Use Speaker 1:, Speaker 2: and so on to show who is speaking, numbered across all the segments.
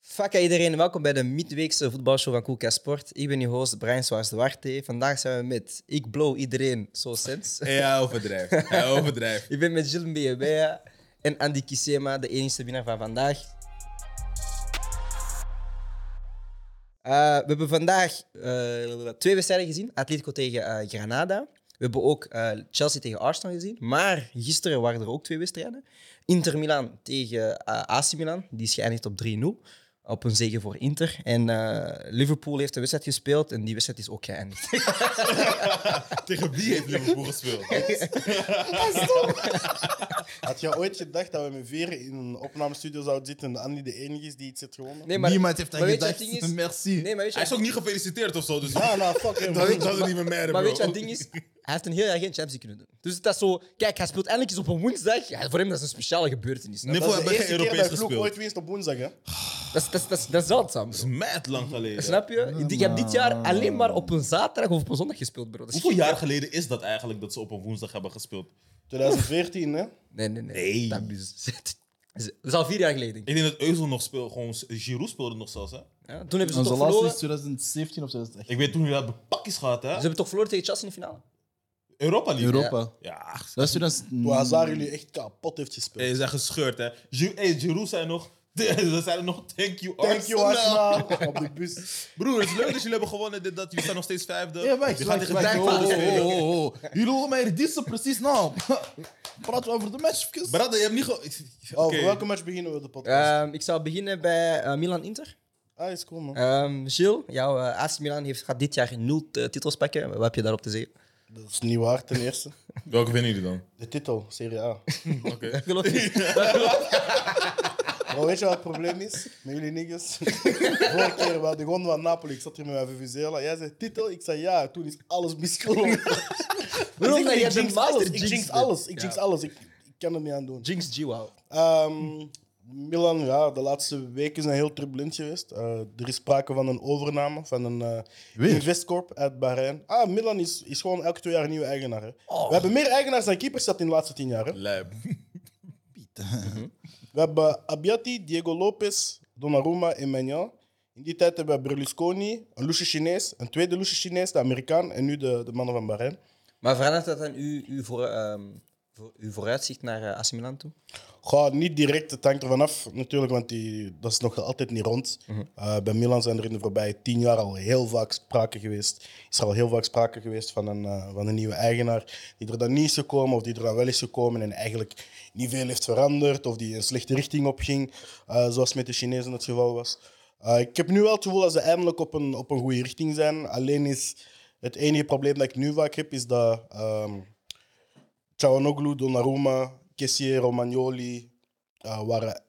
Speaker 1: Fakka iedereen, welkom bij de midweekse voetbalshow van Koelkast Sport. Ik ben je host Brian Swaars Duarte. Vandaag zijn we met Ik Blow Iedereen, zo sens.
Speaker 2: Ja, overdrijf. Ja, overdrijf.
Speaker 1: Ik ben met Gilles Mbeyebea en Andy Kisema, de enige winnaar van vandaag. Eh, we hebben vandaag eh, twee wedstrijden gezien. Atletico tegen eh, Granada. We hebben ook eh, Chelsea tegen Arsenal gezien. Maar gisteren waren er ook twee wedstrijden. Inter Milan tegen eh, AC Milan. Die is geëindigd op 3-0. Op een zege voor Inter. En eh, Liverpool heeft een wedstrijd gespeeld. En die wedstrijd is ook geëindigd.
Speaker 2: Tegen wie heeft Liverpool gespeeld?
Speaker 3: Had je ooit gedacht dat we met vier in een opnamestudio zouden zitten en Andy de enige is die iets heeft gewonnen?
Speaker 1: Nee,
Speaker 4: Niemand heeft dat
Speaker 1: maar weet je
Speaker 4: gedacht.
Speaker 1: wat het ding is?
Speaker 4: Merci.
Speaker 1: Nee, maar weet je
Speaker 2: Hij
Speaker 1: wat-
Speaker 2: is ook niet gefeliciteerd of zo, dus dat
Speaker 3: Ah, nou, fuck hem.
Speaker 2: dat doesn't even matter,
Speaker 1: Maar
Speaker 2: bro.
Speaker 1: weet je wat het ding is? Hij heeft een heel jaar geen Champions League kunnen doen. Dus dat is zo... Kijk, hij speelt eindelijk eens op een woensdag. Ja, voor hem dat is een speciale gebeurtenis. snap je?
Speaker 2: Niffel
Speaker 3: Dat is
Speaker 2: hebben
Speaker 3: de
Speaker 2: geen
Speaker 3: eerste keer
Speaker 2: Europees
Speaker 3: dat vloek
Speaker 2: gespeeld.
Speaker 3: ooit winst op woensdag, hè?
Speaker 1: Dat is, dat is, dat is, dat is zeldzaam, bro.
Speaker 2: Dat is mad lang geleden.
Speaker 1: Snap je? Ik heb dit jaar alleen maar op een zaterdag of op een zondag gespeeld, bro. Dat is
Speaker 2: Hoeveel
Speaker 1: gek.
Speaker 2: jaar geleden is dat eigenlijk dat ze op een woensdag hebben gespeeld?
Speaker 3: 2014, hè?
Speaker 1: Nee, nee, nee.
Speaker 2: Nee.
Speaker 1: Dat is, dat is al vier jaar geleden. denk ik.
Speaker 2: Ik denk dat Euzel nog speelde, gewoon Giroud speelde nog zelfs. Hè?
Speaker 1: Ja, toen hebben ze
Speaker 4: Onze
Speaker 1: Dus toch
Speaker 4: laatste
Speaker 1: verloren.
Speaker 4: is 2017 of 2018.
Speaker 2: Ik weet toen jullie dat pakjes gehad,
Speaker 1: Ze
Speaker 2: hè?
Speaker 1: hebben toch verloren tegen Chelsea in de finale?
Speaker 2: Europa League.
Speaker 4: Europa.
Speaker 2: Ja, ach,
Speaker 4: Dat is Mm. 2000.
Speaker 3: Waar Hazard jullie echt kapot heeft gespeeld.
Speaker 2: ze zijn gescheurd, hè? Giroud, hey, Giroud zei nog. Ze zeiden nog, thank you,
Speaker 3: Thank you,
Speaker 2: Arsenal.
Speaker 3: Arsenal. Op de bus.
Speaker 2: Broer, het is leuk dat jullie hebben gewonnen. Dit, dat, jullie staan nog steeds vijfde.
Speaker 4: Ja, wacht,
Speaker 2: We gaan
Speaker 4: wacht,
Speaker 2: tegen dus
Speaker 4: wacht.
Speaker 2: Duitsland
Speaker 4: Oh,
Speaker 2: spelen.
Speaker 4: oh, oh, oh. Jullie horen mij hier dissen precies nou. Praten we over de match even?
Speaker 2: Brada, je hebt niet ge...
Speaker 3: Oh,
Speaker 2: Oké.
Speaker 3: Over welke match beginnen we de podcast?
Speaker 1: Ehm, ik zou beginnen bij eh, Milan-Inter.
Speaker 3: ah, is cool, man.
Speaker 1: Ehm Gilles, jouw eh, AC Milan heeft, gaat dit jaar nul eh, titels pakken. Wat heb je daarop te zeggen?
Speaker 3: Dat is niet waar, ten eerste.
Speaker 2: Welke vinden jullie dan?
Speaker 3: De titel, Serie A.
Speaker 2: Oké.
Speaker 1: Dat geloof ik niet.
Speaker 3: Maar weet je wat het probleem is? Met jullie niggas. Vorige keer, we hadden gewonnen van Napoli. Ik zat hier met mijn Vuvuzela. Jij zei titel, ik zei ja. Toen is alles misgelopen.
Speaker 1: Waarom?
Speaker 3: Ik-
Speaker 1: Nou,
Speaker 3: ik
Speaker 1: jij bent
Speaker 3: jinx
Speaker 1: master
Speaker 3: alles. Ik
Speaker 1: jinx
Speaker 3: jinx
Speaker 1: bent.
Speaker 3: alles. Ik
Speaker 1: Ja.
Speaker 3: jinx alles. Ik ik kan er niet aan doen.
Speaker 1: Jinx G-Wow.
Speaker 3: Ehm, Milan, ja, de laatste weken zijn heel turbulent geweest. Eh, er is sprake van een overname van een eh
Speaker 4: Weer?
Speaker 3: investcorp uit Bahrein. Ah, Milan is, is gewoon elke twee jaar een nieuwe eigenaar. Hè. We hebben meer eigenaars dan keepers gehad in de laatste tien jaar. Hè.
Speaker 2: Lijp.
Speaker 3: We hebben Abbiati, Diego Lopez, Donnarumma en Magnan. In die tijd hebben we Berlusconi, een loesje Chinees, een tweede loesje Chinees, de Amerikaan en nu de, de mannen van Bahrein.
Speaker 1: Maar verandert dat dan uw, uw, voor, ehm, voor, uw vooruitzicht naar eh, AC Milan toe?
Speaker 3: Goh, niet direct, het hangt er vanaf natuurlijk, want die, dat is nog altijd niet rond. Eh, bij Milan zijn er in de voorbije tien jaar al heel vaak sprake geweest. Is er al heel vaak sprake geweest van een, eh, van een nieuwe eigenaar die er dan niet is gekomen of die er dan wel is gekomen en eigenlijk niet veel heeft veranderd of die een slechte richting opging, eh, zoals met de Chinezen het geval was. Eh, ik heb nu wel het gevoel dat ze eindelijk op een, op een goede richting zijn. Alleen is het enige probleem dat ik nu vaak heb, is dat... ehm, Chawanoglu, Donnarumma, Kessier, Romagnoli eh, waren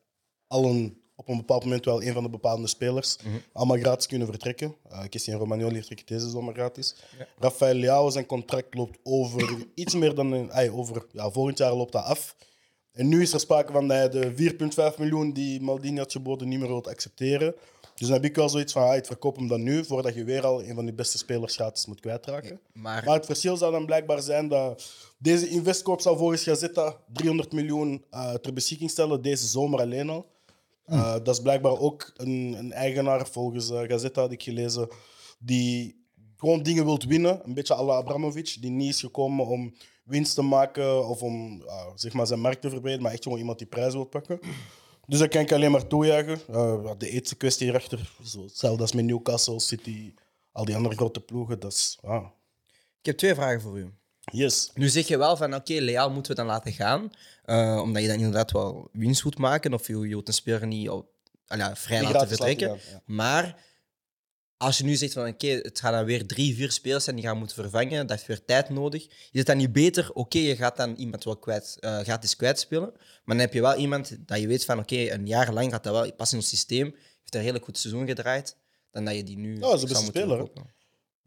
Speaker 3: allen op een bepaald moment wel een van de bepalende spelers. Allemaal gratis kunnen vertrekken. Eh Kessier en Romagnoli vertrekken deze zomer gratis. Rafael Leao, zijn contract loopt over iets meer dan... Een, ai, over, ja, volgend jaar loopt dat af. En nu is er sprake van dat hij de 4,5 miljoen die Maldini had geboden niet meer wilt accepteren. Dus dan heb ik wel zoiets van, ah, ik verkoop hem dan nu, voordat je weer al een van de beste spelers gratis moet kwijtraken.
Speaker 1: Maar,
Speaker 3: Maar het verschil zou dan blijkbaar zijn dat deze investkoop zou volgens Gazeta 300 miljoen eh, ter beschikking stellen, deze zomer alleen al. Eh, Dat is blijkbaar ook een, een eigenaar, volgens eh, Gazeta had ik gelezen, die gewoon dingen wilt winnen. Een beetje à la Abramovic, die niet is gekomen om winst te maken of om eh, zeg maar zijn markt te verbeteren, maar echt gewoon iemand die prijs wil pakken. Dus dat kan ik alleen maar toejuichen. Eh, de ethische kwestie hierachter, zo, hetzelfde als met Newcastle, City, al die andere grote ploegen, dat is... ah,
Speaker 1: ik heb twee vragen voor u.
Speaker 3: Yes.
Speaker 1: Nu zeg je wel van oké, Leao moeten we dan laten gaan. eh, omdat je dan inderdaad wel winst moet maken. Of je, je wilt een speler niet op, ah ja, vrij
Speaker 3: Niet
Speaker 1: laten
Speaker 3: gratis laten
Speaker 1: vertrekken.
Speaker 3: gaan,
Speaker 1: Maar als je nu zegt van oké, het gaan dan weer drie, vier spelers zijn die gaan moeten vervangen. Dat heeft weer tijd nodig. Is het dan niet beter? Oké, je gaat dan iemand wel kwijt, eh, gratis kwijtspelen. Maar dan heb je wel iemand dat je weet van oké, een jaar lang gaat dat wel pas in ons systeem. Heeft een redelijk goed seizoen gedraaid. Dan dat je die nu
Speaker 3: dat is
Speaker 1: zou
Speaker 3: de beste
Speaker 1: moeten
Speaker 3: speler, hè?
Speaker 1: verkopen.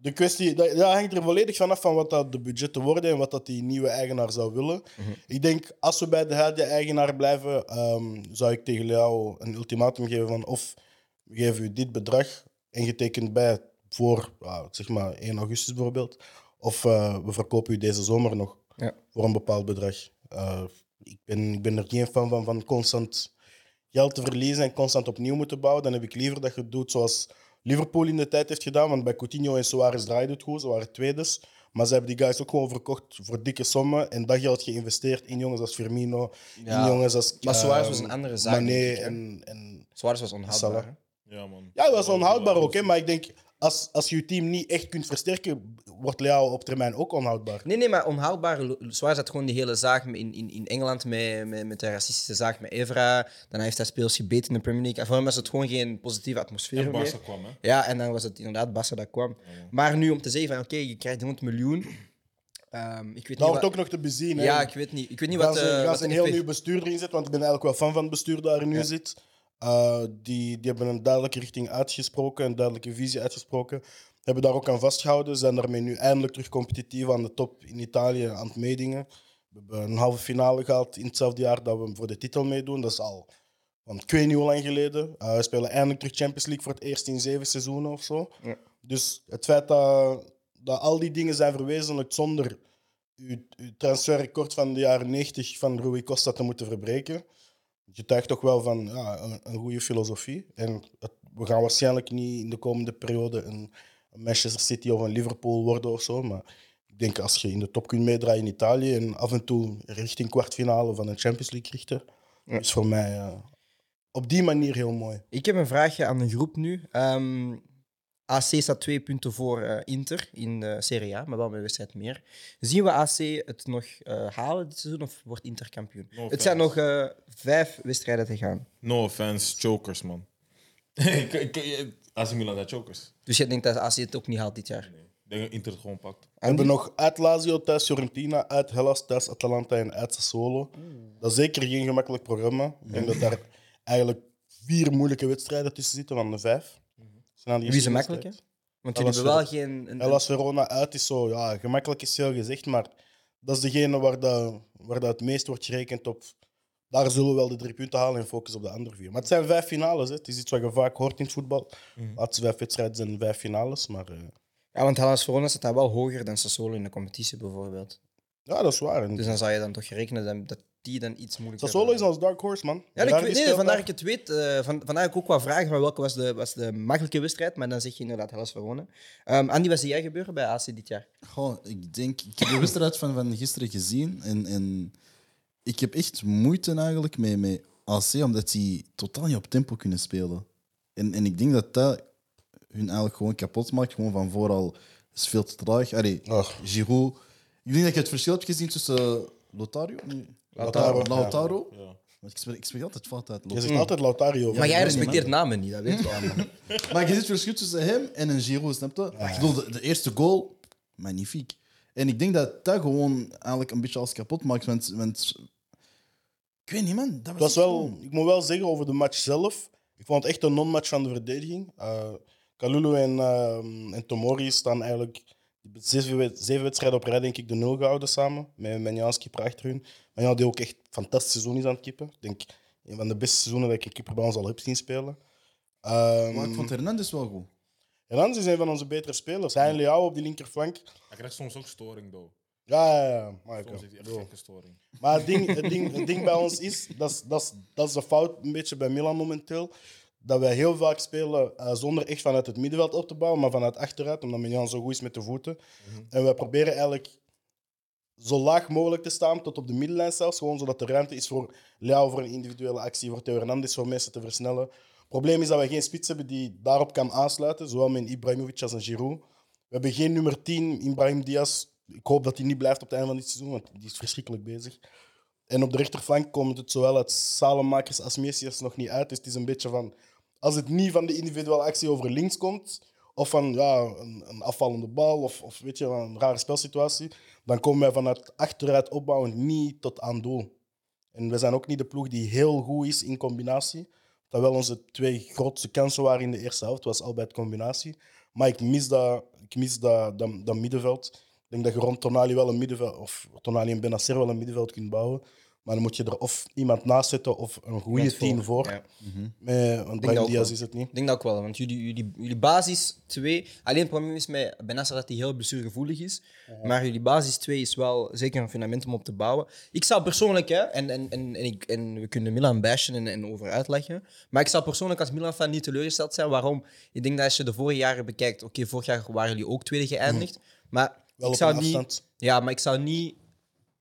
Speaker 3: De kwestie dat, dat hangt er volledig vanaf van wat dat de budgetten worden en wat dat die nieuwe eigenaar zou willen. Ik denk, als we bij de huidige eigenaar blijven, ehm, zou ik tegen jou een ultimatum geven van of we geven u dit bedrag en getekend bij voor ah, zeg maar 1 augustus bijvoorbeeld, of eh, we verkopen u deze zomer nog
Speaker 1: Ja.
Speaker 3: voor een bepaald bedrag. Eh, ik, ben, ik ben er geen fan van, van constant geld te verliezen en constant opnieuw moeten bouwen, dan heb ik liever dat je het doet zoals Liverpool in de tijd heeft gedaan. Want bij Coutinho en Suarez draaide het goed, ze waren tweeders. Maar ze hebben die guys ook gewoon verkocht voor dikke sommen en dat geld geïnvesteerd in jongens als Firmino,
Speaker 1: Ja.
Speaker 3: in jongens als...
Speaker 1: Maar Suarez was
Speaker 3: ehm,
Speaker 1: een andere zaak,
Speaker 3: Mané
Speaker 1: denk ik, hè?
Speaker 3: en... en
Speaker 1: Suarez was
Speaker 3: Salah.
Speaker 1: onhoudbaar. hè?
Speaker 2: Ja, man.
Speaker 3: ja, dat was onhoudbaar ook, hè? maar ik denk, als, als je je team niet echt kunt versterken, wordt Leao op termijn ook onhoudbaar.
Speaker 1: Nee, nee, maar onhoudbaar. Lo- Suarez had gewoon die hele zaak in, in, in Engeland met, met, met de racistische zaak met Evra. Dan heeft hij speels gebeten in de Premier League. En voor hem was het gewoon geen positieve atmosfeer
Speaker 2: En
Speaker 1: meer.
Speaker 2: Barca kwam, hè?
Speaker 1: Ja, en dan was het inderdaad Barca dat kwam. Maar nu om te zeggen van oké, je krijgt 100 miljoen. Ehm, ik weet niet
Speaker 3: Dat wordt
Speaker 1: wat...
Speaker 3: ook nog te bezien. hè.
Speaker 1: Ja, ik weet niet. Ik weet niet
Speaker 3: Gaan
Speaker 1: wat...
Speaker 3: ze,
Speaker 1: eh,
Speaker 3: gaan
Speaker 1: wat
Speaker 3: ze een
Speaker 1: de
Speaker 3: heel
Speaker 1: FP
Speaker 3: nieuw bestuur erin zetten, want ik ben eigenlijk wel fan van het bestuur dat er nu zit. Eh, die, die hebben een duidelijke richting uitgesproken, een duidelijke visie uitgesproken. Hebben daar ook aan vastgehouden, zijn daarmee nu eindelijk terug competitief aan de top in Italië aan het meedingen. We hebben een halve finale gehaald in hetzelfde jaar dat we voor de titel meedoen. Dat is al, want ik weet niet hoe lang geleden. Eh, we spelen eindelijk terug Champions League voor het eerst in zeven seizoenen of zo.
Speaker 1: Ja.
Speaker 3: Dus het feit dat, dat al die dingen zijn verwezenlijkt zonder uw, uw transferrecord van de jaren 90 van Rui Costa te moeten verbreken. getuigt toch wel van ja, een, een goede filosofie. En het- we gaan waarschijnlijk niet in de komende periode een, een Manchester City of een Liverpool worden of zo. Maar ik denk als je in de top kunt meedraaien in Italië en af en toe richting kwartfinale van een Champions League richten,
Speaker 1: Ja.
Speaker 3: is voor mij eh, op die manier heel mooi.
Speaker 1: Ik heb een vraagje aan de groep nu. Ehm, AC staat twee punten voor eh, Inter in de Serie A, maar wel met een wedstrijd meer. Zien we AC het nog eh, halen dit seizoen of wordt Inter kampioen?
Speaker 2: offense.
Speaker 1: het zijn nog eh, vijf wedstrijden te gaan.
Speaker 2: No offense, chokers, man. Ik- ik- AC Milan zijn chokers.
Speaker 1: Dus je denkt dat AC het ook niet haalt dit jaar?
Speaker 2: Ik denk dat Inter het gewoon pakt.
Speaker 3: We hebben nog uit Lazio thuis Fiorentina, uit Hellas thuis Atalanta en uit Sassuolo.
Speaker 1: Mm.
Speaker 3: Dat is zeker geen gemakkelijk programma. Ik denk dat daar eigenlijk vier moeilijke wedstrijden tussen zitten van de vijf.
Speaker 1: Wie is de makkelijke? Want jullie
Speaker 3: Hellas
Speaker 1: hebben wel geen... een-
Speaker 3: Hellas Verona uit is zo, ja, gemakkelijk is veel gezegd, maar dat is degene waar, dat waar dat het meest wordt gerekend op. Daar zullen we wel de drie punten halen en focus op de andere vier. Maar het zijn vijf finales, hè. het is iets wat je vaak hoort in het voetbal.
Speaker 1: Mm.
Speaker 3: Laatste vijf wedstrijden zijn vijf finales, maar eh,
Speaker 1: Ja, want Hellas Verona staat daar wel hoger dan Sassuolo in de competitie bijvoorbeeld.
Speaker 3: ja, dat is waar. En
Speaker 1: Dus dan zou je dan toch rekenen dat- dat die dan iets moeilijker...
Speaker 3: Sassuolo is
Speaker 1: hebben.
Speaker 3: ons dark horse, man.
Speaker 1: Ja, ik
Speaker 3: Berardi
Speaker 1: weet, nee,
Speaker 3: speelt
Speaker 1: vandaar
Speaker 3: daar.
Speaker 1: ik het weet. eh, van, vandaar ik ook wat vragen van welke was de, was de makkelijke wedstrijd. Maar dan zeg je inderdaad Hellas Verona. Ehm Andy, wat zie jij gebeuren bij AC dit jaar?
Speaker 4: Goh, ik denk, ik heb de wedstrijd van, van gisteren gezien en, en ik heb echt moeite eigenlijk met, met AC, omdat die totaal niet op tempo kunnen spelen. En, en ik denk dat dat hun eigenlijk gewoon kapot maakt, gewoon van vooral is veel te traag. Allee,
Speaker 3: Ach.
Speaker 4: Giroud. Ik denk dat je het verschil hebt gezien tussen Lotario? Nee.
Speaker 3: Lautaro.
Speaker 4: Lautaro.
Speaker 2: Ja.
Speaker 4: Want ik spreek, ik spreek altijd fout uit.
Speaker 3: Je
Speaker 4: Lautaro.
Speaker 3: zegt altijd Lautario.
Speaker 1: maar
Speaker 4: ik
Speaker 1: jij
Speaker 4: weet niet,
Speaker 1: respecteert namen niet, dat weet je wel. man.
Speaker 4: Maar je ziet het verschil tussen hem en een Giroud, snap je? Ik bedoel, de, de eerste goal, magnifiek. En ik denk dat dat gewoon eigenlijk een beetje alles kapot maakt. Want, want ik weet niet, man. Dat was,
Speaker 3: Het was
Speaker 4: echt
Speaker 3: wel,
Speaker 4: gewoon-
Speaker 3: ik moet wel zeggen over de match zelf. Ik vond het echt een non-match van de verdediging. Eh Kalulu en, ehm, en Tomori staan eigenlijk zeven, wed- zeven wedstrijden op rij, denk ik, de nul gehouden samen. Met Menjaans keeper achter hun. Menjaan die ook echt een fantastisch seizoen is aan het kippen. Ik denk een van de beste seizoenen dat ik een keeper bij ons al heb zien spelen. Ehm
Speaker 4: Maar ik vond Hernandez wel goed.
Speaker 3: Hernandez is een van onze betere spelers. Hij en Leao op die linkerflank.
Speaker 2: Hij krijgt soms ook storing, though.
Speaker 3: Ja, ja, ja. Maar,
Speaker 2: Soms heeft hij echt
Speaker 3: bro.
Speaker 2: gekke storing.
Speaker 3: Maar het ding, het ding, het ding bij ons is, dat is, dat, is, dat is de fout een beetje bij Milan momenteel, dat wij heel vaak spelen eh, zonder echt vanuit het middenveld op te bouwen, maar vanuit achteruit, omdat Milan zo goed is met de voeten. En wij proberen eigenlijk zo laag mogelijk te staan, tot op de middenlijn zelfs, gewoon zodat er ruimte is voor Leao voor een individuele actie, voor Theo Hernandez, voor mensen te versnellen. Het probleem is dat wij geen spits hebben die daarop kan aansluiten, zowel met Ibrahimovic als een Giroud. We hebben geen nummer 10, Ibrahim Diaz. Ik hoop dat hij niet blijft op het einde van dit seizoen, want die is verschrikkelijk bezig. En op de rechterflank komt het zowel uit Salemakers als Messias nog niet uit. Dus het is een beetje van... Als het niet van de individuele actie over links komt, of van ja, een, een afvallende bal, of, of weet je, een rare spelsituatie, dan komen wij vanuit achteruit opbouwend niet tot aan doel. En we zijn ook niet de ploeg die heel goed is in combinatie. Terwijl onze twee grootste kansen waren in de eerste helft, was al bij het combinatie. Maar ik mis dat, ik mis dat, dat, dat middenveld. Ik denk dat je rond Tonali wel een middenveld, of Tonali en Benacer wel een middenveld kunt bouwen. Maar dan moet je er of iemand naast zetten of een goede
Speaker 1: Iemand
Speaker 3: tien voor.
Speaker 1: Ja. Mhm.
Speaker 3: Met, want
Speaker 1: dat
Speaker 3: Brahim
Speaker 1: ook
Speaker 3: Diaz
Speaker 1: wel.
Speaker 3: is het niet.
Speaker 1: Ik denk dat ook wel, want jullie, jullie, jullie basis 2. Alleen het probleem is met Benassa dat hij heel blessuregevoelig is. Maar jullie basis 2 is wel zeker een fundament om op te bouwen. Ik zou persoonlijk, hè, en, en, en, en, ik, en we kunnen Milan bashen en, en over uitleggen. Maar ik zou persoonlijk als Milan-fan niet teleurgesteld zijn. Waarom? Ik denk dat als je de vorige jaren bekijkt. Oké, vorig jaar waren jullie ook tweede geëindigd. Maar
Speaker 3: Wel
Speaker 1: ik
Speaker 3: op
Speaker 1: zou
Speaker 3: een
Speaker 1: niet.
Speaker 3: afstand.
Speaker 1: Ja, maar ik zou niet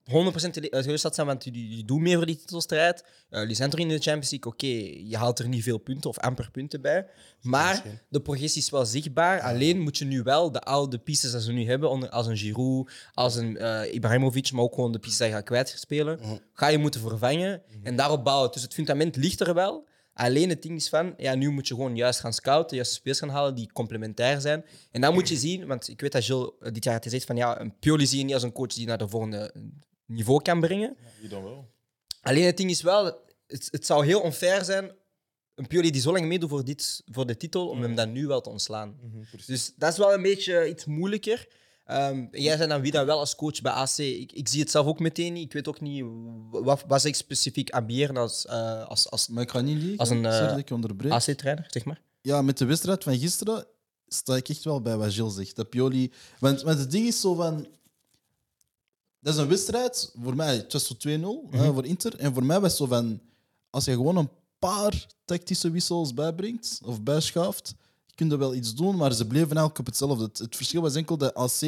Speaker 1: 100% tele- teleurgesteld zijn, want jullie, jullie doen meer voor die titelstrijd. Eh jullie zijn er in de Champions League, oké, je haalt er niet veel punten of amper punten bij. Maar de progressie is wel zichtbaar. Alleen moet je nu wel de oude pieces die ze nu hebben, onder- als een Giroud, als een eh Ibrahimovic, maar ook gewoon de pieces die je gaat kwijtspelen,
Speaker 3: Mhm.
Speaker 1: ga je moeten vervangen en daarop bouwen. Dus het fundament ligt er wel. Alleen het ding is van, ja, nu moet je gewoon juist gaan scouten, juist spelers gaan halen die complementair zijn. En dan moet je zien, want ik weet dat Gilles eh, dit jaar had gezegd van, ja, een Pioli zie je niet als een coach die je naar de volgende eh, niveau kan brengen.
Speaker 2: Die dan wel.
Speaker 1: Alleen het ding is wel, het, het zou heel onfair zijn, een Pioli die zo lang meedoet voor, dit, voor de titel, om hem dan nu wel te ontslaan. Dus dat is wel een beetje iets moeilijker. Ehm, jij zei dan wie dan wel als coach bij AC. Ik, ik zie het zelf ook meteen niet. Ik weet ook niet wa- wat, wat ik specifiek ambiëren als, eh, als, als
Speaker 4: Maar ik ga niet liegen.
Speaker 1: Als een, eh,
Speaker 4: Sorry dat ik je onderbreek.
Speaker 1: AC-trainer, zeg maar.
Speaker 4: Ja, met de wedstrijd van gisteren sta ik echt wel bij wat Gilles zegt. Dat Pioli... Want, want het ding is zo van... Dat is een wedstrijd. Voor mij, het was zo 2-0 hè, voor Inter. En voor mij was het zo van... Als je gewoon een paar tactische wissels bijbrengt of bijschaft, kun je wel iets doen, maar ze bleven eigenlijk op hetzelfde. Het, het verschil was enkel dat AC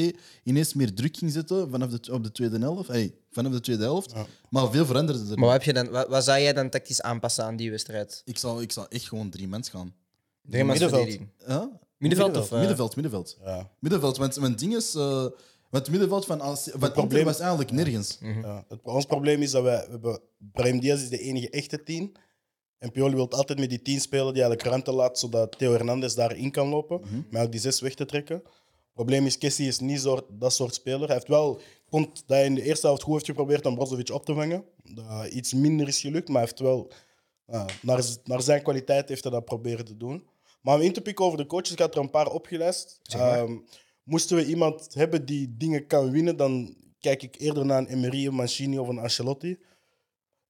Speaker 4: ineens meer druk ging zetten vanaf de, op de tweede helft. Hey, vanaf de tweede helft. Maar veel veranderde er niet.
Speaker 1: Maar wat, heb je dan, wat, wat zou jij dan tactisch aanpassen aan die wedstrijd?
Speaker 4: Ik zou, ik zou echt gewoon drie mensen gaan.
Speaker 3: Middenveld.
Speaker 1: Middenveld,
Speaker 4: Huh?
Speaker 1: middenveld of... eh,
Speaker 4: Middenveld, middenveld.
Speaker 3: Ja.
Speaker 4: Middenveld, want mijn ding is. eh want het middenveld van AC, van Inter
Speaker 3: probleem- Mhm.
Speaker 4: was eigenlijk nergens.
Speaker 3: Ja. Het, ons probleem is dat wij, we hebben, Brahim Diaz is de enige echte tien. En Pioli wil altijd met die tien spelen die eigenlijk ruimte laat, zodat Theo Hernandez daarin kan lopen, maar ook die zes weg te trekken. Het probleem is, Kessie is niet zo, dat soort speler. Hij heeft wel, ik vond dat hij in de eerste helft goed heeft geprobeerd om Brozovic op te vangen. Dat iets minder is gelukt, maar hij heeft wel, ja, naar, z- naar zijn kwaliteit heeft hij dat proberen te doen. Maar om in te pikken over de coaches, ik had er een paar opgelijst. Ehm, moesten we iemand hebben die dingen kan winnen, dan kijk ik eerder naar een Emery, een Mancini of een Ancelotti.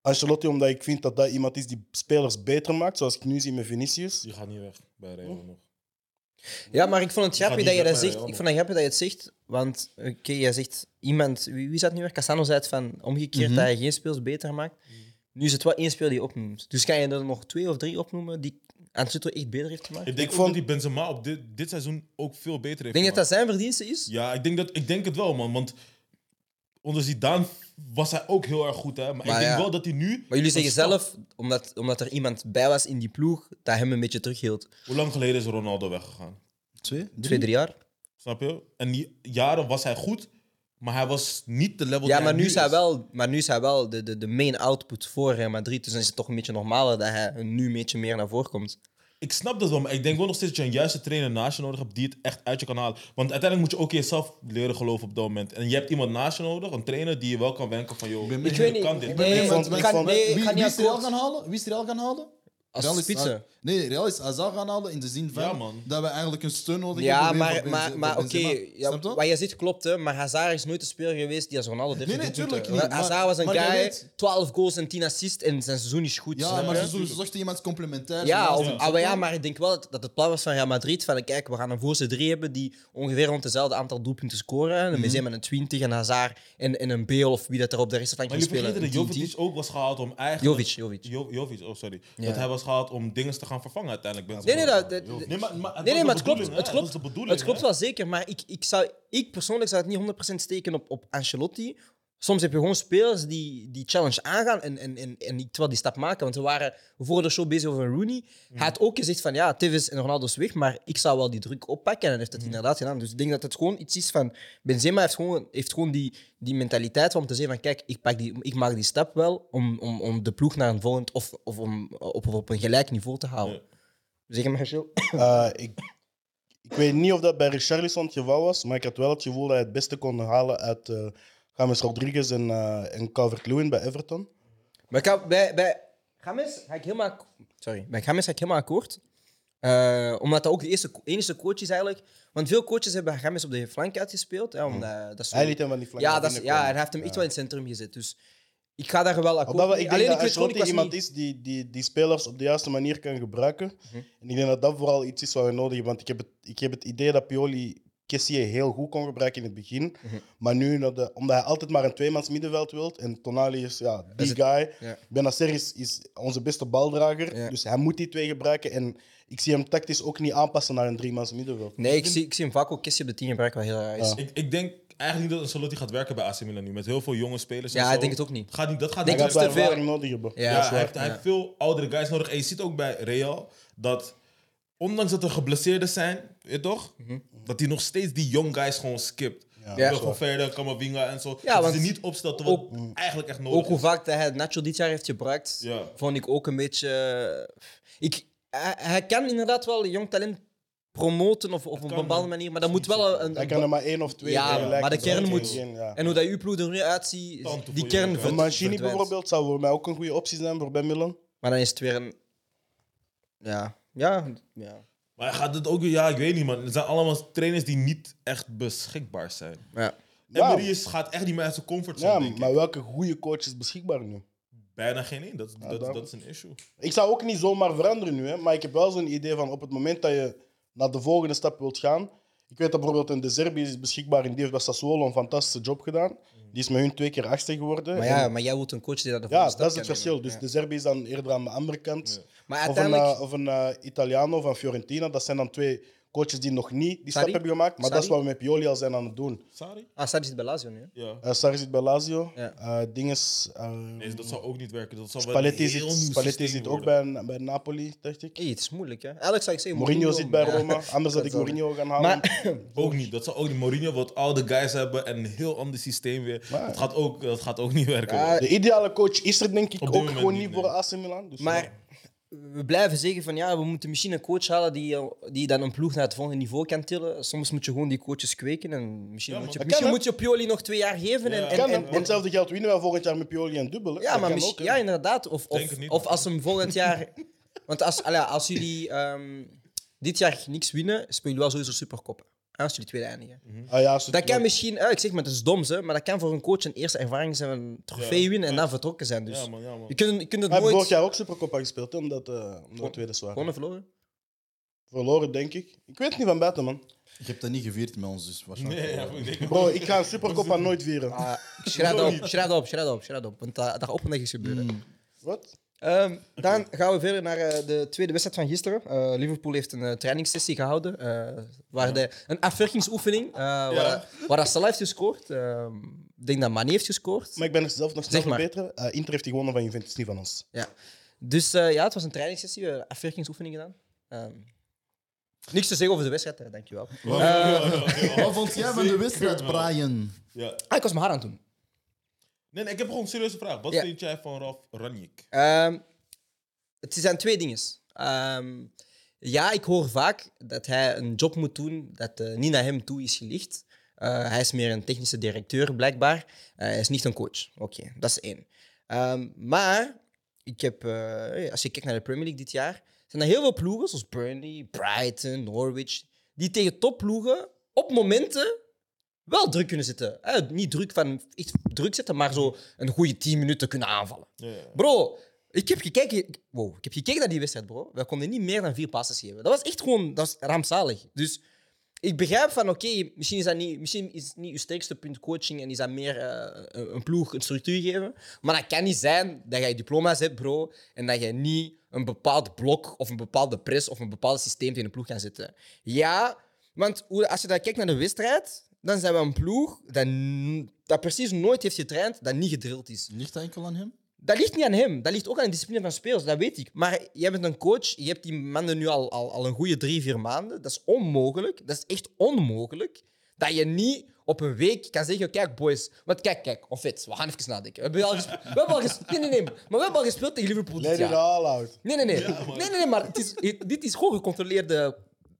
Speaker 3: Ancelotti, omdat ik vind dat dat iemand is die spelers beter maakt, zoals ik nu zie met Vinicius.
Speaker 2: Die gaat niet weg bij Real nog.
Speaker 1: Ja, maar ik vond het grappig
Speaker 2: niet
Speaker 1: dat je dat
Speaker 2: zeggen,
Speaker 1: zegt.
Speaker 2: ja,
Speaker 1: Ik
Speaker 2: maar-
Speaker 1: vond het grappig dat je het zegt, want oké, jij zegt iemand... Wie, wie zat nu weer? Cassano zei het van omgekeerd dat hij geen speels beter maakt. Nu is het wel één speel die je opnoemt. Dus kan je er nog twee of drie opnoemen die Ancelotti echt beter heeft gemaakt?
Speaker 2: Ik
Speaker 1: Ik
Speaker 2: denk
Speaker 3: vond-
Speaker 2: vond... die Benzema op dit, dit seizoen ook veel beter heeft
Speaker 1: denk je dat dat
Speaker 2: gemaakt.
Speaker 1: zijn verdienste is?
Speaker 2: Ja, ik denk, dat, ik denk het wel, man. Want onder Zidane was hij ook heel erg goed, hè. Maar, ik
Speaker 1: Maar
Speaker 2: denk
Speaker 1: ja.
Speaker 2: wel dat hij nu...
Speaker 1: Maar jullie
Speaker 2: een
Speaker 1: zeggen
Speaker 2: stap-
Speaker 1: zelf, omdat, omdat er iemand bij was in die ploeg, dat hem een beetje terughield.
Speaker 2: Hoe lang geleden is Ronaldo weggegaan?
Speaker 4: Twee?
Speaker 1: Twee, drie jaar.
Speaker 2: Snap je? En die jaren was hij goed, maar hij was niet de level
Speaker 1: Ja,
Speaker 2: die
Speaker 1: maar nu is hij
Speaker 2: is.
Speaker 1: wel, maar nu is hij wel de, de, de main output voor Real Madrid. Dus dan is het toch een beetje normaler dat hij nu een beetje meer naar voren komt.
Speaker 2: Ik snap dat wel, maar ik denk wel nog steeds dat je een juiste trainer naast je nodig hebt die het echt uit je kan halen. Want uiteindelijk moet je ook in jezelf leren geloven op dat moment. En je hebt iemand naast je nodig, een trainer die je wel kan wenken van, joh,
Speaker 4: ben
Speaker 1: Ik
Speaker 4: Ik
Speaker 1: weet
Speaker 2: je
Speaker 1: niet.
Speaker 2: kan dit.
Speaker 1: Nee,
Speaker 3: Ik
Speaker 1: want
Speaker 3: vond-
Speaker 1: ik
Speaker 3: ik
Speaker 1: kan,
Speaker 3: vond-
Speaker 1: nee,
Speaker 4: Wie,
Speaker 1: ik ga
Speaker 4: wie
Speaker 1: niet
Speaker 4: is Real
Speaker 1: akkoord.
Speaker 4: gaan halen? Wie is Real gaan halen?
Speaker 1: Als
Speaker 4: Real is-
Speaker 1: spitsen.
Speaker 4: Nee, Real is Azar gaan halen in de zin van
Speaker 2: Ja, man.
Speaker 4: dat we eigenlijk een steun nodig
Speaker 1: Ja,
Speaker 4: hebben. weer
Speaker 1: maar,
Speaker 4: voor Benze-
Speaker 1: maar, maar
Speaker 4: voor
Speaker 1: oké.
Speaker 4: Benzema.
Speaker 1: ja,
Speaker 4: Snap je?
Speaker 1: wat je zegt klopt, hè, maar Hazard is nooit de speler geweest die als Ronaldo
Speaker 4: nee,
Speaker 1: definitief
Speaker 4: tuurlijk
Speaker 1: doet, hè.
Speaker 4: niet, maar-
Speaker 1: Hazard was een
Speaker 4: maar jij
Speaker 1: guy,
Speaker 4: weet-
Speaker 1: 12 goals en 10 assists en zijn seizoen is goed.
Speaker 4: Ja,
Speaker 1: snap
Speaker 4: maar
Speaker 1: je?
Speaker 4: ze zo- ze zochten iemand complementair.
Speaker 1: Ja,
Speaker 4: zoals-
Speaker 1: of, ah, maar ja, maar ik denk wel dat, dat het plan was van Real Madrid. Van, kijk, we gaan een voorste drie hebben die ongeveer rond dezelfde aantal doelpunten scoren. Een
Speaker 4: Mhm.
Speaker 1: Benzema met een 20, een Hazard en, en een Beel of wie dat er op de rest van
Speaker 2: Maar
Speaker 1: kan
Speaker 2: je
Speaker 1: spelen.
Speaker 2: vergeet dat
Speaker 1: een 10-10.
Speaker 2: Jovic dus ook was gehaald om eigenlijk...
Speaker 1: Jovic, Jovic.
Speaker 2: Jo- Jovic, oh sorry.
Speaker 1: Ja.
Speaker 2: Dat hij was gehaald om dingen te gaan vervangen uiteindelijk. Benzema.
Speaker 1: Nee, nee, dat, dat-
Speaker 2: Nee, maar, maar het
Speaker 1: nee, nee, maar
Speaker 2: was de
Speaker 1: het klopt.
Speaker 2: bedoeling, hè.
Speaker 1: Het klopt,
Speaker 2: was de bedoeling,
Speaker 1: het klopt
Speaker 2: hè.
Speaker 1: wel zeker, maar ik, ik, zou, ik persoonlijk zou het niet 100% steken op, op Ancelotti. Soms heb je gewoon spelers die die challenge aangaan en, en, en, en niet wel die stap maken. Want we waren voor de show bezig over Rooney. Hij had ook gezegd van ja, Tevez en Ronaldo is weg, maar ik zou wel die druk oppakken. En hij
Speaker 2: Mm.
Speaker 1: heeft het inderdaad gedaan. Dus ik denk dat het gewoon iets is van... Benzema heeft gewoon, heeft gewoon die, die mentaliteit om te zeggen van kijk, ik, pak die, ik maak die stap wel om, om, om de ploeg naar een volgend... Of, of om op, op, op een gelijk niveau te houden. Zeg maar, Gilles.
Speaker 3: Eh, ik, ik weet niet of dat bij Richarlison het geval was, maar ik had wel het gevoel dat hij het beste kon halen uit eh James Rodriguez en, eh, en Calvert-Lewin bij Everton.
Speaker 1: Maar ik ga, bij, bij Games ga ik helemaal... ak- Sorry, bij Games ga ik helemaal akkoord. Eh, omdat dat ook de eerste, enige coach is eigenlijk. Want veel coaches hebben Games op de flank uitgespeeld. Hè, omdat, dat is zo-
Speaker 3: Hmm. Hij liet hem van die flank
Speaker 1: ja,
Speaker 3: naar
Speaker 1: dat is,
Speaker 3: binnen
Speaker 1: ja, en
Speaker 3: komen.
Speaker 1: hij heeft hem echt wel in het centrum gezet. Dus Ik ga daar wel akkoord
Speaker 3: Omdat we-
Speaker 1: mee.
Speaker 3: ik denk
Speaker 1: Alleen
Speaker 3: dat
Speaker 1: ik weet gewoon, ik
Speaker 3: Ancelotti
Speaker 1: was
Speaker 3: iemand
Speaker 1: niet... Mhm.
Speaker 3: is die, die, die spelers op de juiste manier kan gebruiken. En ik denk dat dat vooral iets is wat we nodig hebben. Want ik heb het, ik heb het idee dat Pioli Kessie heel goed kon gebruiken in het begin.
Speaker 1: Mhm.
Speaker 3: Maar nu, dat de- omdat hij altijd maar een tweemans middenveld wilt. En Tonali is ja, die
Speaker 1: is het-
Speaker 3: guy.
Speaker 1: ja.
Speaker 3: Benacer is, is onze beste baldrager.
Speaker 1: Ja.
Speaker 3: Dus hij moet die twee gebruiken. En ik zie hem tactisch ook niet aanpassen naar een driemans middenveld.
Speaker 1: Nee, ik zie, ik zie hem vaak ook kistje op de 10 gebruiken, wat heel raar is.
Speaker 3: Ja.
Speaker 2: Ik, ik denk eigenlijk niet dat Ancelotti gaat werken bij AC Milan nu. Met heel veel jonge spelers. en
Speaker 1: Ja,
Speaker 2: zo.
Speaker 1: ik denk het ook niet.
Speaker 2: Gaat niet dat gaat
Speaker 1: Denk
Speaker 3: Hij
Speaker 2: niet
Speaker 1: dat
Speaker 3: gaat
Speaker 1: is
Speaker 3: wel
Speaker 1: te veel.
Speaker 3: ervaring nodig hebben.
Speaker 1: Ja,
Speaker 2: Ja,
Speaker 3: dat is
Speaker 2: hij
Speaker 3: waar.
Speaker 2: heeft, hij
Speaker 1: ja.
Speaker 2: heeft veel oudere guys nodig. En je ziet ook bij Real dat, ondanks dat er geblesseerden zijn, weet je toch?
Speaker 1: Mhm.
Speaker 2: Dat hij nog steeds die young guys gewoon skipt. Ja,
Speaker 1: dat is
Speaker 2: gewoon verder, Kamavinga en zo.
Speaker 1: Ja,
Speaker 2: dat
Speaker 1: want
Speaker 2: hij niet opstelt terwijl
Speaker 1: ook-
Speaker 3: Mm.
Speaker 2: het eigenlijk echt nodig
Speaker 1: Ook hoe
Speaker 2: is.
Speaker 1: vaak dat hij Nacho dit jaar heeft gebruikt,
Speaker 2: Ja.
Speaker 1: vond ik ook een beetje... eh, Ik, hij, hij kan inderdaad wel jong talent promoten of, of op een
Speaker 2: kan,
Speaker 1: bepaalde
Speaker 2: hè.
Speaker 1: manier, maar dat moet wel een...
Speaker 3: Hij kan er maar één of twee
Speaker 1: Ja,
Speaker 3: tegelijk
Speaker 1: maar de
Speaker 3: gebruiken.
Speaker 1: kern moet-
Speaker 3: Geen- ja.
Speaker 1: En hoe dat uw ploeg er nu uitziet,
Speaker 2: Tante voor
Speaker 1: die
Speaker 2: je
Speaker 1: kern
Speaker 2: ook, hè.
Speaker 1: verd-
Speaker 2: Een
Speaker 3: Mancini
Speaker 1: verdwijnt.
Speaker 3: bijvoorbeeld zou voor mij ook een goede optie zijn voor bij Milan.
Speaker 1: Maar dan is het weer een... Ja, ja, ja.
Speaker 2: Maar hij gaat het ook weer, ja, ik weet niet, man. Het zijn allemaal trainers die niet echt beschikbaar zijn.
Speaker 1: ja.
Speaker 3: Ja.
Speaker 2: Emery is- gaat echt niet meer uit zijn comfortzone,
Speaker 3: Ja,
Speaker 2: denk ik.
Speaker 3: maar welke goede coach is beschikbaar nu?
Speaker 2: Bijna geen één. Dat, dat,
Speaker 3: daarom.
Speaker 2: dat is een issue.
Speaker 3: Ik zou ook niet zomaar veranderen nu, hè, maar ik heb wel zo'n idee van op het moment dat je naar de volgende stap wilt gaan. Ik weet dat bijvoorbeeld een De Zerbi is beschikbaar en die heeft bij Sassuolo een fantastische job gedaan. Die is met hun twee keer achtste geworden.
Speaker 1: Mm. Maar
Speaker 3: En-
Speaker 1: ja, maar jij wilt een coach die dat de
Speaker 3: ja,
Speaker 1: volgende stap
Speaker 3: dat is het
Speaker 1: kan
Speaker 3: verschil.
Speaker 1: nemen.
Speaker 3: Dus
Speaker 1: Ja.
Speaker 3: De Zerbi is dan eerder aan de andere kant.
Speaker 1: Maar
Speaker 3: Of een,
Speaker 1: uiteindelijk...
Speaker 3: eh, of een eh, Italiano van Fiorentina. Dat zijn dan twee coaches die nog niet die
Speaker 1: Sarri?
Speaker 3: stap hebben gemaakt. Maar dat is
Speaker 1: Sarri?
Speaker 3: wat we met Pioli al zijn aan het doen.
Speaker 2: Sorry?
Speaker 1: Ah, Sarri zit bij Lazio nu. hè?
Speaker 2: Ja.
Speaker 3: Eh Sarri zit bij Lazio.
Speaker 1: Ja.
Speaker 3: Eh, dinges, eh,
Speaker 2: Nee, dat zou ook niet werken. Dat zou wel een
Speaker 3: Spalletti
Speaker 2: heel
Speaker 3: zit,
Speaker 2: nieuw
Speaker 3: Spalletti
Speaker 2: systeem
Speaker 3: zit ook
Speaker 2: worden.
Speaker 3: bij, bij Napoli, dacht ik.
Speaker 1: Hey, het is moeilijk, hè? Eigenlijk zou ik zeggen...
Speaker 3: Mourinho zit bij
Speaker 1: maar-
Speaker 3: Roma. Anders had ik
Speaker 1: zal-
Speaker 3: Mourinho gaan halen.
Speaker 1: Maar
Speaker 2: Ook niet. Dat zou ook niet. Mourinho wil oude guys hebben en een heel ander systeem weer.
Speaker 3: Maar-
Speaker 2: dat, gaat ook, dat gaat ook niet werken.
Speaker 1: Ja,
Speaker 2: hoor.
Speaker 3: de ideale coach is er denk ik
Speaker 2: Op dit
Speaker 3: ook
Speaker 2: moment
Speaker 3: gewoon
Speaker 2: niet,
Speaker 3: niet
Speaker 2: nee.
Speaker 3: voor AC Milan. Dus ja.
Speaker 1: Maar we blijven zeggen van ja, we moeten misschien een coach halen die, eh, die dan een ploeg naar het volgende niveau kan tillen. Soms moet je gewoon die coaches kweken en misschien,
Speaker 2: Ja,
Speaker 1: moet, je,
Speaker 3: man.
Speaker 1: misschien
Speaker 3: Kan, hè?
Speaker 1: moet je Pioli nog twee jaar geven. En,
Speaker 2: Ja.
Speaker 1: en,
Speaker 3: kan,
Speaker 1: en-
Speaker 3: hè?
Speaker 1: en-
Speaker 3: want hetzelfde geld winnen wij volgend jaar met Pioli en dubbel.
Speaker 1: ja, maar misschien, ja, inderdaad. Of,
Speaker 2: Denk
Speaker 1: of,
Speaker 2: het niet,
Speaker 1: of
Speaker 2: man.
Speaker 1: als hem volgend jaar. Want als, allee, als jullie ehm, dit jaar niks winnen, spelen jullie wel sowieso superkoppen. Hè, Als jullie tweede eindigen.
Speaker 3: Ah, ja, als het
Speaker 1: Dat kan
Speaker 3: wel-
Speaker 1: misschien, eh, ik zeg maar, het is doms, hè, maar dat kan voor een coach een eerste ervaring zijn, een trofee
Speaker 2: Ja.
Speaker 1: winnen en dan vertrokken zijn. Dus
Speaker 2: Ja, man, ja, man.
Speaker 1: je kunt, je kunt het
Speaker 3: Hij heeft
Speaker 1: nooit.
Speaker 3: vorig jaar ook Supercoppa gespeeld, hè, omdat eh, omdat we tweede zwaar.
Speaker 1: Gewonnen, verloren.
Speaker 3: Verloren, denk ik. Ik weet niet van buiten, man.
Speaker 4: Ik heb dat niet gevierd met ons, dus waarschijnlijk.
Speaker 2: Nee, ja, goed, ik denk het
Speaker 3: Bro, ik ga een Supercoppa nooit vieren.
Speaker 1: Ah, schrijf dat op, schrijf dat op, schrijf dat op, schrijf dat op. Want daar daarop moet niks gebeuren.
Speaker 3: Mm. Wat?
Speaker 1: Ehm, dan gaan we verder naar eh, de tweede wedstrijd van gisteren. Eh, Liverpool heeft een eh, trainingssessie gehouden. eh, waar de, een afwerkingsoefening. eh, waar, waar dat Salah heeft gescoord. Ehm, ik denk dat Mane heeft gescoord.
Speaker 3: Maar ik ben er zelf nog snel
Speaker 1: Zeg maar.
Speaker 3: verbeteren. Eh, Inter heeft die gewonnen van Juventus, niet van ons.
Speaker 1: Ja. Dus eh, ja, het was een trainingssessie. We hebben afwerkingsoefening gedaan. Ehm, niks te zeggen over de wedstrijd, hè, dankjewel.
Speaker 2: wel. Ja, ja, ja, ja.
Speaker 4: Wat vond jij van de wedstrijd,
Speaker 2: Zeker wel.
Speaker 4: Brian?
Speaker 2: Ja.
Speaker 1: Ah, ik was mijn haar aan het doen.
Speaker 2: Nee, nee, ik heb gewoon een serieuze vraag. Wat
Speaker 1: Ja.
Speaker 2: vind jij van Ralf Ranjik?
Speaker 1: Ehm, het zijn twee dingen. Ehm, ja, ik hoor vaak dat hij een job moet doen dat eh, niet naar hem toe is gelicht. Eh, hij is meer een technische directeur, blijkbaar. Eh, hij is niet een coach. Oké, dat is één. Ehm, maar ik heb, eh, als je kijkt naar de Premier League dit jaar, zijn er heel veel ploegen, zoals Burnley, Brighton, Norwich, die tegen topploegen op momenten wel druk kunnen zetten. Eh, niet druk van echt druk zetten, maar zo een goede 10 minuten kunnen aanvallen.
Speaker 2: Ja.
Speaker 1: Bro, ik heb gekeken, wow, ik heb gekeken naar die wedstrijd, bro. We konden niet meer dan vier passes geven. Dat was echt gewoon dat was rampzalig. Dus ik begrijp van, oké, misschien is dat niet, misschien is het niet je sterkste punt coaching en is dat meer eh, een een ploeg, een structuur geven. Maar dat kan niet zijn dat jij diploma's hebt, bro, en dat jij niet een bepaald blok of een bepaalde press of een bepaald systeem tegen een ploeg kan zetten. Ja, want hoe- als je dan kijkt naar de wedstrijd, dan zijn we een ploeg dat, n- dat precies nooit heeft getraind, dat niet gedrild is.
Speaker 4: Ligt dat enkel aan hem?
Speaker 1: Dat ligt niet aan hem. Dat ligt ook aan de discipline van spelers, dat weet ik. Maar jij bent een coach, je hebt die mannen nu al, al, al een goede drie, vier maanden. Dat is onmogelijk. Dat is echt onmogelijk. Dat je niet op een week kan zeggen: Kijk, boys, want kijk, kijk, of het, we gaan even nadenken. We hebben al gespeeld. We hebben al gespeeld nee, nee, nee, maar we hebben al gespeeld tegen Liverpool. Dit
Speaker 3: Let it
Speaker 1: jaar.
Speaker 3: all out.
Speaker 1: Nee, nee, nee. nee, nee, nee, maar het is, het- dit is gewoon gecontroleerde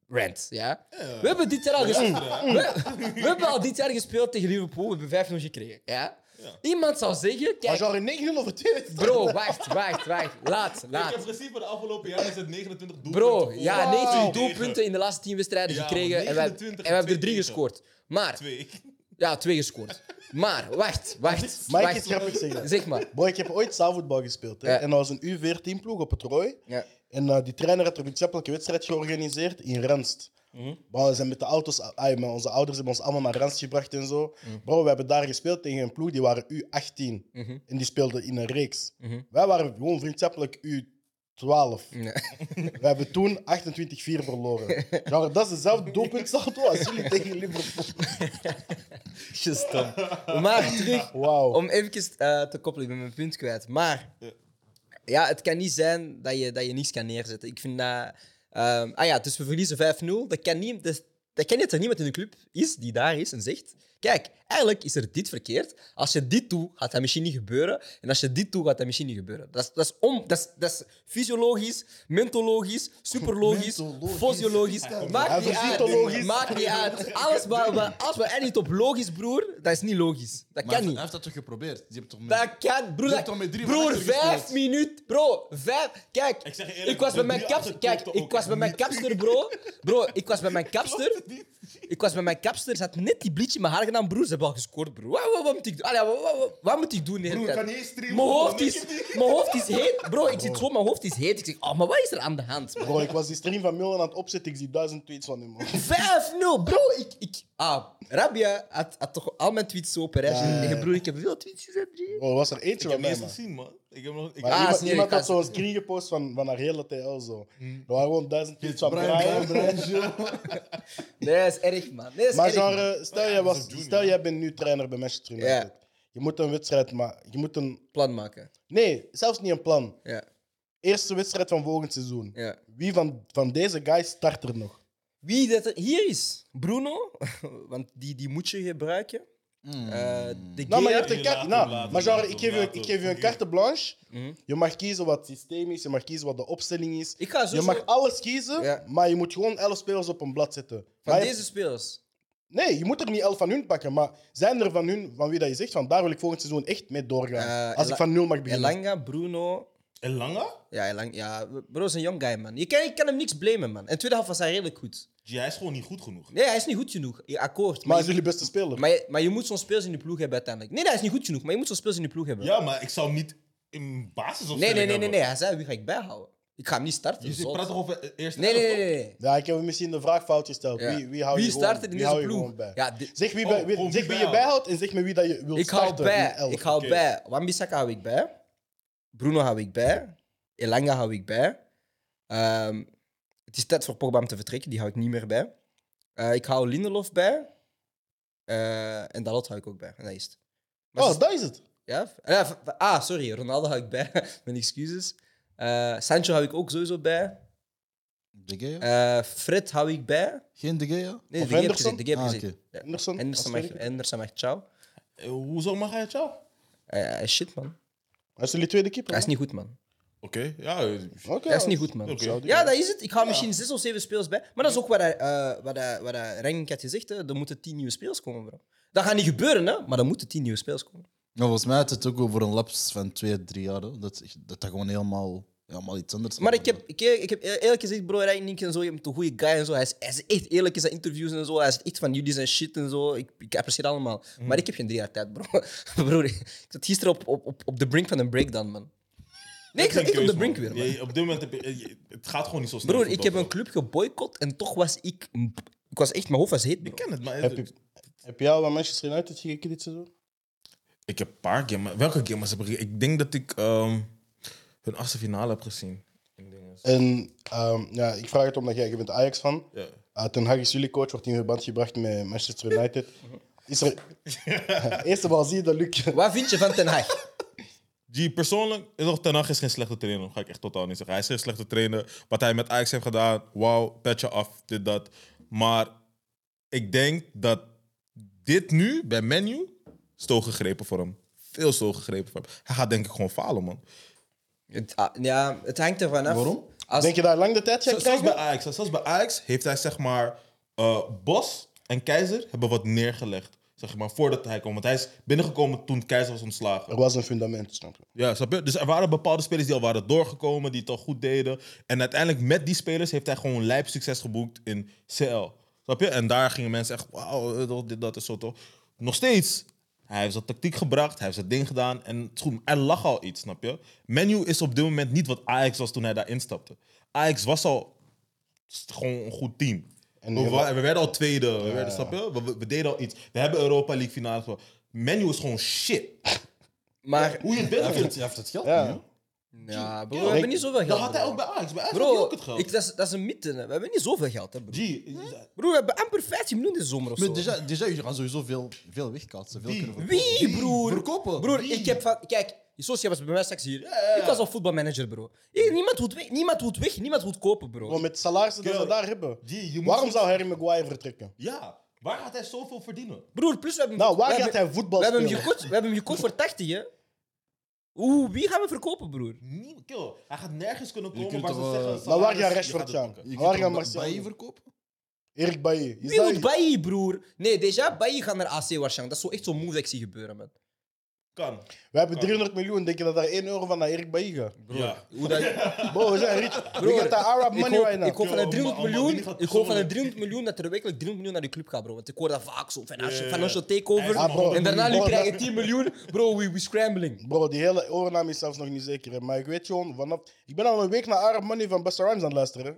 Speaker 1: rant. Ja? We hebben dit jaar al gespeeld. We, we hebben al dit jaar gespeeld tegen Liverpool. We hebben 5-0 gekregen. Ja? Iemand zou zeggen: Kijk,
Speaker 3: Maar genre 9-0 over 2
Speaker 1: Bro, wacht, wacht, wacht. Laat,
Speaker 2: Ik heb
Speaker 1: laat.
Speaker 2: gezien voor de afgelopen jaren is het 29 doelpunten.
Speaker 1: Bro,
Speaker 2: voor-
Speaker 1: ja, 19
Speaker 2: Tegen.
Speaker 1: doelpunten in de laatste 10 wedstrijden
Speaker 2: Ja,
Speaker 1: gekregen en we,
Speaker 2: 29
Speaker 1: en we hebben er
Speaker 2: twee
Speaker 1: 3
Speaker 2: tegen.
Speaker 1: gescoord. Maar
Speaker 2: Twee.
Speaker 1: Ja, twee gescoord. Maar, wacht, wacht.
Speaker 3: Mag ik
Speaker 1: wacht.
Speaker 3: iets grappigs zeggen?
Speaker 1: Zeg maar.
Speaker 3: Boy, ik heb ooit zaalvoetbal gespeeld. Hè?
Speaker 1: Ja.
Speaker 3: En dat was een U14-ploeg op het Rooi.
Speaker 1: Ja.
Speaker 3: En eh, die trainer had een wetenschappelijke wedstrijd georganiseerd in Renst.
Speaker 1: Mhm.
Speaker 3: Bro, we zijn met de auto's, ai, maar onze ouders hebben ons allemaal naar Renst gebracht en zo.
Speaker 1: Mhm.
Speaker 3: Bro, we hebben daar gespeeld tegen een ploeg, die waren U18. En die speelden in een reeks.
Speaker 1: Mhm.
Speaker 3: Wij waren gewoon vriendschappelijk U12. We hebben toen 28-4 verloren. Genre, dat is dezelfde doelpuntsaldo als jullie tegen Liverpool.
Speaker 1: Gestom. Maar terug,
Speaker 3: Wauw.
Speaker 1: om even eh, te koppelen, ik ben mijn punt kwijt. Maar ja, het kan niet zijn dat je, dat je niets kan neerzetten. Ik vind dat. ehm, ah ja, dus we verliezen 5-0. Dat kan niet. Dat, dat kan niet dat er niemand in de club is die daar is en zegt. Kijk, eigenlijk is er dit verkeerd. Als je dit doet, gaat dat misschien niet gebeuren. En als je dit doet, gaat dat misschien niet gebeuren. Dat is, dat is, om, dat is, dat is fysiologisch, mentologisch, superlogisch,
Speaker 4: Mentologisch.
Speaker 1: fysiologisch. Maakt niet
Speaker 3: Fysiologisch.
Speaker 1: uit. Maakt niet uit. Alles waar, waar- als we er niet op logisch, broer, dat is niet logisch. Dat
Speaker 4: Maar
Speaker 1: kan
Speaker 4: hij
Speaker 1: niet.
Speaker 4: heeft dat toch geprobeerd? Die hebt toch met-
Speaker 1: Dat kan, broer.
Speaker 4: Je
Speaker 1: dat-
Speaker 4: hebt toch met drie
Speaker 1: broer,
Speaker 4: van achter
Speaker 1: vijf
Speaker 4: gespeeld?
Speaker 1: minuten. Bro, vijf. Kijk,
Speaker 2: Ik
Speaker 1: ik,
Speaker 2: zeg je eerlijk,
Speaker 1: was
Speaker 2: de
Speaker 1: bij mijn
Speaker 2: drie
Speaker 1: kapster.
Speaker 2: achter
Speaker 1: Kijk,
Speaker 2: klopte
Speaker 1: ik
Speaker 2: ook
Speaker 1: was bij mijn kapster, bro. Bro, ik was bij mijn kapster. Ik was bij mijn kapster, ze had net die bleach in mijn haar gedaan, broer. Ze hebben al gescoord, broer. Wat, wat, wat moet ik doen? Allee, wat, wat, wat- wat moet ik doen? de hele
Speaker 5: Broer, ik
Speaker 1: tijd?
Speaker 5: kan niet eens streamen,
Speaker 1: Mijn
Speaker 5: man.
Speaker 1: hoofd is, mijn hoofd is heet. Bro, ik zit zo, mijn hoofd is heet. Ik zeg, oh, maar wat is er aan de hand? man?
Speaker 3: Bro, ik was die stream van Milan aan het opzetten. Ik zie duizend tweets van hem. man.
Speaker 1: 5-0, bro. Ik, ik, ah, Rabia had, had toch al mijn tweets zo op een rijtje.
Speaker 3: Ja.
Speaker 1: Nee, broer, ik heb veel tweets gezet, drie.
Speaker 3: Bro, was er
Speaker 2: Ik
Speaker 3: eentje
Speaker 2: heb
Speaker 3: van
Speaker 2: niet
Speaker 3: mij,
Speaker 2: eens
Speaker 3: man.
Speaker 2: gezien, man. Ik heb nog... Ik
Speaker 3: Maar
Speaker 1: Ah,
Speaker 3: iemand,
Speaker 1: serieus,
Speaker 3: iemand
Speaker 1: dat
Speaker 3: had
Speaker 1: is-
Speaker 3: zo'n screen gepost van, van haar hele TL zo. Er waren gewoon duizend tweets van
Speaker 4: Brian,
Speaker 3: Brian.
Speaker 4: Brian, Brian, Gilles.
Speaker 1: Nee, dat is erg, man. Nee, dat is
Speaker 3: Maar
Speaker 1: erg, man.
Speaker 3: genre, stel, jij was, stel jij bent nu trainer bij Manchester United.
Speaker 1: Ja.
Speaker 3: Je moet een wedstrijd maken. Je moet een...
Speaker 1: Plan maken.
Speaker 3: Nee, zelfs niet een plan.
Speaker 1: Ja,
Speaker 3: Eerste wedstrijd van volgend seizoen.
Speaker 1: ja.
Speaker 3: Wie van, van deze guys start er nog?
Speaker 1: Wie dat er hier is? Bruno, want die, die moet je gebruiken. Eh, de
Speaker 3: Nou, maar je
Speaker 1: Gea.
Speaker 3: hebt een kaart.
Speaker 2: Later,
Speaker 3: Nou,
Speaker 2: later,
Speaker 3: maar genre,
Speaker 2: later,
Speaker 3: ik geef, je,
Speaker 2: later.
Speaker 3: ik geef je een carte blanche. Je mag kiezen wat het systeem is, je mag kiezen wat de opstelling is.
Speaker 1: Ik ga
Speaker 3: Dus Je
Speaker 1: zo
Speaker 3: mag alles kiezen,
Speaker 1: Ja.
Speaker 3: maar je moet gewoon elf spelers op een blad zetten.
Speaker 1: van
Speaker 3: Maar je-
Speaker 1: deze spelers.
Speaker 3: Nee, je moet er niet elf van hun pakken, maar zijn er van hun van wie dat je zegt van daar wil ik volgend seizoen echt mee doorgaan.
Speaker 1: Eh,
Speaker 3: als
Speaker 1: Ela-
Speaker 3: ik van nul mag beginnen.
Speaker 1: Elanga, Bruno.
Speaker 2: En Langa?
Speaker 1: Ja, Elanga, ja, bro is een young guy, man. Je kan, je kan hem niks blamen, man. En tweede helft was hij redelijk goed.
Speaker 2: Ja, hij is gewoon niet goed genoeg.
Speaker 1: Nee, hij is niet goed genoeg. Ja, akkoord.
Speaker 3: maar
Speaker 1: Maar,
Speaker 3: hij is
Speaker 1: je,
Speaker 3: jullie beste speler.
Speaker 1: maar, je, maar je moet zo'n speels in de ploeg hebben uiteindelijk. Nee, nee, hij is niet goed genoeg, maar je moet zo'n speels in de ploeg hebben.
Speaker 2: Ja, maar ik zou hem niet in basis of
Speaker 1: nee, nee, nee, nee,
Speaker 2: hebben.
Speaker 1: nee. Hij zei, wie ga ik bijhouden? Ik ga hem niet starten.
Speaker 2: Je zit-
Speaker 1: zot.
Speaker 2: praat toch over eerst
Speaker 1: nee, nee, nee, nee. nee.
Speaker 3: Ja, ik heb misschien de vraag fout gesteld.
Speaker 1: Ja.
Speaker 3: Wie, wie hou je
Speaker 1: Wie
Speaker 3: gewoon-
Speaker 1: start er in
Speaker 3: wie hou
Speaker 1: deze
Speaker 3: je
Speaker 1: ploeg?
Speaker 3: gewoon bij?
Speaker 1: Ja, di-
Speaker 3: Zeg wie,
Speaker 2: Oh,
Speaker 3: bij, wie-
Speaker 2: gewoon
Speaker 3: zeg
Speaker 2: wie
Speaker 3: wie je bijhoudt en zeg me wie dat je wilt
Speaker 1: Ik hou
Speaker 3: starten. in
Speaker 1: bij.
Speaker 3: elf.
Speaker 1: Ik hou
Speaker 2: Oké.
Speaker 1: bij. Wan-Bissaka hou ik bij. Bruno hou ik bij. Elanga hou ik bij. Ehm, het is tijd voor Pogba om te vertrekken. Die hou ik niet meer bij. Eh, ik hou Lindelof bij. Eh, en Dalot hou ik ook bij. En dat is het. Maar
Speaker 3: Oh,
Speaker 1: ze-
Speaker 3: dat is het.
Speaker 1: ja? v- ja, v- v- ah, sorry. Ronaldo hou ik bij. Mijn excuses. Eh, Sancho hou ik ook sowieso bij.
Speaker 4: De Gea?
Speaker 1: Eh, Fred hou ik bij.
Speaker 4: Geen De Gea?
Speaker 1: Nee,
Speaker 3: Of
Speaker 1: de heb ik
Speaker 3: Henderson?
Speaker 1: gezegd. De heb ik
Speaker 4: Ah,
Speaker 1: gezegd.
Speaker 4: oké.
Speaker 1: Ja.
Speaker 3: Henderson,
Speaker 1: Henderson
Speaker 3: als
Speaker 1: mag-
Speaker 3: tweede.
Speaker 1: Henderson mag ciao.
Speaker 2: Eh, Hoezo mag hij het jou?
Speaker 1: Eh, shit, man.
Speaker 3: Hij is jullie tweede keeper.
Speaker 1: Hij is niet goed, man.
Speaker 2: Oké, ja. eh,
Speaker 3: Oké.
Speaker 1: Dat is niet goed, man.
Speaker 2: Oké.
Speaker 1: Ja, dat is het. Ik hou misschien zes of zeven speels bij. Maar dat is ook wat, hij, eh wat, hij, wat hij Rangnick had gezegd. Hè. Er moeten tien nieuwe speels komen, bro. Dat gaat niet gebeuren, hè. Maar er moeten tien nieuwe speels komen.
Speaker 4: Nou, volgens mij had het ook over een laps van twee, drie jaar. hè. Dat dat, dat gewoon helemaal, helemaal iets anders
Speaker 1: Maar ik heb, ik, ik heb e- eerlijk gezegd, bro, Rangnick en zo, je bent een goede guy en zo. Hij is, hij is echt eerlijk in zijn interviews en zo. Hij is echt van jullie zijn shit en zo. Ik, ik apprecieer het allemaal. Maar ik heb geen drie jaar tijd, bro. Broer, ik zat gisteren op, op, op, op de brink van een breakdown, man. Nee, ik
Speaker 2: geen
Speaker 1: zat echt op
Speaker 2: keus,
Speaker 1: de brink
Speaker 2: man.
Speaker 1: weer, man.
Speaker 2: Nee, op dit moment heb je, eh, je- het gaat gewoon niet zo snel.
Speaker 1: Broer, ik
Speaker 2: voetbal,
Speaker 1: heb een club geboycott en toch was ik... Ik was echt, mijn hoofd was heet, bro.
Speaker 2: Ik ken het, maar
Speaker 3: Heb je, heb jij al bij Manchester United gekeken dit seizoen?
Speaker 2: ik heb een paar games. Welke games heb ik? Ik denk dat ik ehm, hun achtste finale heb gezien. In dingen.
Speaker 3: En ehm, ja, ik vraag het omdat jij, je bent Ajax van.
Speaker 2: Ja.
Speaker 3: Uh, Ten Hag is jullie coach, wordt in verband gebracht met Manchester United. Is er... Eerste bal zie je dat Luc...
Speaker 1: Wat vind je van Ten Hag?
Speaker 2: Die persoonlijk, is nog Ten Hag is geen slechte trainer. Ga ik echt totaal niet zeggen. Hij is geen slechte trainer. Wat hij met Ajax heeft gedaan, wauw, petje af, dit, dat. Maar ik denk dat dit nu bij Menu stoel gegrepen voor hem. Veel stoel gegrepen voor hem. Hij gaat denk ik gewoon falen, man.
Speaker 1: Het, ah, ja, het hangt ervan af. Waarom? Als,
Speaker 3: Denk je dat hij lang de tijd gaat
Speaker 2: Zo- Zelfs
Speaker 3: krijgen?
Speaker 2: bij Ajax, zelfs bij Ajax heeft hij zeg maar eh, Bos en Keizer hebben wat neergelegd. Zeg maar voordat hij kwam. Want hij is binnengekomen toen Keizer was ontslagen.
Speaker 3: Er was een fundament, snap je?
Speaker 2: Ja, snap je? Dus er waren bepaalde spelers die al waren doorgekomen, die het al goed deden. En uiteindelijk met die spelers heeft hij gewoon lijp succes geboekt in CL. Snap je? En daar gingen mensen echt, wauw, eh, dat- dit, dat is zo toch. nog steeds, hij heeft zijn tactiek gebracht, hij heeft zijn ding gedaan. En het is goed, er lag al iets, snap je? Menu is op dit moment niet wat Ajax was toen hij daar instapte. Ajax was al s- gewoon een goed team.
Speaker 3: En
Speaker 2: we,
Speaker 3: heel-
Speaker 2: wa- we werden al tweede, we werden, snap je? We, we- we deden al iets. We hebben Europa League finale gewonnen. Menu is gewoon shit.
Speaker 1: Maar,
Speaker 2: Hoe je het
Speaker 4: Hij
Speaker 2: bent,
Speaker 4: heeft,
Speaker 2: vindt.
Speaker 4: hij heeft het geld
Speaker 3: Ja.
Speaker 4: niet, hè?
Speaker 1: ja, bro, we hebben niet zoveel geld.
Speaker 2: Dat had hij ook bij Ajax. Bij Ajax had hij
Speaker 1: Bro,
Speaker 2: ook het geld.
Speaker 1: ik, dat, is, dat is een mythe. hè. We hebben niet zoveel geld, hè, bro.
Speaker 2: G, eh,
Speaker 1: Bro, we hebben amper 15 miljoen dit zomer of
Speaker 4: Maar
Speaker 1: zo.
Speaker 4: déjà, déjà, jullie gaan sowieso veel, veel wegkaatsen. Veel
Speaker 2: Wie?
Speaker 4: kunnen verkopen.
Speaker 1: Wie, broer?
Speaker 4: Verkopen.
Speaker 1: Broer, ik heb van... Kijk, zoals jij was bij mij straks hier.
Speaker 2: eh,
Speaker 1: Ik was al voetbalmanager, bro. Ik- niemand wil het weg, niemand wil het weg, niemand wil het kopen, bro.
Speaker 3: Gewoon met de salarissen die ze
Speaker 2: Girl.
Speaker 3: daar hebben.
Speaker 2: Die, je moet
Speaker 3: Waarom
Speaker 2: zo-
Speaker 3: zou Harry Maguire vertrekken?
Speaker 2: Ja, waar gaat hij zoveel verdienen?
Speaker 1: Broer, plus we hebben...
Speaker 3: Nou, waar
Speaker 1: we
Speaker 3: gaat
Speaker 1: hebben-
Speaker 3: hij voetbal
Speaker 1: we hebben, hem
Speaker 3: spelen?
Speaker 1: gekocht, we hebben hem gekocht voor 80, hè. Oeh, wie gaan we verkopen, broer?
Speaker 2: Nie- Kill, hij gaat nergens kunnen
Speaker 4: Je
Speaker 2: komen
Speaker 4: kunt
Speaker 2: waar ze
Speaker 4: toch, eh,
Speaker 2: zeggen...
Speaker 3: Maar waar
Speaker 2: salaris,
Speaker 3: gaat
Speaker 2: je
Speaker 3: Rashford
Speaker 2: gaat het
Speaker 3: gaan?
Speaker 2: pakken.
Speaker 4: Je
Speaker 3: Waar
Speaker 4: kunt
Speaker 3: gaat
Speaker 4: hem
Speaker 3: Martial?
Speaker 4: Bailly verkopen?
Speaker 3: Erik Bailly. Je
Speaker 1: Wie wil
Speaker 3: zei-
Speaker 1: Bailly, broer? Nee, déjà, Bailly gaat naar AC waarschijnlijk. Dat is zo echt zo'n move dat ik zie gebeuren, man.
Speaker 2: Kan.
Speaker 3: We hebben 300 miljoen. Denk je dat daar 1 euro van naar Erik Bailly gaat?
Speaker 2: Ja.
Speaker 1: Hoe dat...
Speaker 3: Bro, we zijn rich. We
Speaker 1: Broer,
Speaker 3: get the Arab
Speaker 1: Ik
Speaker 3: money
Speaker 1: hoop,
Speaker 3: right now.
Speaker 1: ik hoop van
Speaker 2: Yo,
Speaker 1: de 300
Speaker 2: maar- maar
Speaker 1: miljoen,
Speaker 2: die gaat
Speaker 1: ik hoop van de
Speaker 2: persoonlijk-
Speaker 1: 300 miljoen dat er werkelijk 300 miljoen naar die club gaat, bro. Want ik hoor dat vaak zo. Financial,
Speaker 2: Ja.
Speaker 1: financial
Speaker 2: Hij is
Speaker 1: takeover.
Speaker 2: maar
Speaker 3: honderd
Speaker 1: en daarna
Speaker 3: miljoen.
Speaker 1: jullie krijgen 10 miljoen. Bro, we, we scrambling.
Speaker 3: Bro, die hele oornaam is zelfs nog niet zeker. Hè. Maar ik weet gewoon, vanaf... Ik ben al een week naar Arab Money van Busta Rhymes aan het luisteren. hè.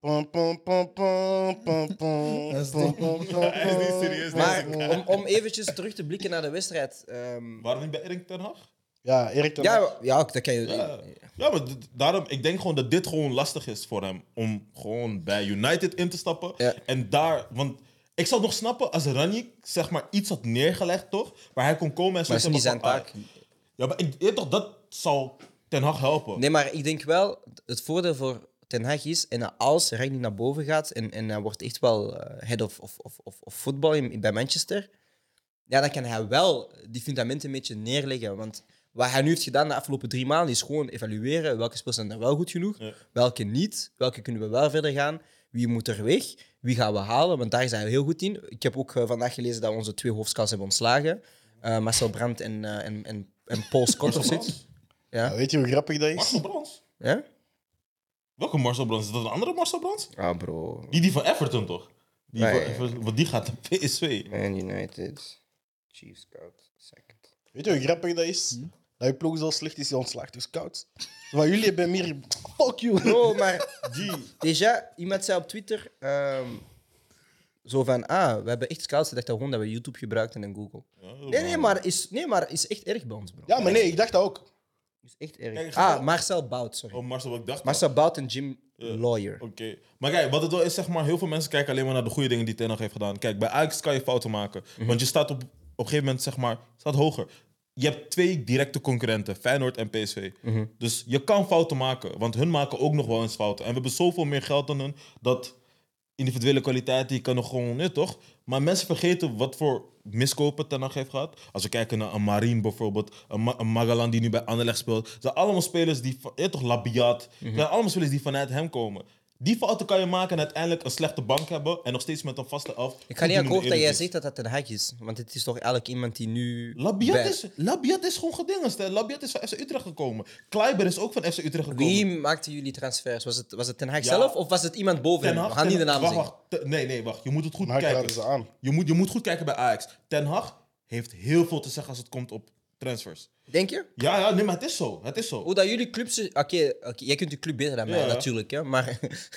Speaker 3: Pom, pom, pom, pom, pom, pom,
Speaker 4: Dat is
Speaker 3: pom, pom, pom,
Speaker 2: Hij is niet serieus.
Speaker 1: Maar
Speaker 2: Maar,
Speaker 1: om, om eventjes terug te blikken naar de wedstrijd. ehm,
Speaker 2: Waarom niet bij Erik ten Hag?
Speaker 3: Ja, Erik ten Hag.
Speaker 1: ja, ja, dat kan je.
Speaker 2: Ja, ja maar d- daarom, ik denk gewoon dat dit gewoon lastig is voor hem. Om gewoon bij United in te stappen.
Speaker 1: Ja.
Speaker 2: En daar, want ik zou het nog snappen als Ranjik zeg maar iets had neergelegd, toch? Waar hij kon komen en zo.
Speaker 1: Maar is niet zijn
Speaker 2: ah,
Speaker 1: taak.
Speaker 2: Ja, maar ik weet toch, dat zou ten Hag helpen.
Speaker 1: Nee, maar ik denk wel, het voordeel voor Ten Hag is, en als Ragni naar boven gaat en, en hij wordt echt wel eh, head of, of, of, of, of voetbal in, bij Manchester, ja, dan kan hij wel die fundamenten een beetje neerleggen. Want wat hij nu heeft gedaan de afgelopen drie maanden is gewoon evalueren welke spelers zijn er wel goed genoeg,
Speaker 2: Ja.
Speaker 1: welke niet, welke kunnen we wel verder gaan, wie moet er weg, wie gaan we halen, want daar is hij heel goed in. Ik heb ook eh, vandaag gelezen dat we onze twee hoofdscouts hebben ontslagen, Eh, Marcel Brandt en, eh, en, en, en Paul Scott of
Speaker 2: Marcel
Speaker 1: zoiets.
Speaker 2: Brands?
Speaker 3: Ja, Weet je hoe grappig dat is?
Speaker 2: Marcel Brands?
Speaker 1: Ja?
Speaker 2: Welke Marcel Brands? Is dat een andere Marcel Brands?
Speaker 1: Ah, bro.
Speaker 2: Die, die van Everton toch? Die
Speaker 1: Ja,
Speaker 2: van
Speaker 1: ja, ja.
Speaker 2: Everton, want die gaat naar PSV.
Speaker 1: Man United, Chiefs scout, second.
Speaker 3: Weet je hoe grappig dat is?
Speaker 4: Hm?
Speaker 3: Dat je ploeg zo slecht is, je ontslaagt dus koud. Maar jullie hebben meer... Fuck you.
Speaker 1: Bro, Oh, maar
Speaker 2: Die.
Speaker 1: déjà, iemand zei op Twitter ehm, zo van, ah, we hebben echt scouts. Ik dacht dat gewoon dat we YouTube gebruikten en Google.
Speaker 2: Oh,
Speaker 1: Nee, nee, maar is, nee, maar is echt erg bij ons, bro.
Speaker 3: Ja, maar nee, ik dacht dat ook.
Speaker 1: Is echt
Speaker 2: Kijk,
Speaker 1: erg.
Speaker 2: ga-
Speaker 1: Ah, Marcel Bout, sorry.
Speaker 2: Oh, Marcel, wat ik dacht.
Speaker 1: Marcel Bout en Jim
Speaker 2: Ja. Oh,
Speaker 1: Lawyer.
Speaker 2: al. Oké. Maar kijk, wat het wel is, zeg maar, heel veel mensen kijken alleen maar naar de goede dingen die Ten Hag heeft gedaan. Kijk, bij Ajax kan je fouten maken.
Speaker 1: Mhm.
Speaker 2: Want je staat op, op een gegeven moment, zeg maar, staat hoger. Je hebt twee directe concurrenten, Feyenoord en PSV.
Speaker 1: Mhm.
Speaker 2: Dus je kan fouten maken, want hun maken ook nog wel eens fouten. En we hebben zoveel meer geld dan hun, dat individuele kwaliteit, die kan nog gewoon, nee, toch? Maar mensen vergeten wat voor miskopen Ten Hag heeft gehad. Als we kijken naar een Marine bijvoorbeeld, een, Ma- een Magalan die nu bij Anderlecht speelt. Het zijn allemaal spelers die, van- nee, toch, Labiat. Het
Speaker 1: Mhm.
Speaker 2: zijn allemaal spelers die vanuit hem komen. Die fouten kan je maken en uiteindelijk een slechte bank hebben en nog steeds met een vaste af.
Speaker 1: Ik ga niet akkoord dat jij
Speaker 2: Eredivisie.
Speaker 1: zegt dat dat een hak is. Want het is toch eigenlijk iemand die nu...
Speaker 2: Labiat
Speaker 1: bij-
Speaker 2: is, Labiat is gewoon gedingest. hè. Labiat is van FC Utrecht gekomen. Kleiber is ook van FC Utrecht gekomen.
Speaker 1: Wie maakte jullie transfers? Was het, was het Ten Hag
Speaker 2: Ja.
Speaker 1: zelf of was het iemand boven
Speaker 2: Ten
Speaker 1: hem?
Speaker 2: Hag,
Speaker 1: We gaan niet de
Speaker 2: Ten-
Speaker 1: naam
Speaker 2: wacht,
Speaker 1: zeggen.
Speaker 2: wacht. Te- nee, nee, wacht. Je moet het goed
Speaker 3: Maar hij raadde
Speaker 2: kijken.
Speaker 3: ze aan.
Speaker 2: Je moet, je moet goed kijken bij Ajax. Ten Hag heeft heel veel te zeggen als het komt op transfers.
Speaker 1: Denk je?
Speaker 2: Ja, ja, nee, maar het is zo. Het is zo.
Speaker 1: Hoe dat jullie clubs... Oké, oké, jij kunt de club beter dan mij,
Speaker 2: Ja.
Speaker 1: natuurlijk. Hè, maar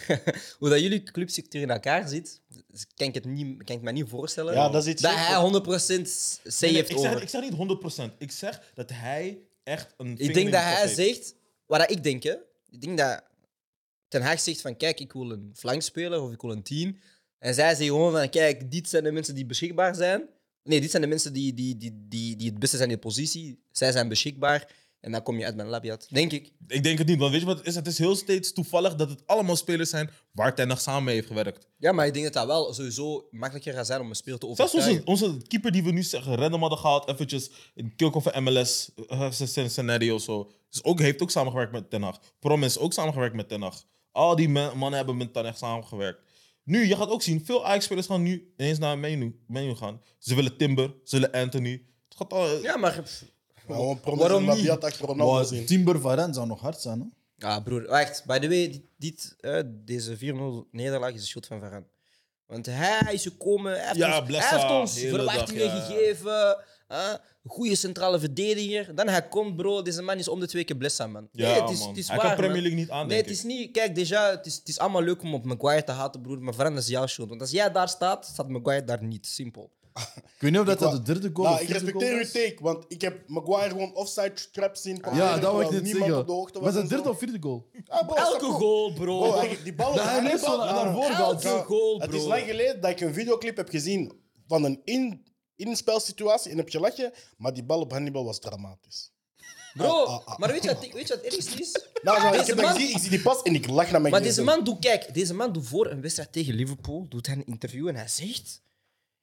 Speaker 1: hoe dat jullie clubstructuur in elkaar zit, dus kan ik, het niet, kan ik me niet voorstellen
Speaker 3: Ja, dat is iets heel-
Speaker 1: hij 100% say
Speaker 2: Nee, nee,
Speaker 1: heeft
Speaker 2: ik, zeg,
Speaker 1: over.
Speaker 2: ik
Speaker 1: Ik,
Speaker 2: zeg niet 100%. Ik zeg dat hij echt een. vinger in
Speaker 1: denk
Speaker 2: de
Speaker 1: dat
Speaker 2: pap
Speaker 1: hij
Speaker 2: heeft.
Speaker 1: zegt... Wat dat ik denk, hè. Ik denk dat Ten Hag zegt van... Kijk, ik wil een flankspeler of ik wil een tien. En zij zegt gewoon van... Kijk, dit zijn de mensen die beschikbaar zijn. Nee, dit zijn de mensen die, die, die, die, die het beste zijn in de positie. Zij zijn beschikbaar. En dan kom je uit mijn labiat. Denk ik.
Speaker 2: Ik denk het niet, want weet je wat het is? Het is heel steeds toevallig dat het allemaal spelers zijn waar Ten Hag samen mee heeft gewerkt.
Speaker 1: Ja, maar ik denk dat dat wel sowieso makkelijker gaat zijn om een speler te
Speaker 2: Zelfs onze,
Speaker 1: overtuigen.
Speaker 2: onze keeper die we nu zeggen, random hadden gehaald, eventjes in Kilko van MLS, eh, Cincinnati of zo. Dus ook, heeft ook samengewerkt met Ten Hag. Prom is ook samengewerkt met Ten Hag. Al die men- mannen hebben met Ten Hag samengewerkt. Nu, je gaat ook zien, veel Ajax-spelers gaan nu ineens naar menu, menu gaan. Ze willen Timber, ze willen Anthony. Het gaat al...
Speaker 1: Ja, maar...
Speaker 3: Maar Gewoon
Speaker 1: Waarom
Speaker 3: promotie
Speaker 1: niet?
Speaker 3: Labiat achter Ronaldo
Speaker 4: Wow,
Speaker 3: zien.
Speaker 4: Timber Varane zou nog hard zijn. Hè?
Speaker 1: Ja, broer. Wacht, by the way, dit, dit, eh, deze 4-0 nederlaag is de schuld van Varane. Want hij is gekomen, hij heeft
Speaker 2: Ja,
Speaker 1: ons,
Speaker 2: Blessa,
Speaker 1: hij heeft ons
Speaker 2: hele
Speaker 1: verwachtingen
Speaker 2: dag, ja.
Speaker 1: gegeven. hè. goede centrale verdediger. Dan hij komt, bro, deze man is om de twee keer Blessa, man.
Speaker 2: Ja,
Speaker 1: nee, het is,
Speaker 2: man.
Speaker 1: Het is
Speaker 2: Hij
Speaker 1: waar,
Speaker 2: kan Premier
Speaker 1: man.
Speaker 2: League niet aan,
Speaker 1: Nee,
Speaker 2: denk
Speaker 1: het is
Speaker 2: ik.
Speaker 1: niet... Kijk, déjà, het is, het is allemaal leuk om op Maguire te haten, broer, maar verander is jouw shoot. Want als jij daar staat, staat Maguire daar niet. Simpel.
Speaker 4: Ik weet niet of dat, dat
Speaker 3: wou-
Speaker 4: de derde goal
Speaker 3: Nou,
Speaker 4: of
Speaker 3: ik
Speaker 4: vierde
Speaker 3: respecteer
Speaker 4: goal
Speaker 3: uw
Speaker 4: was.
Speaker 3: take, want ik heb Maguire gewoon offside trap zien komen.
Speaker 4: Ja, dat wil ik
Speaker 3: terwijl
Speaker 4: net
Speaker 3: niemand
Speaker 4: zeggen.
Speaker 3: op de hoogte was.
Speaker 4: was
Speaker 3: en
Speaker 4: dat derde
Speaker 3: zo.
Speaker 4: of vierde goal?
Speaker 3: Ah, bro,
Speaker 1: Elke
Speaker 3: snap je?
Speaker 1: goal, bro.
Speaker 3: Bro, hij- die bal
Speaker 4: Dat hij
Speaker 3: die
Speaker 4: net zo
Speaker 3: bal-
Speaker 4: naar voren
Speaker 1: gaat. Elke goal,
Speaker 3: Het
Speaker 1: bro.
Speaker 3: is lang geleden dat ik een videoclip heb gezien van een in, inspelsituatie in het lachje, maar die bal op Hannibal was dramatisch.
Speaker 1: Bro,
Speaker 3: ah, ah.
Speaker 1: maar weet je wat, weet je wat het ergste is?
Speaker 3: Nou, zo, ik,
Speaker 1: Deze
Speaker 3: heb dat
Speaker 1: man-
Speaker 3: gezien, ik zie die pas en ik lach naar mijn
Speaker 1: Maar
Speaker 3: gsm.
Speaker 1: deze man doet, kijk, deze man doet voor een wedstrijd tegen Liverpool, doet hij een interview en hij zegt: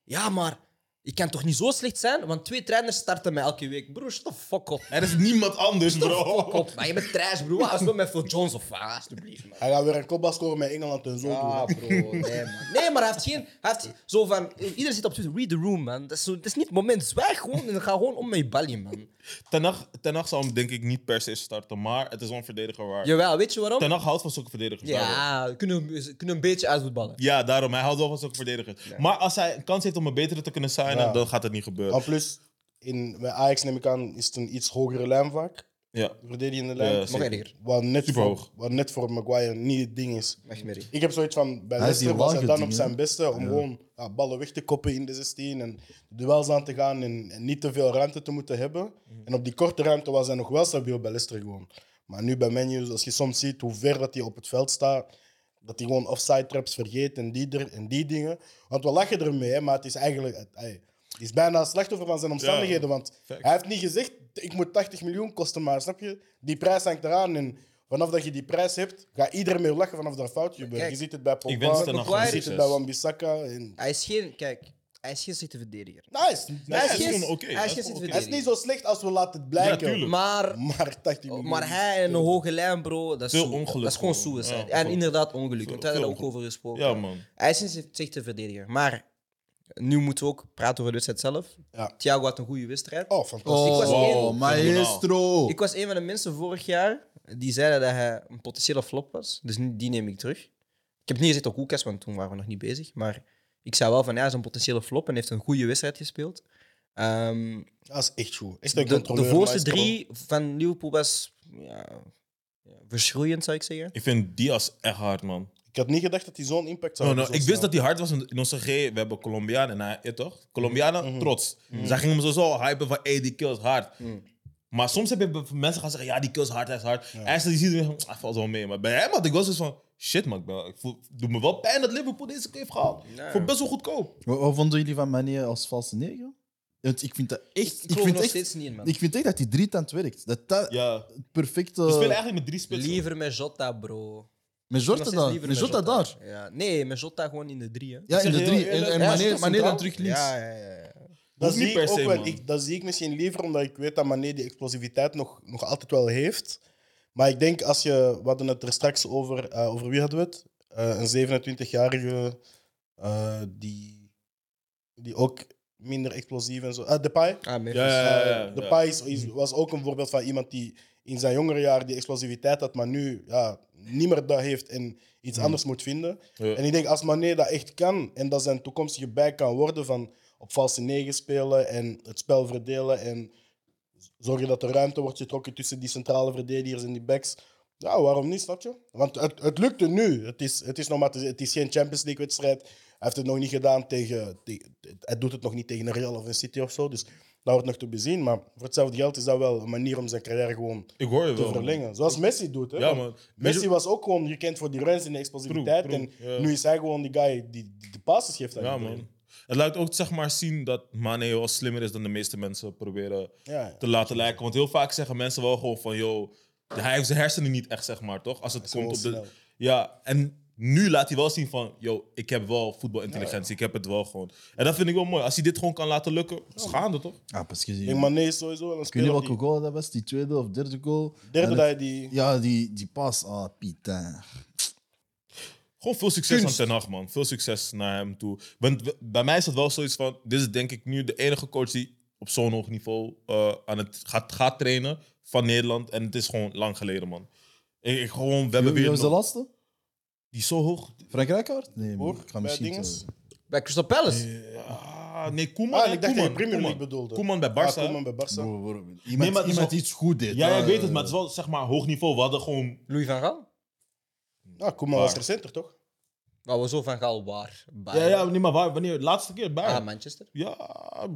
Speaker 1: Ja, maar ik kan toch niet zo slecht zijn, want twee trainers starten mij elke week. Broer, shut the fuck op.
Speaker 2: Er is niemand anders, bro.
Speaker 1: Fuck op, maar je bent trash, broer. Als we met Phil Jones of wat, alsjeblieft, man.
Speaker 3: Hij gaat weer een kopbal scoren met Engeland en zo.
Speaker 1: Ah,
Speaker 3: doen.
Speaker 1: bro, nee, man. Nee, maar hij heeft geen. Hij heeft zo van. Iedereen zit op Twitter. Read the room, man. Dat is, zo, dat is niet het moment. Zwijg gewoon en ga gewoon om met je balje, man.
Speaker 2: Ten Hag- Ten Hag zou hem denk ik niet per se starten, maar het is wel een verdediger waar.
Speaker 1: Jawel, weet je waarom?
Speaker 2: Ten Hag houdt van zulke verdedigers. daarom.
Speaker 1: Ja, kunnen, we- kunnen een beetje uitvoetballen.
Speaker 2: Ja, daarom. Hij houdt wel van zulke verdedigers. Maar als hij een kans heeft om een betere te kunnen zijn,
Speaker 3: Ja.
Speaker 2: dan gaat het niet gebeuren.
Speaker 3: En plus, in, bij Ajax neem ik aan, is het een iets hogere lijn vaak.
Speaker 2: ja.
Speaker 3: Verdedigende lijn.
Speaker 2: Ja,
Speaker 1: Nog erger.
Speaker 3: wat, net
Speaker 2: Superhoog.
Speaker 3: voor, wat net voor Maguire niet het ding is.
Speaker 1: Echt merrie.
Speaker 3: Ik heb zoiets van, bij
Speaker 4: Hij is
Speaker 3: Leicester
Speaker 4: hier
Speaker 3: was
Speaker 4: wel
Speaker 3: hij dan op
Speaker 4: gedingen.
Speaker 3: zijn beste om gewoon ja, ballen weg te koppen in de 16 en duels aan te gaan en, en niet te veel ruimte te moeten hebben.
Speaker 4: Mhm.
Speaker 3: En op die korte ruimte was hij nog wel stabiel bij Leicester gewoon. Maar nu bij Menu, als je soms ziet hoe ver dat hij op het veld staat, dat hij gewoon offside traps vergeet en die, er- en die dingen. Want we lachen ermee, hè, maar het is eigenlijk... Het, ey, het is bijna slachtoffer van zijn omstandigheden, want
Speaker 2: Facts.
Speaker 3: hij heeft niet gezegd, ik moet 80 miljoen kosten, maar snap je? Die prijs hangt eraan en vanaf dat je die prijs hebt, gaat iedereen mee lachen vanaf dat er fout gebeurt.
Speaker 1: Kijk,
Speaker 3: Je ziet het bij
Speaker 2: Ik wens Ten
Speaker 3: Pogba,
Speaker 1: Maguire
Speaker 2: Hag gewoon
Speaker 3: je
Speaker 1: is
Speaker 3: ziet het
Speaker 2: succes.
Speaker 3: bij Wan-Bissaka. En...
Speaker 1: Hij is geen, kijk, hij is geen slechte verdediger.
Speaker 3: Nice.
Speaker 2: Hij is
Speaker 1: Hij is-
Speaker 2: gewoon oké.
Speaker 1: hij is
Speaker 2: Hij is
Speaker 1: geen
Speaker 2: gewoon
Speaker 1: zitten
Speaker 2: oké.
Speaker 3: Hij is niet zo slecht als we laten het blijken.
Speaker 2: tuurlijk.
Speaker 1: Maar,
Speaker 3: maar 80 miljoen.
Speaker 1: Oh, maar hij en een hoge lijn, bro, dat is,
Speaker 2: Veel
Speaker 1: zo-
Speaker 2: ongeluk
Speaker 1: dat is gewoon
Speaker 2: gewoon.
Speaker 1: suicide.
Speaker 2: Ja,
Speaker 1: en
Speaker 2: veel-
Speaker 1: inderdaad ongeluk, want we hebben
Speaker 2: veel
Speaker 1: daar ook over gesproken.
Speaker 2: Ja, man.
Speaker 1: Hij is een slechte verdediger. Maar nu moeten we ook praten over de wedstrijd zelf.
Speaker 3: Ja.
Speaker 1: Thiago had een goede wedstrijd.
Speaker 3: Oh, fantastisch.
Speaker 1: Ik was
Speaker 4: Oh,
Speaker 1: één.
Speaker 4: maestro.
Speaker 1: Ik was een van de mensen vorig jaar die zeiden dat hij een potentiële flop was. Dus nu- die neem ik terug. Ik heb niet gezegd op Koelkast, want toen waren we nog niet bezig. Maar ik zei wel van ja, hij is een potentiële flop en heeft een goede wedstrijd gespeeld. Ehm,
Speaker 3: Dat is echt goed. Echt een
Speaker 1: de, de
Speaker 3: controleur,
Speaker 1: voorste
Speaker 3: maestro.
Speaker 1: drie van Liverpool was ja, ja, verschroeiend, zou ik zeggen.
Speaker 2: Ik vind Diaz echt hard, man.
Speaker 3: Ik had niet gedacht dat hij zo'n impact zou
Speaker 2: No, no,
Speaker 3: hebben.
Speaker 2: ik wist dat hij hard was in in onze G. We hebben Colombianen, en hij, ja, toch? Colombianen,
Speaker 3: Mhm.
Speaker 2: trots. Zij gingen hem zo hypen van, hey, die kill is hard. Maar soms heb je be- mensen gaan zeggen, ja, die kill is hard, hij is hard. En als je die ziet, dan denk je, ah, valt wel mee. Maar bij hem had ik wel zoiets van, shit man, ik ben wel- ik voel, het doet me wel pijn dat Liverpool deze keer heeft gehaald. Voor best wel goedkoop.
Speaker 4: Wat, wat vonden jullie van Mané als valse negen? Want ik vind dat echt... Ik,
Speaker 1: geloof
Speaker 4: vind
Speaker 1: nog
Speaker 4: echt,
Speaker 1: steeds niet in, man.
Speaker 4: ik vind echt dat die drietand werkt. Dat dat
Speaker 2: Ja.
Speaker 4: het perfecte...
Speaker 2: We spelen eigenlijk met drie spitsen.
Speaker 1: Liever met Jota, bro.
Speaker 4: Met
Speaker 1: Nog
Speaker 4: Jorta
Speaker 1: steeds
Speaker 4: daar.
Speaker 1: liever
Speaker 4: Met Jorta daar.
Speaker 1: Ja, nee, met Jota gewoon in de drie. Hè.
Speaker 4: Ja, in
Speaker 2: zeg
Speaker 4: de
Speaker 2: je
Speaker 4: drie.
Speaker 2: heel
Speaker 4: En, en
Speaker 2: eerlijk.
Speaker 1: Ja,
Speaker 4: Mané, Mané
Speaker 1: centraal.
Speaker 4: dan terug links.
Speaker 1: Ja, ja, ja, ja.
Speaker 3: Dat
Speaker 2: Hoeft
Speaker 3: zie,
Speaker 2: niet
Speaker 3: ik
Speaker 2: per
Speaker 3: ook
Speaker 2: se,
Speaker 3: wel,
Speaker 2: man.
Speaker 3: ik, dat zie ik misschien liever, omdat ik weet dat Mané die explosiviteit nog, nog altijd wel heeft. Maar ik denk als je, we hadden het er straks over, eh, over wie hadden we het? Eh, een 27-jarige eh, die, die ook minder explosief en zo. de Depay.
Speaker 1: Ah, Memphis.
Speaker 2: Ja, ja, ja, ja,
Speaker 3: Eh,
Speaker 2: ja.
Speaker 3: Depay is, is- was ook een voorbeeld van iemand die in zijn jongere jaren die explosiviteit had, maar nu ja, niet meer dat heeft en iets
Speaker 2: Mm.
Speaker 3: anders moet vinden.
Speaker 2: Ja.
Speaker 3: En ik denk, als Mané dat echt kan en dat zijn toekomstige bij kan worden van op valse negen spelen en het spel verdelen en zorgen dat er ruimte wordt getrokken tussen die centrale verdedigers en die backs. Ja, waarom niet, snap je? Want het, het lukte nu. Het is, het is nog maar te- het is geen Champions League-wedstrijd. Hij heeft het nog niet gedaan tegen, tegen... Hij doet het nog niet tegen een Real of een City of zo. Dus dat wordt nog te bezien. Maar voor hetzelfde geld is dat wel een manier om zijn carrière gewoon
Speaker 2: Ik hoor je
Speaker 3: te
Speaker 2: wel. man.
Speaker 3: verlengen. Zoals Messi doet. Hè?
Speaker 2: Ja,
Speaker 3: Want
Speaker 2: man.
Speaker 3: Messi was ook gewoon gekend voor die runs en de explosiviteit.
Speaker 2: True, true,
Speaker 3: en
Speaker 2: ja.
Speaker 3: nu is hij gewoon die guy die, die de passes geeft. aan
Speaker 2: Ja,
Speaker 3: iedereen.
Speaker 2: man. Het laat ook zeg maar zien dat Mane wel slimmer is dan de meeste mensen proberen
Speaker 3: Ja, ja.
Speaker 2: te laten lijken. Want heel vaak zeggen mensen wel gewoon van, yo, hij heeft zijn hersenen niet echt, zeg maar, toch? Als het
Speaker 3: is
Speaker 2: komt op de...
Speaker 3: gewoon snel.
Speaker 2: Ja, en nu laat hij wel zien van, yo, ik heb wel voetbalintelligentie, ik heb het wel gewoon. En dat vind ik wel mooi. Als hij dit gewoon kan laten lukken, schaande toch?
Speaker 4: Ah, pas gezien.
Speaker 3: Ik denk, Mané is sowieso wel een
Speaker 4: Ik weet
Speaker 3: speler
Speaker 4: niet
Speaker 3: die-
Speaker 4: welke goal dat was. Die tweede of derde goal.
Speaker 3: Derde
Speaker 4: En
Speaker 3: dat hij die...
Speaker 4: Ja, die, die pas. Ah, Pieter.
Speaker 2: Gewoon veel succes
Speaker 4: Kunst.
Speaker 2: aan Ten Hag, man. Veel succes naar hem toe. Want w- bij mij is dat wel zoiets van... Dit is denk ik nu de enige coach die op zo'n hoog niveau eh, aan het gaat, gaat trainen van Nederland. En het is gewoon lang geleden, man. Ik, ik gewoon, we hebben
Speaker 4: Wie
Speaker 2: weer...
Speaker 4: was de
Speaker 2: nog-
Speaker 4: laatste?
Speaker 2: Die is zo hoog.
Speaker 4: Frankrijk hoort? Nee,
Speaker 3: Hoor,
Speaker 4: ik ga
Speaker 3: bij
Speaker 4: misschien...
Speaker 3: dinges.
Speaker 4: te-
Speaker 1: Bij Crystal Palace.
Speaker 2: Ah, nee, Koeman.
Speaker 3: Ah,
Speaker 2: hè,
Speaker 3: en ik dacht dat je
Speaker 2: Koeman,
Speaker 3: Premier League
Speaker 2: Koeman.
Speaker 3: bedoelde.
Speaker 2: Koeman bij
Speaker 3: Ah,
Speaker 2: Barca.
Speaker 3: Koeman bij Barca.
Speaker 4: Broer, broer, Iemand,
Speaker 2: maar het is
Speaker 4: iemand
Speaker 2: wel-
Speaker 4: iets goed deed.
Speaker 2: Ja, ja, ik
Speaker 4: eh,
Speaker 2: weet het, maar het is wel zeg maar hoog niveau. We hadden gewoon.
Speaker 1: Louis van Gaal?
Speaker 3: Ah, Koeman
Speaker 2: Waar?
Speaker 3: was recenter, toch?
Speaker 1: Nou, we zo van Gaal waar.
Speaker 2: Ja,
Speaker 1: Bayern.
Speaker 2: ja, nee, maar waar? Wanneer? Laatste keer bij.
Speaker 1: Ah, Manchester.
Speaker 2: ja,
Speaker 3: Ah,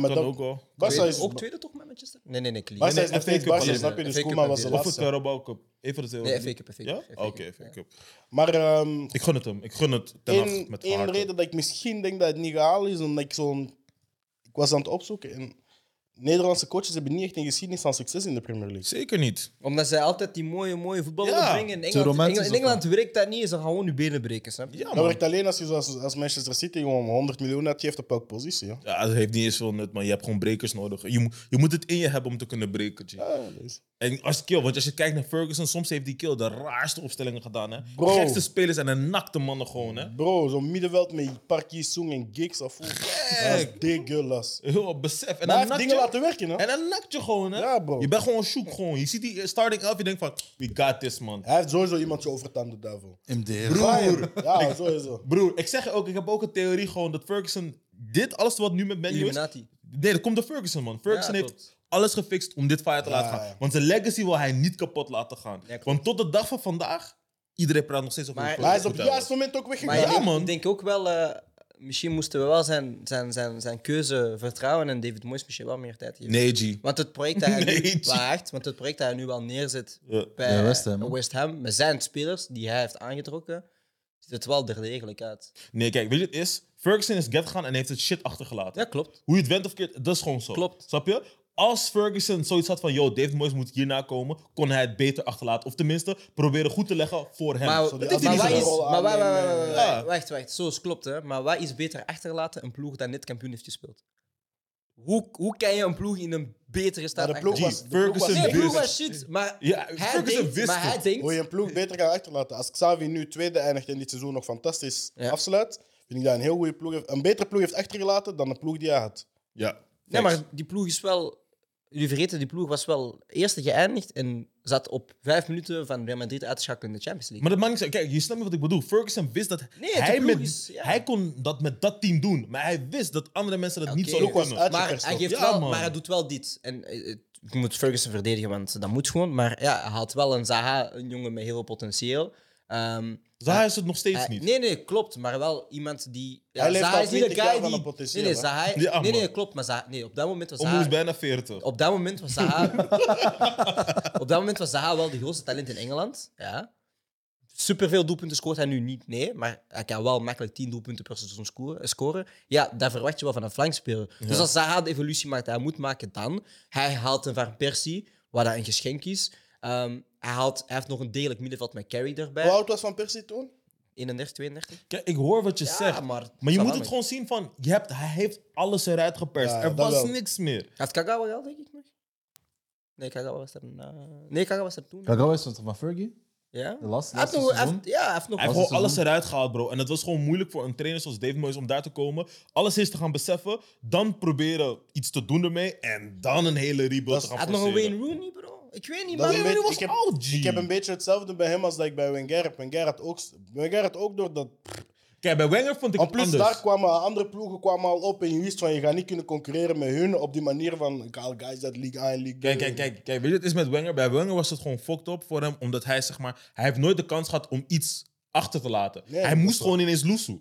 Speaker 2: kan
Speaker 3: dat-
Speaker 2: ook wel.
Speaker 3: Barca
Speaker 1: Tweede-
Speaker 3: is,
Speaker 1: ook tweede toch met Manchester? Nee, nee, nee. Clean.
Speaker 3: Barca
Speaker 2: Nee,
Speaker 3: is nog
Speaker 2: FA
Speaker 3: steeds
Speaker 2: Cup
Speaker 3: Barca,
Speaker 2: alleen,
Speaker 3: snap je?
Speaker 1: hè.
Speaker 3: Dus
Speaker 1: FA
Speaker 3: Koeman
Speaker 1: Cup
Speaker 3: was de
Speaker 1: en
Speaker 2: Of de
Speaker 3: laatste.
Speaker 2: Carabao Cup. Even van de twee.
Speaker 1: Nee, FA Cup, FA Cup.
Speaker 2: Ja?
Speaker 1: FA Cup,
Speaker 2: Ah, Oké,
Speaker 1: ja.
Speaker 2: FA Cup.
Speaker 3: Maar ehm
Speaker 2: Ik gun het hem. Ik gun het ten af
Speaker 3: één,
Speaker 2: met
Speaker 3: één
Speaker 2: harte.
Speaker 3: reden dat ik misschien denk dat het niet gehaald is, omdat ik zo'n... Ik was aan het opzoeken en Nederlandse coaches hebben niet echt een geschiedenis van succes in de Premier League.
Speaker 2: Zeker niet.
Speaker 1: Omdat zij altijd die mooie, mooie voetbal
Speaker 2: Ja,
Speaker 1: willen brengen. In Engeland,
Speaker 4: romantisch
Speaker 1: Engeland- in
Speaker 4: of wat?
Speaker 1: Engeland werkt dat niet. Ze gaan gewoon je benen breken, snap je?
Speaker 2: Ja,
Speaker 3: Dat
Speaker 2: man.
Speaker 3: werkt alleen als je zoals als Manchester City gewoon 100 miljoen uitgeeft op elke positie. Ja.
Speaker 2: Ja, dat heeft niet eens veel nut, man. Je hebt gewoon brekers nodig. Je, moet- je moet het in je hebben om te kunnen breken. G.
Speaker 3: Ja, dat is-
Speaker 2: En als kill, want als je kijkt naar Ferguson, soms heeft die kill de raarste opstellingen gedaan. Hè? De
Speaker 3: Bro.
Speaker 2: gekste spelers en de nakte mannen gewoon. Hè?
Speaker 3: Bro, zo'n middenveld met Park Ji-sung en Giggs of hoe. Dat is degulas.
Speaker 2: Heel wat besef. En
Speaker 3: Maar hij
Speaker 2: dan
Speaker 3: heeft
Speaker 2: nakt
Speaker 3: dingen
Speaker 2: je,
Speaker 3: laten werken, hè?
Speaker 2: en dan nakt je gewoon. Hè?
Speaker 3: Ja, bro.
Speaker 2: Je bent gewoon zoek gewoon. Je ziet die starting elf, je denkt van, we got this, man.
Speaker 3: Hij heeft sowieso iemand zo over het aan de duivel.
Speaker 4: MDR.
Speaker 3: Ga hem. Ja, sowieso.
Speaker 2: Broer, ik zeg je ook, ik heb ook een theorie gewoon dat Ferguson, dit alles wat nu met Man U is,
Speaker 1: Illuminati.
Speaker 2: Nee, dat komt door Ferguson, man. Ferguson
Speaker 1: Ja,
Speaker 2: heeft
Speaker 1: klopt.
Speaker 2: alles gefixt om dit fire te laten gaan.
Speaker 3: ja.
Speaker 2: Want zijn legacy wil hij niet kapot laten gaan.
Speaker 1: klopt.
Speaker 2: Want tot de dag van vandaag, iedereen praat nog steeds over
Speaker 1: Maar-
Speaker 2: hoe
Speaker 3: Maar hij is
Speaker 2: Ferguson
Speaker 3: op het
Speaker 2: goed
Speaker 3: juiste moment ook
Speaker 1: Maar
Speaker 2: Ja,
Speaker 3: weggegaan.
Speaker 1: ik, denk,
Speaker 2: man.
Speaker 1: ik denk ook wel... eh, misschien moesten we wel zijn, zijn, zijn, zijn keuze vertrouwen en David Moyes misschien wel meer tijd
Speaker 2: was.
Speaker 1: geven.
Speaker 2: Nee, G.
Speaker 1: Want het project dat hij
Speaker 2: Nee,
Speaker 1: nu...
Speaker 2: G.
Speaker 1: Maar echt, want het project dat hij nu wel neerzet
Speaker 2: Ja.
Speaker 1: bij
Speaker 4: Ja,
Speaker 1: eh,
Speaker 4: West
Speaker 1: West
Speaker 4: Ham, hè?
Speaker 1: Ham, met zijn spelers die hij heeft aangetrokken, ziet het wel er degelijk uit.
Speaker 2: Nee, kijk, weet je wat het is? Ferguson is get gaan en heeft het shit achtergelaten.
Speaker 1: Ja, klopt.
Speaker 2: Hoe je het went of keert, dat is gewoon zo.
Speaker 1: Klopt.
Speaker 2: Snap je? Als Ferguson zoiets had van, yo, David Moyes moet hierna komen, kon hij het beter achterlaten. Of tenminste, proberen goed te leggen voor hem.
Speaker 1: Maar,
Speaker 2: Dat heeft hij
Speaker 1: maar
Speaker 2: niet
Speaker 1: wat
Speaker 2: gedaan.
Speaker 1: is,
Speaker 3: rol
Speaker 1: maar wa- wa- wa- wa- wa-
Speaker 3: aannemen. eh.
Speaker 1: wa-
Speaker 2: Ja.
Speaker 1: wacht, wacht, zo is klopt hè. Maar wat is beter achterlaten een ploeg dat net kampioen heeft gespeeld? Hoe, hoe kan je een ploeg in een betere staat
Speaker 3: Maar de ploeg
Speaker 1: achterlaten?
Speaker 3: was... De
Speaker 1: Nee, de ploeg
Speaker 2: Ferguson wist
Speaker 3: ploeg was
Speaker 2: het.
Speaker 1: was shit, maar
Speaker 2: Ja,
Speaker 1: hij
Speaker 2: Ferguson
Speaker 1: denkt,
Speaker 2: wist
Speaker 1: maar hij
Speaker 2: het.
Speaker 1: denkt
Speaker 3: Hoe je een ploeg beter gaat achterlaten. Als Xavi nu tweede eindigt en dit seizoen nog fantastisch
Speaker 1: Ja.
Speaker 3: afsluit, vind ik dat een heel goede ploeg. heeft- Een betere ploeg heeft achtergelaten dan de ploeg die hij had.
Speaker 2: Ja.
Speaker 1: Nee,
Speaker 2: Facts.
Speaker 1: maar die ploeg is wel. Jullie vergeten, die ploeg was wel eerste geëindigd en zat op vijf minuten van Real Madrid uit te schakelen in de Champions League.
Speaker 2: Maar dat maakt niet zo. Kijk, je snapt niet wat ik bedoel. Ferguson wist dat
Speaker 1: Nee, de
Speaker 2: hij,
Speaker 1: ploeg
Speaker 2: met,
Speaker 1: is- ja.
Speaker 2: hij kon dat met dat team doen. Maar hij wist dat andere mensen dat niet
Speaker 1: Oké.
Speaker 2: zouden
Speaker 3: Ploeg was
Speaker 2: kunnen.
Speaker 3: uit-
Speaker 1: Maar
Speaker 3: uitgeperst
Speaker 1: hij, geeft
Speaker 2: toch? Ja,
Speaker 1: wel,
Speaker 2: man.
Speaker 1: maar hij doet wel dit. En eh, het- ik moet Ferguson verdedigen, want dat moet gewoon. Maar ja, hij had wel een Zaha, een jongen met heel veel potentieel. Ehm,
Speaker 2: Zaha is het nog steeds
Speaker 1: hij-
Speaker 2: niet.
Speaker 1: Eh, Nee, nee, klopt. Maar wel iemand die... Ja,
Speaker 3: Hij leeft
Speaker 1: Zaha
Speaker 3: al
Speaker 1: is niet de
Speaker 3: 20 jaar
Speaker 1: guy
Speaker 3: van
Speaker 1: die...
Speaker 3: een potentieel,
Speaker 1: Nee, nee,
Speaker 3: hè?
Speaker 1: Zaha,
Speaker 2: Ja,
Speaker 1: nee, nee,
Speaker 2: man.
Speaker 1: klopt. Maar Zaha, nee, op dat moment was
Speaker 2: Omhoe is
Speaker 1: Zaha...
Speaker 2: bijna 40.
Speaker 1: Op dat moment was Zaha... op dat moment was Zaha wel de grootste talent in Engeland. Ja. Superveel doelpunten scoort hij nu niet, nee. Maar hij kan wel makkelijk 10 doelpunten per seizoen scoren- scoren. Ja, dat verwacht je wel van een flankspeler. Dus als Zaha de evolutie maakt die hij moet maken, dan... Hij haalt een Van Persie, wat dat een geschenk is. Ehm, hij, haalt, hij heeft nog een degelijk middenveld met Carry
Speaker 2: Eh.
Speaker 3: Hoe
Speaker 1: erbij.
Speaker 3: oud was Van Persie toen?
Speaker 1: 31, 32.
Speaker 2: Kijk, ik hoor wat je
Speaker 1: Ja,
Speaker 2: zegt. Maar,
Speaker 1: maar-
Speaker 2: je moet
Speaker 1: Salah,
Speaker 2: het gewoon zien van... Je hebt, hij heeft alles eruit geperst.
Speaker 3: Ja,
Speaker 2: er
Speaker 3: dat
Speaker 2: was
Speaker 3: wel.
Speaker 2: niks meer.
Speaker 1: Hij heeft Kagawa gehad, denk ik nog. Nee, Kagawa was er, na- nee, Kagawa was er toen.
Speaker 4: Kagawa is het van Fergie?
Speaker 1: Ja?
Speaker 4: De laatste,
Speaker 1: Hij heeft
Speaker 4: laatste
Speaker 1: nog, hij
Speaker 4: seizoen?
Speaker 1: heeft, ja, hij heeft nog...
Speaker 2: Hij heeft
Speaker 4: Was
Speaker 2: gewoon
Speaker 4: het
Speaker 2: alles
Speaker 4: seizoen?
Speaker 2: eruit gehaald, bro. En het was gewoon moeilijk voor een trainer zoals Dave Moyes om daar te komen. Alles eerst te gaan beseffen. Dan proberen iets te doen ermee. En dan een hele rebuild
Speaker 3: Dat
Speaker 2: te
Speaker 3: is-
Speaker 2: gaan
Speaker 1: Hij had nog een
Speaker 2: forceren.
Speaker 1: Wayne Rooney, bro. Ik weet niet,
Speaker 3: Dat
Speaker 1: man.
Speaker 3: is
Speaker 2: Wayne
Speaker 3: een
Speaker 2: Rooney
Speaker 3: beetje-
Speaker 2: was
Speaker 3: ik heb-
Speaker 2: oud, G.
Speaker 3: Ik heb een beetje hetzelfde bij hem als dat ik bij Wenger heb. Wenger had ook, Wenger had ook door dat...
Speaker 2: Kijk, bij Wenger vond ik
Speaker 3: En
Speaker 2: het
Speaker 3: plus
Speaker 2: anders.
Speaker 3: daar kwamen andere ploegen kwamen al op en je wist van je gaat niet kunnen concurreren met hun op die manier van... Gal guys, dat League A en League B.
Speaker 2: Kijk, kijk, kijk, kijk, weet je, het is met Wenger. Bij Wenger was het gewoon fucked up voor hem, omdat hij zeg maar, hij heeft nooit de kans gehad om iets achter te laten.
Speaker 3: Nee,
Speaker 2: hij
Speaker 3: dat
Speaker 2: moest
Speaker 3: is
Speaker 2: gewoon ineens loesoe.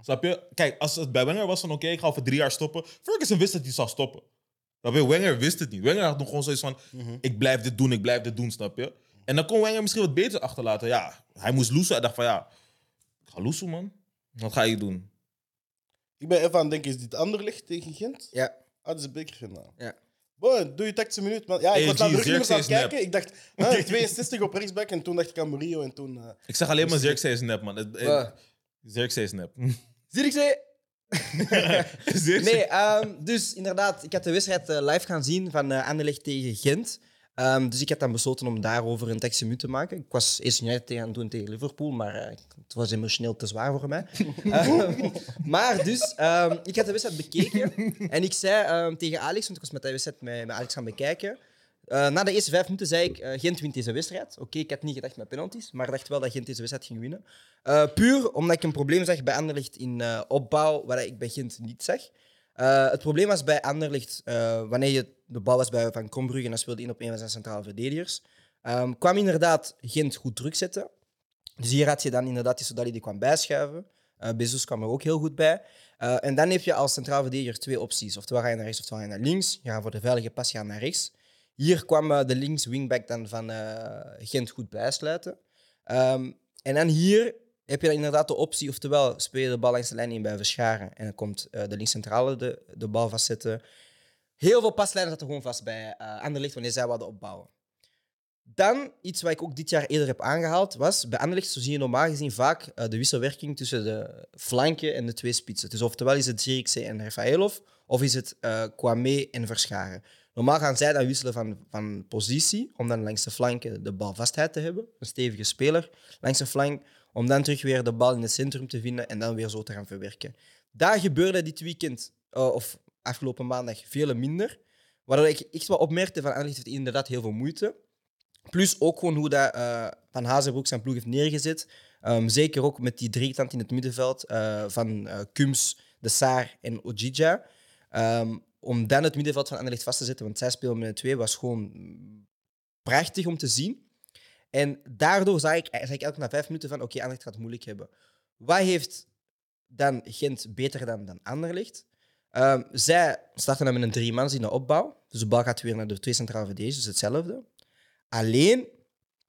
Speaker 2: Snap je? Kijk, als het bij Wenger was van, oké, ik ga over drie jaar stoppen. Ferguson wist dat hij zou stoppen. Snap je? Wenger wist het niet. Wenger had nog gewoon zoiets van,
Speaker 3: Mhm.
Speaker 2: ik blijf dit doen, ik blijf dit doen, snap je? En dan kon Wenger misschien wat beter achterlaten. Ja, hij moest loesoe. Hij dacht van, ja, ik ga loesoe, man. Wat ga ik doen?
Speaker 3: Ik ben even aan het denken, is dit Anderlecht tegen Gent?
Speaker 1: Ja.
Speaker 3: Ah, dat is een bekerfinale.
Speaker 1: Ja.
Speaker 3: Boy, doe je tactische minuut. Man. Ja,
Speaker 2: Hey,
Speaker 3: ik was naar
Speaker 2: G,
Speaker 3: de rugnummers aan het
Speaker 2: Xerxes
Speaker 3: kijken. Ik dacht, huh, 62 op rechtsback en toen dacht ik aan Murillo en toen... eh,
Speaker 2: Ik zeg alleen maar Xerxes is nep, man. Het- het-
Speaker 1: Wat?
Speaker 2: Xerxes is nep.
Speaker 1: Zie ik ze?
Speaker 2: Xerxes-
Speaker 1: Nee, ehm, dus inderdaad, ik had de wedstrijd eh, live gaan zien van eh Anderlecht tegen Gent. Ehm, dus ik had dan besloten om daarover een tekstje te maken. Ik was eerst United tegen aan het doen tegen Liverpool, maar eh, het was emotioneel te zwaar voor mij. Ehm, maar dus, ehm, ik had de wedstrijd bekeken en ik zei ehm, tegen Alex, want ik was met de wedstrijd met, met Alex gaan bekijken, Eh, na de eerste vijf minuten zei ik, eh Gent wint deze wedstrijd. Oké, ik had niet gedacht met penalties, maar dacht wel dat Gent deze wedstrijd ging winnen. Eh, puur omdat ik een probleem zag bij Anderlecht in eh, opbouw, waar ik bij Gent niet zag. Eh, het probleem was bij Anderlecht, eh, wanneer je de bal was bij Van Kombrugge en dan speelde in op een van zijn centrale verdedigers, ehm, kwam inderdaad Gent goed druk zetten. Dus hier had je dan inderdaad die Sodali die kwam bijschuiven. Eh Bezos kwam er ook heel goed bij. Eh, en dan heb je als centraal verdediger twee opties. Oftewel ga je naar rechts, oftewel ga je naar links. Je gaat voor de veilige pas, je gaat naar rechts. Hier kwam eh, de links wingback dan van eh, Gent goed bijsluiten. Ehm, en dan hier heb je dan inderdaad de optie, oftewel speel je de bal langs de lijn in bij Verscharen. En dan komt eh, de linkscentrale de, de bal vastzetten. Heel veel paslijnen zaten gewoon vast bij eh Anderlecht wanneer zij wilden opbouwen. Dan, iets wat ik ook dit jaar eerder heb aangehaald, was bij Anderlecht zo zie je normaal gezien vaak eh, de wisselwerking tussen de flanken en de twee spitsen. Dus oftewel is het Zirikse en Rafaelov, of is het eh Kwame en Verscharen. Normaal gaan zij dan wisselen van, van positie, om dan langs de flanken de balvastheid te hebben. Een stevige speler langs de flank, om dan terug weer de bal in het centrum te vinden en dan weer zo te gaan verwerken. Daar gebeurde dit weekend, eh, of afgelopen maandag, veel minder. Waardoor ik echt wel opmerkte van Anderlecht heeft inderdaad heel veel moeite. Plus ook gewoon hoe dat, eh, Van Hazenbroek zijn ploeg heeft neergezet. Ehm, zeker ook met die driekant in het middenveld eh, van eh, Kums, De Saar en Ojija. Ehm, om dan het middenveld van Anderlecht vast te zetten, want zij speelden met twee, was gewoon mm, prachtig om te zien. En daardoor zag ik, zag ik elke na vijf minuten van, oké, Anderlecht gaat het moeilijk hebben. Wat heeft dan Gent beter dan, dan Anderlecht? Ehm, zij starten dan met een drie man in de opbouw. Dus de bal gaat weer naar de twee centrale verdedigers, dus hetzelfde. Alleen,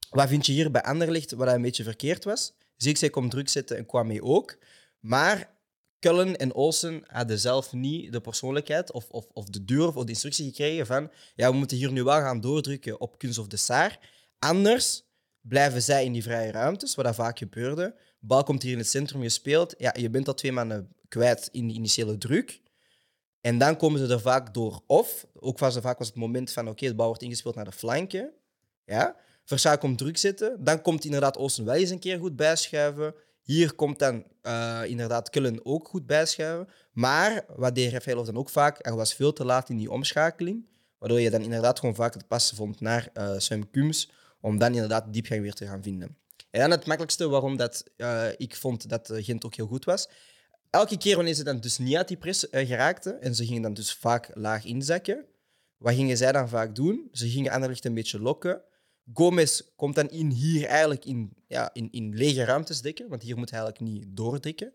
Speaker 1: wat vind je hier bij Anderlecht, wat een beetje verkeerd was? Zirkzee komt druk zetten en kwam mee ook. Maar Cullen en Olsen hadden zelf niet de persoonlijkheid of, of, of de durf of de instructie gekregen van ja, we moeten hier nu wel gaan doordrukken op Kunst of de Saar. Anders blijven zij in die vrije ruimtes, wat dat vaak gebeurde. Bal komt hier in het centrum gespeeld. Ja, je bent al twee mannen kwijt in die initiële druk. En dan komen ze er vaak door. Of, ook was er vaak was het moment van oké, de bal wordt ingespeeld naar de flanken. Ja? Versailles komt druk zitten. Dan komt inderdaad Olsen wel eens een keer goed bijschuiven. Hier komt dan eh, inderdaad Kullen ook goed bijschuiven. Maar wat deed Rafaelov dan ook vaak? Er was veel te laat in die omschakeling. Waardoor je dan inderdaad gewoon vaak het passen vond naar eh Sam Kums. Om dan inderdaad diepgang weer te gaan vinden. En dan het makkelijkste waarom dat, eh, ik vond dat eh, Gent ook heel goed was. Elke keer wanneer ze dan dus niet uit die press eh, geraakten. En ze gingen dan dus vaak laag inzakken. Wat gingen zij dan vaak doen? Ze gingen Anderlecht een beetje lokken. Gomez komt dan in hier eigenlijk in, ja, in, in lege ruimtes dekken, want hier moet hij eigenlijk niet doordekken.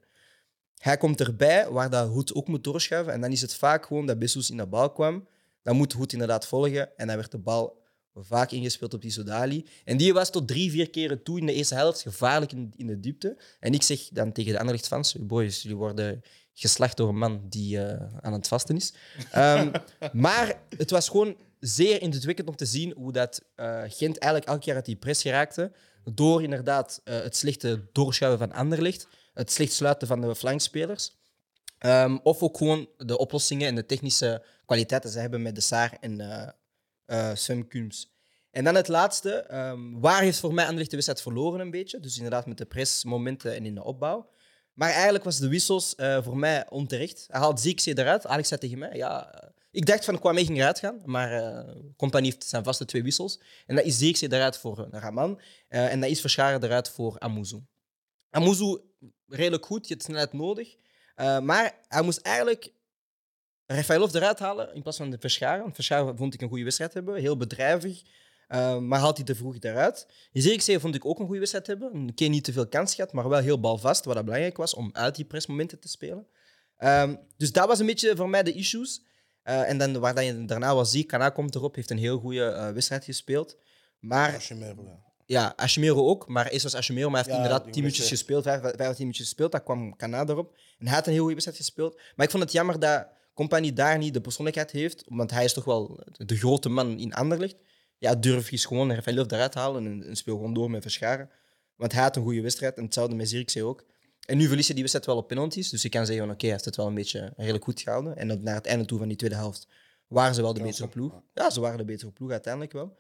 Speaker 1: Hij komt erbij, waar dat Hoed ook moet doorschuiven. En dan is het vaak gewoon dat Bessoes in de bal kwam. Dan moet Hoed inderdaad volgen. En dan werd de bal vaak ingespeeld op die Sodali. En die was tot drie, vier keren toe in de eerste helft gevaarlijk in, in de diepte. En ik zeg dan tegen de anderlecht fans, boys, jullie worden geslacht door een man die eh, aan het vasten is. Ehm, maar het was gewoon zeer indrukwekkend om te zien hoe dat eh, Gent eigenlijk elke keer uit die press geraakte. Door inderdaad eh, het slechte doorschuiven van Anderlicht, het slecht sluiten van de flankspelers. Ehm, of ook gewoon de oplossingen en de technische kwaliteiten ze hebben met de Saar en eh eh, Sam Kums. En dan het laatste. ehm, waar heeft voor mij Anderlecht de wedstrijd verloren een beetje? Dus inderdaad met de pressmomenten en in de opbouw. Maar eigenlijk was de wissels eh, voor mij onterecht. Hij haalt Ziekzee eruit. Alex zei tegen mij, ja... eh, Ik dacht van Kwame ging eruit gaan, maar eh Compagnie heeft zijn vaste twee wissels. En dat is Ziekzee eruit voor eh, Raman. eh, en dat is Verscharen eruit voor Amuzu. Amuzu, redelijk goed. Je hebt snelheid nodig. eh, maar hij moest eigenlijk Rafaelov eruit halen in plaats van de Verscharen. Want Verscharen vond ik een goede wedstrijd hebben, heel bedrijvig. eh, maar haalt hij te vroeg eruit. Zirkzee vond ik ook een goede wedstrijd hebben. Een keer niet te veel kans gehad, maar wel heel balvast. Wat dat belangrijk was om uit die pressmomenten te spelen. Ehm, dus dat was een beetje voor mij de issues. Eh, en dan waar dan je daarna was zie, Kana komt erop, heeft een heel goede eh, wedstrijd gespeeld. Maar
Speaker 3: Als je meer wil, ja.
Speaker 1: ja, Ashimero ook, maar eerst was Ashimero, maar hij heeft
Speaker 3: Ja,
Speaker 1: inderdaad
Speaker 3: die
Speaker 1: 10 minuutjes
Speaker 3: wedstrijd.
Speaker 1: gespeeld, 5 of 10 minuutjes gespeeld. Daar kwam Canada erop. En hij had een heel goede wedstrijd gespeeld. Maar ik vond het jammer dat Compagnie daar niet de persoonlijkheid heeft, want hij is toch wel de grote man in Anderlecht. Ja, durf eens gewoon Rafaelov eruit te halen en, en speel gewoon door met Verscharen. Want hij had een goede wedstrijd en hetzelfde met Zirkzee ook. En nu verliest hij die wedstrijd wel op penalties, dus je kan zeggen, van, oké, hij heeft het wel een beetje redelijk goed gehouden. En dan naar het einde toe van die tweede helft waren ze wel de betere ploeg. Ja, ze waren de betere ploeg uiteindelijk wel.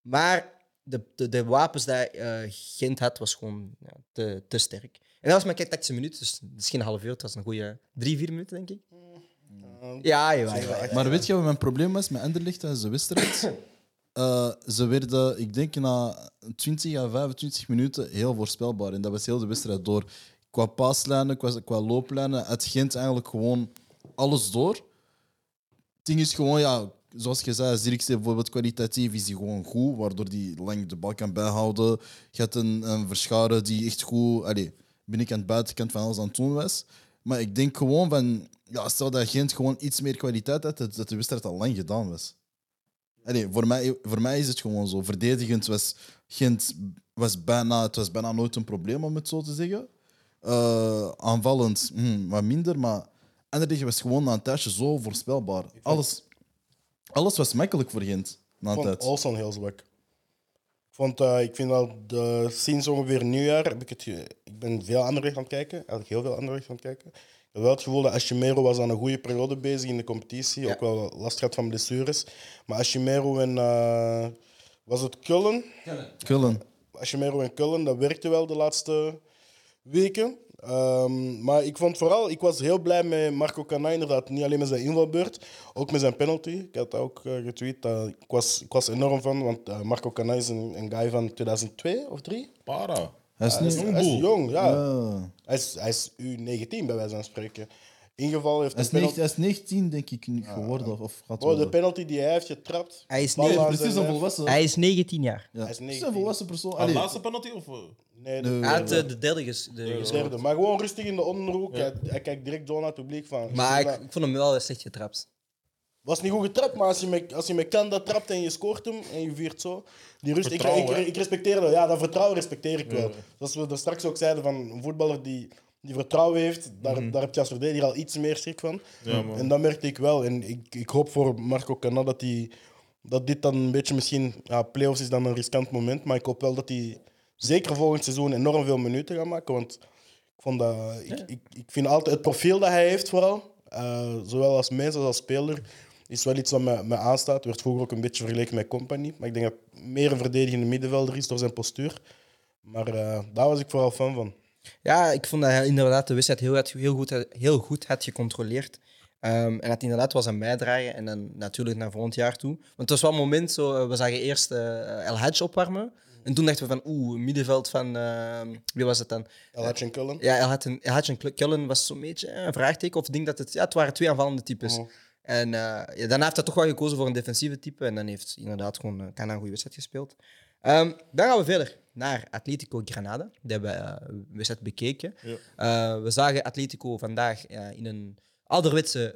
Speaker 1: Maar de, de, de wapens die eh Gent had, was gewoon ja, te, te sterk. En dat was mijn tactische minuut, dus het is geen half uur, het was een goede drie, vier minuten, denk ik.
Speaker 3: Eh,
Speaker 1: Ja, jawel, jawel.
Speaker 4: Maar weet je wat mijn probleem was met Anderlecht tijdens de wedstrijd? eh, ze werden, ik denk na 20 à 25 minuten, heel voorspelbaar. En dat was heel de wedstrijd door. Qua paaslijnen, qua, qua looplijnen, het Gent eigenlijk gewoon alles door. Het ding is gewoon, ja, zoals je zei, Zirkzee bijvoorbeeld kwalitatief is die gewoon goed, waardoor die lang de bal kan bijhouden. Je had een, een verscharen die echt goed, allez, binnenkant, buitenkant van alles aan het doen was. Maar ik denk gewoon van, ja, stel dat Gent gewoon iets meer kwaliteit had, dat dat de wedstrijd al lang gedaan was. Allee, voor, mij, voor mij is het gewoon zo. Verdedigend was Gent was bijna, het was bijna nooit een probleem, om het zo te zeggen. Eh, aanvallend hmm, wat minder, maar Anderlecht was gewoon na een tijdje zo voorspelbaar. Alles, alles was makkelijk voor Gent na
Speaker 3: Ik
Speaker 4: een
Speaker 3: vond
Speaker 4: tijd.
Speaker 3: Olsen heel zwak. Ik, vond, eh, ik vind dat de, sinds ongeveer nieuwjaar heb ik het. ge- Ik ben veel andere aan het kijken, eigenlijk heel veel andere aan het kijken. Ik heb wel het gevoel dat Ashimero was aan een goede periode bezig in de competitie, ook wel last gehad van blessures. Maar Ashimero en eh, was het Kullen?
Speaker 4: Kullen.
Speaker 3: Ashimero en Kullen, dat werkte wel de laatste weken. Ehm, maar ik vond vooral, ik was heel blij met Marco Cana inderdaad. Niet alleen met zijn invalbeurt, ook met zijn penalty. Ik had dat ook eh, getweet. dat ik, was, ik was enorm van, want eh, Marco Cana is een, een guy van 2002 of 3.
Speaker 2: Para.
Speaker 4: Hij is niet...
Speaker 2: Jong
Speaker 3: Hij is
Speaker 2: boel.
Speaker 3: jong, ja.
Speaker 4: Ja.
Speaker 3: Hij, is, hij is U19 bij wijze van spreken. Ingeval heeft
Speaker 4: Hij
Speaker 3: een
Speaker 4: is, negen-
Speaker 3: penalty,
Speaker 4: hij is 19, denk ik, nu geworden. Of, of gaat
Speaker 3: oh, de
Speaker 4: worden.
Speaker 3: penalty die hij heeft getrapt.
Speaker 1: Hij is
Speaker 3: Bal
Speaker 1: negen-
Speaker 3: aan
Speaker 4: Precies
Speaker 3: zijn
Speaker 4: een
Speaker 3: lijf.
Speaker 4: volwassen.
Speaker 1: Hij is 19 jaar.
Speaker 4: Ja.
Speaker 3: Hij is
Speaker 4: Het is
Speaker 3: 19.
Speaker 4: een volwassen persoon.
Speaker 2: Ah,
Speaker 4: Allee,
Speaker 2: laatste penalty of... eh?
Speaker 3: Nee,
Speaker 4: Nee.
Speaker 3: de
Speaker 1: Hij had eh, de derde ges- de gescoord.
Speaker 3: derde. Maar gewoon rustig in de onderhoek. Hij, hij kijkt direct door naar het publiek. Van,
Speaker 1: Maar ik,
Speaker 3: Ja.
Speaker 1: ik vond hem wel slecht getrapt.
Speaker 3: Was niet goed getrapt, maar als je met, als je met Kanda trapt en je scoort hem en je viert zo. Die rust, ik, ik,
Speaker 2: Vertrouwen, hè?
Speaker 3: ik respecteer dat. Ja, dat vertrouwen respecteer ik wel. Zoals we er straks ook zeiden, van een voetballer die, die vertrouwen heeft, daar, daar heb je als verdediger al iets meer schrik van.
Speaker 2: Mhm. man.
Speaker 3: en dat merkte ik wel. En ik, ik hoop voor Marco Cana dat, die, dat dit dan een beetje misschien... Ja, play-offs is dan een riskant moment, maar ik hoop wel dat hij zeker volgend seizoen enorm veel minuten gaat maken. Want ik, vond dat, ik, ik, ik vind altijd het profiel dat hij heeft, vooral, eh, zowel als mens als als speler, is wel iets wat me, me aanstaat. Werd vroeger ook een beetje vergeleken met Company. Maar ik denk dat meer een verdedigende middenvelder is door zijn postuur. Maar eh, daar was ik vooral fan van.
Speaker 1: Ja, ik vond dat hij inderdaad de wedstrijd heel, had- heel, goed, heel goed had gecontroleerd. Ehm, en dat inderdaad was aan bijdragen. En dan natuurlijk naar volgend jaar toe. Want het was wel een moment, zo, eh, we zagen eerst eh, El Hadj opwarmen. En toen dachten we van, oeh, middenveld van... ehm, wie was het dan?
Speaker 3: El Hadj en Cullen.
Speaker 1: Ja, El Hadj en- El Hadj en Kl- Cullen was zo'n beetje eh, een vraagteken. Of ik denk dat het... Ja, het waren twee aanvallende types. En eh, ja, daarna heeft hij toch wel gekozen voor een defensieve type. En dan heeft inderdaad gewoon eh, Kana een goede wedstrijd gespeeld. Ehm, dan gaan we verder naar Atletico Granada. Die hebben we eh, wedstrijd bekeken. Eh, we zagen Atletico vandaag eh, in een ouderwetse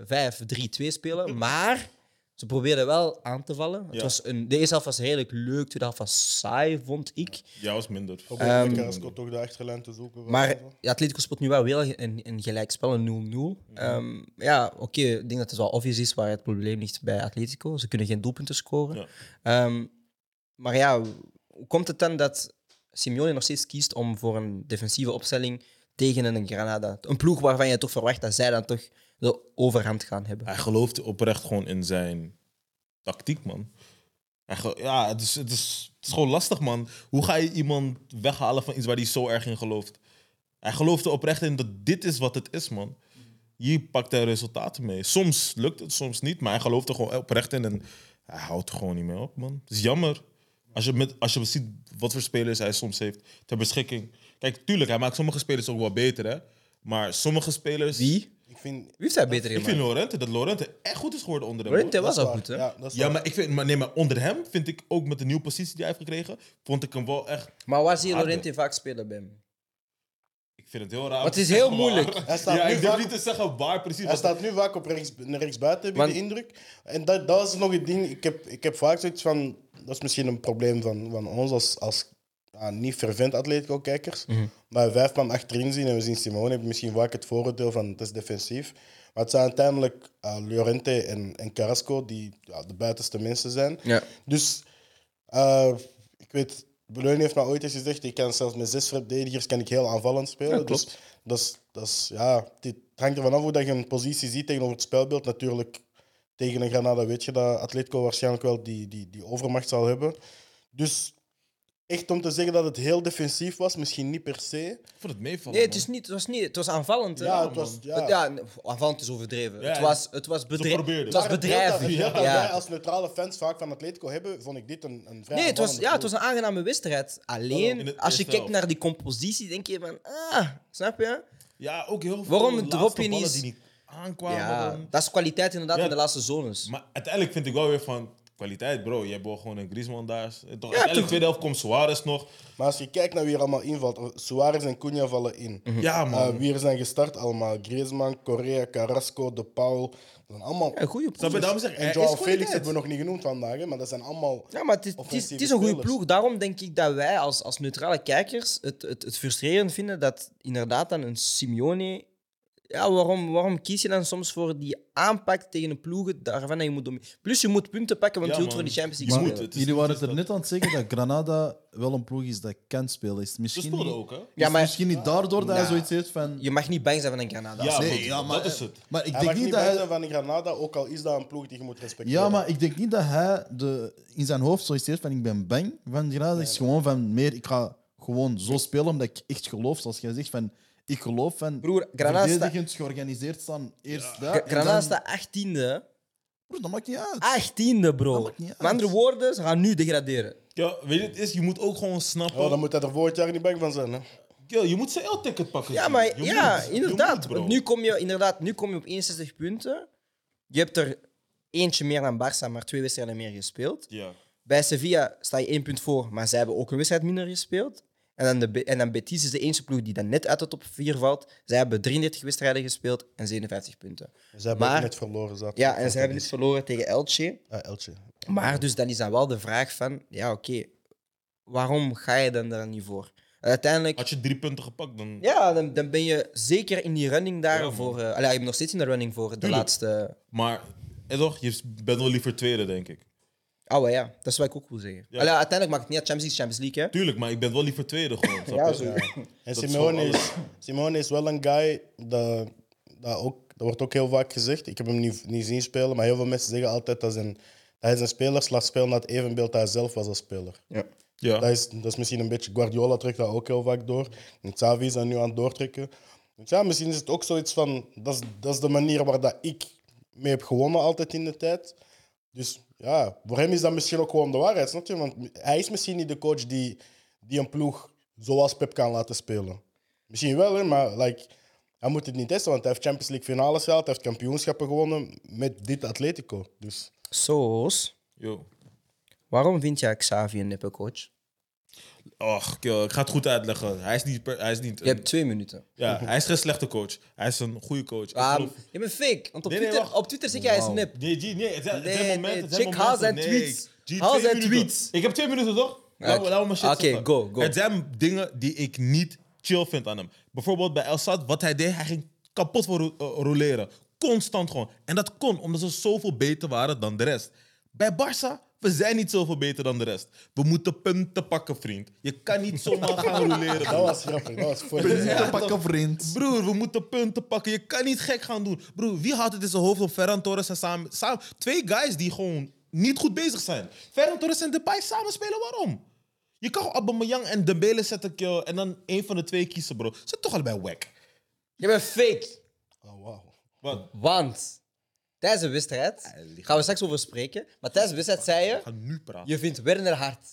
Speaker 1: 5-3-2 spelen. Maar ze probeerden wel aan te vallen. Het
Speaker 2: Ja.
Speaker 1: was een, de eerste helft was redelijk leuk, de tweede helft was saai, vond ik.
Speaker 2: Ja, ehm, was minder.
Speaker 3: Ook om met Carrasco toch de achterlijn te zoeken.
Speaker 1: Maar ja, Atletico speelt nu wel wel een, een gelijkspel, een 0-0.
Speaker 3: Mhm.
Speaker 1: Ehm, ja, oké, ik denk dat het wel obvious is waar het probleem ligt bij Atletico. Ze kunnen geen doelpunten scoren.
Speaker 2: Ja.
Speaker 1: Ehm, maar ja, hoe komt het dan dat Simeone nog steeds kiest om voor een defensieve opstelling tegen een Granada? Een ploeg waarvan je toch verwacht dat zij dan toch de overhand gaan hebben.
Speaker 3: Ah.
Speaker 2: Hij gelooft oprecht gewoon in zijn tactiek, man. Hij ge- ja, het is, het, is, het is gewoon lastig, man. Hoe ga je iemand weghalen van iets waar hij zo erg in gelooft? Hij geloofde oprecht in dat dit is wat het is, man. Hier pakt hij resultaten mee. Soms lukt het, soms niet, maar hij gelooft er gewoon oprecht in en hij houdt er gewoon niet mee op, man. Het is jammer. Als je, met, als je ziet wat voor spelers hij soms heeft ter beschikking. Kijk, tuurlijk, hij maakt sommige spelers ook wel beter, hè. Maar sommige spelers...
Speaker 1: Wie?
Speaker 3: Ik vind...
Speaker 1: Wie heeft hij beter
Speaker 2: Ik vind
Speaker 1: gemaakt?
Speaker 2: Lorente dat Lorente echt goed is geworden onder hem. hoor.
Speaker 1: Lorente was
Speaker 3: dat is
Speaker 1: al
Speaker 3: waar.
Speaker 1: goed, hè?
Speaker 3: Ja, dat is
Speaker 2: Ja,
Speaker 3: waar.
Speaker 2: maar, ik vind, maar, nee, maar onder hem vind ik ook met de nieuwe positie die hij heeft gekregen, vond ik hem wel echt.
Speaker 1: Maar waar zie je
Speaker 2: Harde.
Speaker 1: Lorente vaak spelen bij hem?
Speaker 2: Ik vind het heel raar. om
Speaker 1: Want het
Speaker 2: te
Speaker 1: is heel
Speaker 2: zeggen waar.
Speaker 1: moeilijk.
Speaker 3: Hij staat
Speaker 2: ja,
Speaker 3: nu
Speaker 2: ik durf
Speaker 3: vaak-
Speaker 2: niet te zeggen waar precies.
Speaker 3: Hij
Speaker 2: want-
Speaker 3: staat nu vaak op rechts, rechts buiten, heb ik
Speaker 1: Want-
Speaker 3: de indruk. En dat, dat is nog het ding. Ik heb, ik heb vaak zoiets van. Dat is misschien een probleem van, van ons als, als ja, Ah, niet fervent Atletico-kijkers. Maar vijf man achterin zien en we zien Simone, hebben misschien vaak het voordeel van het is defensief. Maar het zijn uiteindelijk eh Llorente en, en Carrasco die ja, de buitenste mensen zijn.
Speaker 1: Ja.
Speaker 3: Dus eh, ik weet, Beleun heeft mij ooit eens gezegd, ik kan zelfs met zes verdedigers kan ik heel aanvallend spelen. Dus dat is, dat is, ja, dit hangt ervan af hoe dat je een positie ziet tegenover het spelbeeld. Natuurlijk, tegen een Granada weet je dat Atletico waarschijnlijk wel die, die, die overmacht zal hebben. Dus echt om te zeggen dat het heel defensief was, misschien niet per se.
Speaker 2: Voor het meevallen.
Speaker 1: Nee, het, is niet, het was niet. Het was aanvallend. hè?
Speaker 3: Ja, het was- ja.
Speaker 1: Het- nee, aanvallend is overdreven.
Speaker 2: Ja,
Speaker 1: het
Speaker 2: ja.
Speaker 1: was, het was, bedrijf,
Speaker 2: probeerden.
Speaker 1: het was
Speaker 3: Maar het beeld dat-
Speaker 1: bedrijvig.
Speaker 3: het beeld
Speaker 1: Ja.
Speaker 3: dat wij als neutrale fans vaak van Atletico hebben, vond ik dit een, een vrij
Speaker 1: Nee, het was,
Speaker 3: aanvallende
Speaker 1: ja, het was
Speaker 3: ploeg.
Speaker 1: een aangename wedstrijd.
Speaker 2: in
Speaker 1: Alleen, als
Speaker 2: het
Speaker 1: je
Speaker 2: eerste
Speaker 1: kijkt
Speaker 2: helft.
Speaker 1: naar die compositie, denk je van... Ah, snap je?
Speaker 2: Ja, ook heel veel
Speaker 1: Waarom
Speaker 2: laatste
Speaker 1: drop je
Speaker 2: ballen
Speaker 1: niet-
Speaker 2: die niet aankwamen.
Speaker 1: Ja,
Speaker 2: dan.
Speaker 1: dat is kwaliteit inderdaad
Speaker 2: Ja.
Speaker 1: in de laatste zones.
Speaker 2: Maar uiteindelijk vind ik wel weer van kwaliteit, bro. Je hebt wel gewoon een Griezmann daar. Toch, uiteindelijk
Speaker 1: toch.
Speaker 2: tweede helft komt Suarez nog.
Speaker 3: Maar als je kijkt naar wie er allemaal invalt, eh, Suarez en Cunha vallen in.
Speaker 1: Mhm.
Speaker 2: Ja,
Speaker 3: Eh,
Speaker 2: man.
Speaker 3: wie er zijn gestart allemaal? Griezmann, Correa, Carrasco, De Paul. Dat zijn allemaal...
Speaker 1: Ja, goede
Speaker 2: Snap je?
Speaker 1: ploeg.
Speaker 2: Daarom zeg ik,
Speaker 3: en
Speaker 2: er
Speaker 3: Joao
Speaker 2: is
Speaker 3: Felix
Speaker 2: kwaliteit.
Speaker 3: hebben we nog niet genoemd vandaag, hè, maar dat zijn allemaal...
Speaker 1: Ja, maar het is, het is, het is een goede
Speaker 3: Offensieve
Speaker 1: ploeg. Daarom denk ik dat wij als, als neutrale kijkers het, het, het frustrerend vinden dat inderdaad dan een Simeone... Ja, waarom, waarom kies je dan soms voor die aanpak tegen een ploeg daarvan dat je moet... domi- Plus je moet punten pakken, want
Speaker 2: Ja,
Speaker 1: je wilt voor
Speaker 2: man.
Speaker 1: die Champions
Speaker 2: Je
Speaker 1: League
Speaker 2: moet
Speaker 4: Maar
Speaker 1: spelen.
Speaker 2: het. is-
Speaker 4: jullie waren
Speaker 2: het
Speaker 4: het
Speaker 2: is
Speaker 4: er net aan het zeggen dat Granada wel een ploeg is dat kan spelen. Is het
Speaker 2: Ze
Speaker 4: misschien,
Speaker 2: speelden
Speaker 4: niet,
Speaker 2: ook, hè?
Speaker 4: is het
Speaker 1: maar-
Speaker 4: misschien niet daardoor dat hij
Speaker 1: Nah.
Speaker 4: zoiets heeft van...
Speaker 1: Je mag niet bang zijn van een Granada.
Speaker 2: Ja,
Speaker 4: nee,
Speaker 2: maar
Speaker 4: ja, maar,
Speaker 2: dat is het.
Speaker 4: Maar ik
Speaker 3: Hij mag
Speaker 4: denk
Speaker 3: niet
Speaker 4: niet
Speaker 3: bij
Speaker 4: dat hij...
Speaker 3: zijn van Granada, ook al is dat een ploeg die je moet respecteren.
Speaker 4: Ja, maar ik denk niet dat hij de, in zijn hoofd zoiets heeft van ik ben bang van Granada. Het is gewoon van meer, ik ga gewoon zo spelen omdat ik echt geloof, zoals jij zegt, van ik geloof van
Speaker 1: Broer, Granada sta-
Speaker 4: verdedigend georganiseerd staan eerst daar.
Speaker 1: Gra-
Speaker 4: en
Speaker 1: Granada Ah,
Speaker 4: dan-
Speaker 1: staat 18e.
Speaker 4: Broer, dat maakt niet uit.
Speaker 1: 18e, bro.
Speaker 4: Dat maakt niet
Speaker 1: Met
Speaker 4: uit.
Speaker 1: andere woorden, ze gaan nu degraderen.
Speaker 2: Ja, weet je, het is, je moet ook gewoon snappen.
Speaker 3: Oh, dan moet hij er volgend jaar niet bang van zijn. Hè?
Speaker 2: Ja, je moet zijn L-ticket pakken.
Speaker 1: Ja,
Speaker 2: G.
Speaker 1: maar
Speaker 2: Je moet-
Speaker 1: ja,
Speaker 2: je
Speaker 1: inderdaad.
Speaker 2: moet, bro.
Speaker 1: want nu kom je inderdaad, nu kom je op 61 punten. Je hebt er eentje meer dan Barça, maar twee wedstrijden meer gespeeld.
Speaker 2: Ja.
Speaker 1: Bij Sevilla sta je één punt voor, maar zij hebben ook een wedstrijd minder gespeeld. En dan, de, Be- en dan Betis is de enige ploeg die dan net uit de top 4 valt. Zij hebben 33 wedstrijden gespeeld en 57 punten.
Speaker 3: Ze hebben
Speaker 1: Maar-
Speaker 3: ook net verloren. zaterdag.
Speaker 1: Ja, en ze hebben dus verloren tegen Elche.
Speaker 3: Ah, Elche.
Speaker 1: Maar dus dan is dan wel de vraag van, ja oké, waarom ga je dan daar niet voor? Uiteindelijk,
Speaker 2: Had je drie punten gepakt, dan...
Speaker 1: ja, dan, dan ben je zeker in die running
Speaker 2: Ja, man.
Speaker 1: daarvoor. voor. eh, allee, je bent nog steeds in de running voor de
Speaker 2: Tuurlijk.
Speaker 1: laatste.
Speaker 2: Maar, eh, toch, je bent wel liever tweede, denk ik.
Speaker 1: Oh ja, dat is wat ik ook wil zeggen.
Speaker 2: Ja.
Speaker 1: Allee, uiteindelijk maakt het niet uit, Champions League, Champions League, hè?
Speaker 2: Tuurlijk, maar ik ben wel liever tweede gewoon. snap
Speaker 1: Ja,
Speaker 2: je?
Speaker 1: zo.
Speaker 3: En
Speaker 2: Dat is
Speaker 3: Simeone
Speaker 2: wel
Speaker 3: is, Simeone is wel een guy dat, dat ook, dat wordt ook heel vaak gezegd. Ik heb hem niet, niet zien spelen, maar heel veel mensen zeggen altijd dat, zijn, dat hij zijn spelers laat spelen naar het evenbeeld dat hij zelf was als speler.
Speaker 2: Ja.
Speaker 3: Dat, is, dat is misschien een beetje. Guardiola trekt dat ook heel vaak door. En Xavi is dat nu aan het doortrekken. Dus ja, misschien is het ook zoiets van. Dat is, dat is de manier waar dat ik mee heb gewonnen altijd in de tijd. Dus ja, voor hem is dat misschien ook gewoon de waarheid. Snap je? Want hij is misschien niet de coach die, die een ploeg zoals Pep kan laten spelen. Misschien wel, hè, maar like, hij moet het niet testen, want hij heeft Champions League finales gehaald, hij heeft kampioenschappen gewonnen met dit Atletico. Dus
Speaker 1: Soos,
Speaker 2: Yo.
Speaker 1: waarom vind jij Xavi een neppe coach?
Speaker 2: Och, kerel, ik ga het goed uitleggen. Hij is niet... per- hij is niet
Speaker 1: Je hebt twee minuten.
Speaker 2: Ja, hij is geen slechte coach. Hij is een goede coach. Ik
Speaker 1: Ah,
Speaker 2: geloof-
Speaker 1: je bent fake, want op
Speaker 2: Nee, nee,
Speaker 1: Twitter,
Speaker 2: wacht.
Speaker 1: op Twitter zeg jij hij is
Speaker 4: Wauw.
Speaker 1: nep.
Speaker 2: Nee, G, nee. Het, het
Speaker 1: Nee,
Speaker 2: zijn
Speaker 1: nee,
Speaker 2: momenten, het zijn
Speaker 1: check
Speaker 2: momenten.
Speaker 1: haal zijn
Speaker 2: Nee,
Speaker 1: tweets.
Speaker 2: G, twee
Speaker 1: Haal zijn
Speaker 2: minuten.
Speaker 1: tweets.
Speaker 2: Ik heb twee minuten, toch? Laten we- laten we mijn shit
Speaker 1: Oké,
Speaker 2: zeggen.
Speaker 1: go, go.
Speaker 2: Het zijn dingen die ik niet chill vind aan hem. Bijvoorbeeld bij El Sad, wat hij deed, hij ging kapot voor ro- eh, roleren. Constant gewoon. En dat kon, omdat ze zoveel beter waren dan de rest. Bij Barça, we zijn niet zoveel beter dan de rest. We moeten punten pakken, vriend. Je kan niet zomaar gaan roleren.
Speaker 3: dat was grappig, dat was voor
Speaker 4: Punten pakken, vriend.
Speaker 2: Broer, we moeten punten pakken. Je kan niet gek gaan doen. Broer, wie houdt het in zijn hoofd om Ferran Torres en samen, samen... Twee guys die gewoon niet goed bezig zijn. Ferran Torres en Depay samen spelen, waarom? Je kan gewoon Aubameyang en Dembele zetten kill, en dan één van de twee kiezen, bro. Ze zijn toch allebei wack.
Speaker 1: Je bent fake.
Speaker 3: Oh, wow.
Speaker 2: Wat?
Speaker 1: Want tijdens de wedstrijd, gaan we straks over spreken, maar tijdens de wedstrijd Dus zei
Speaker 2: We
Speaker 1: je,
Speaker 2: gaan nu praten.
Speaker 1: je vindt Werner hard.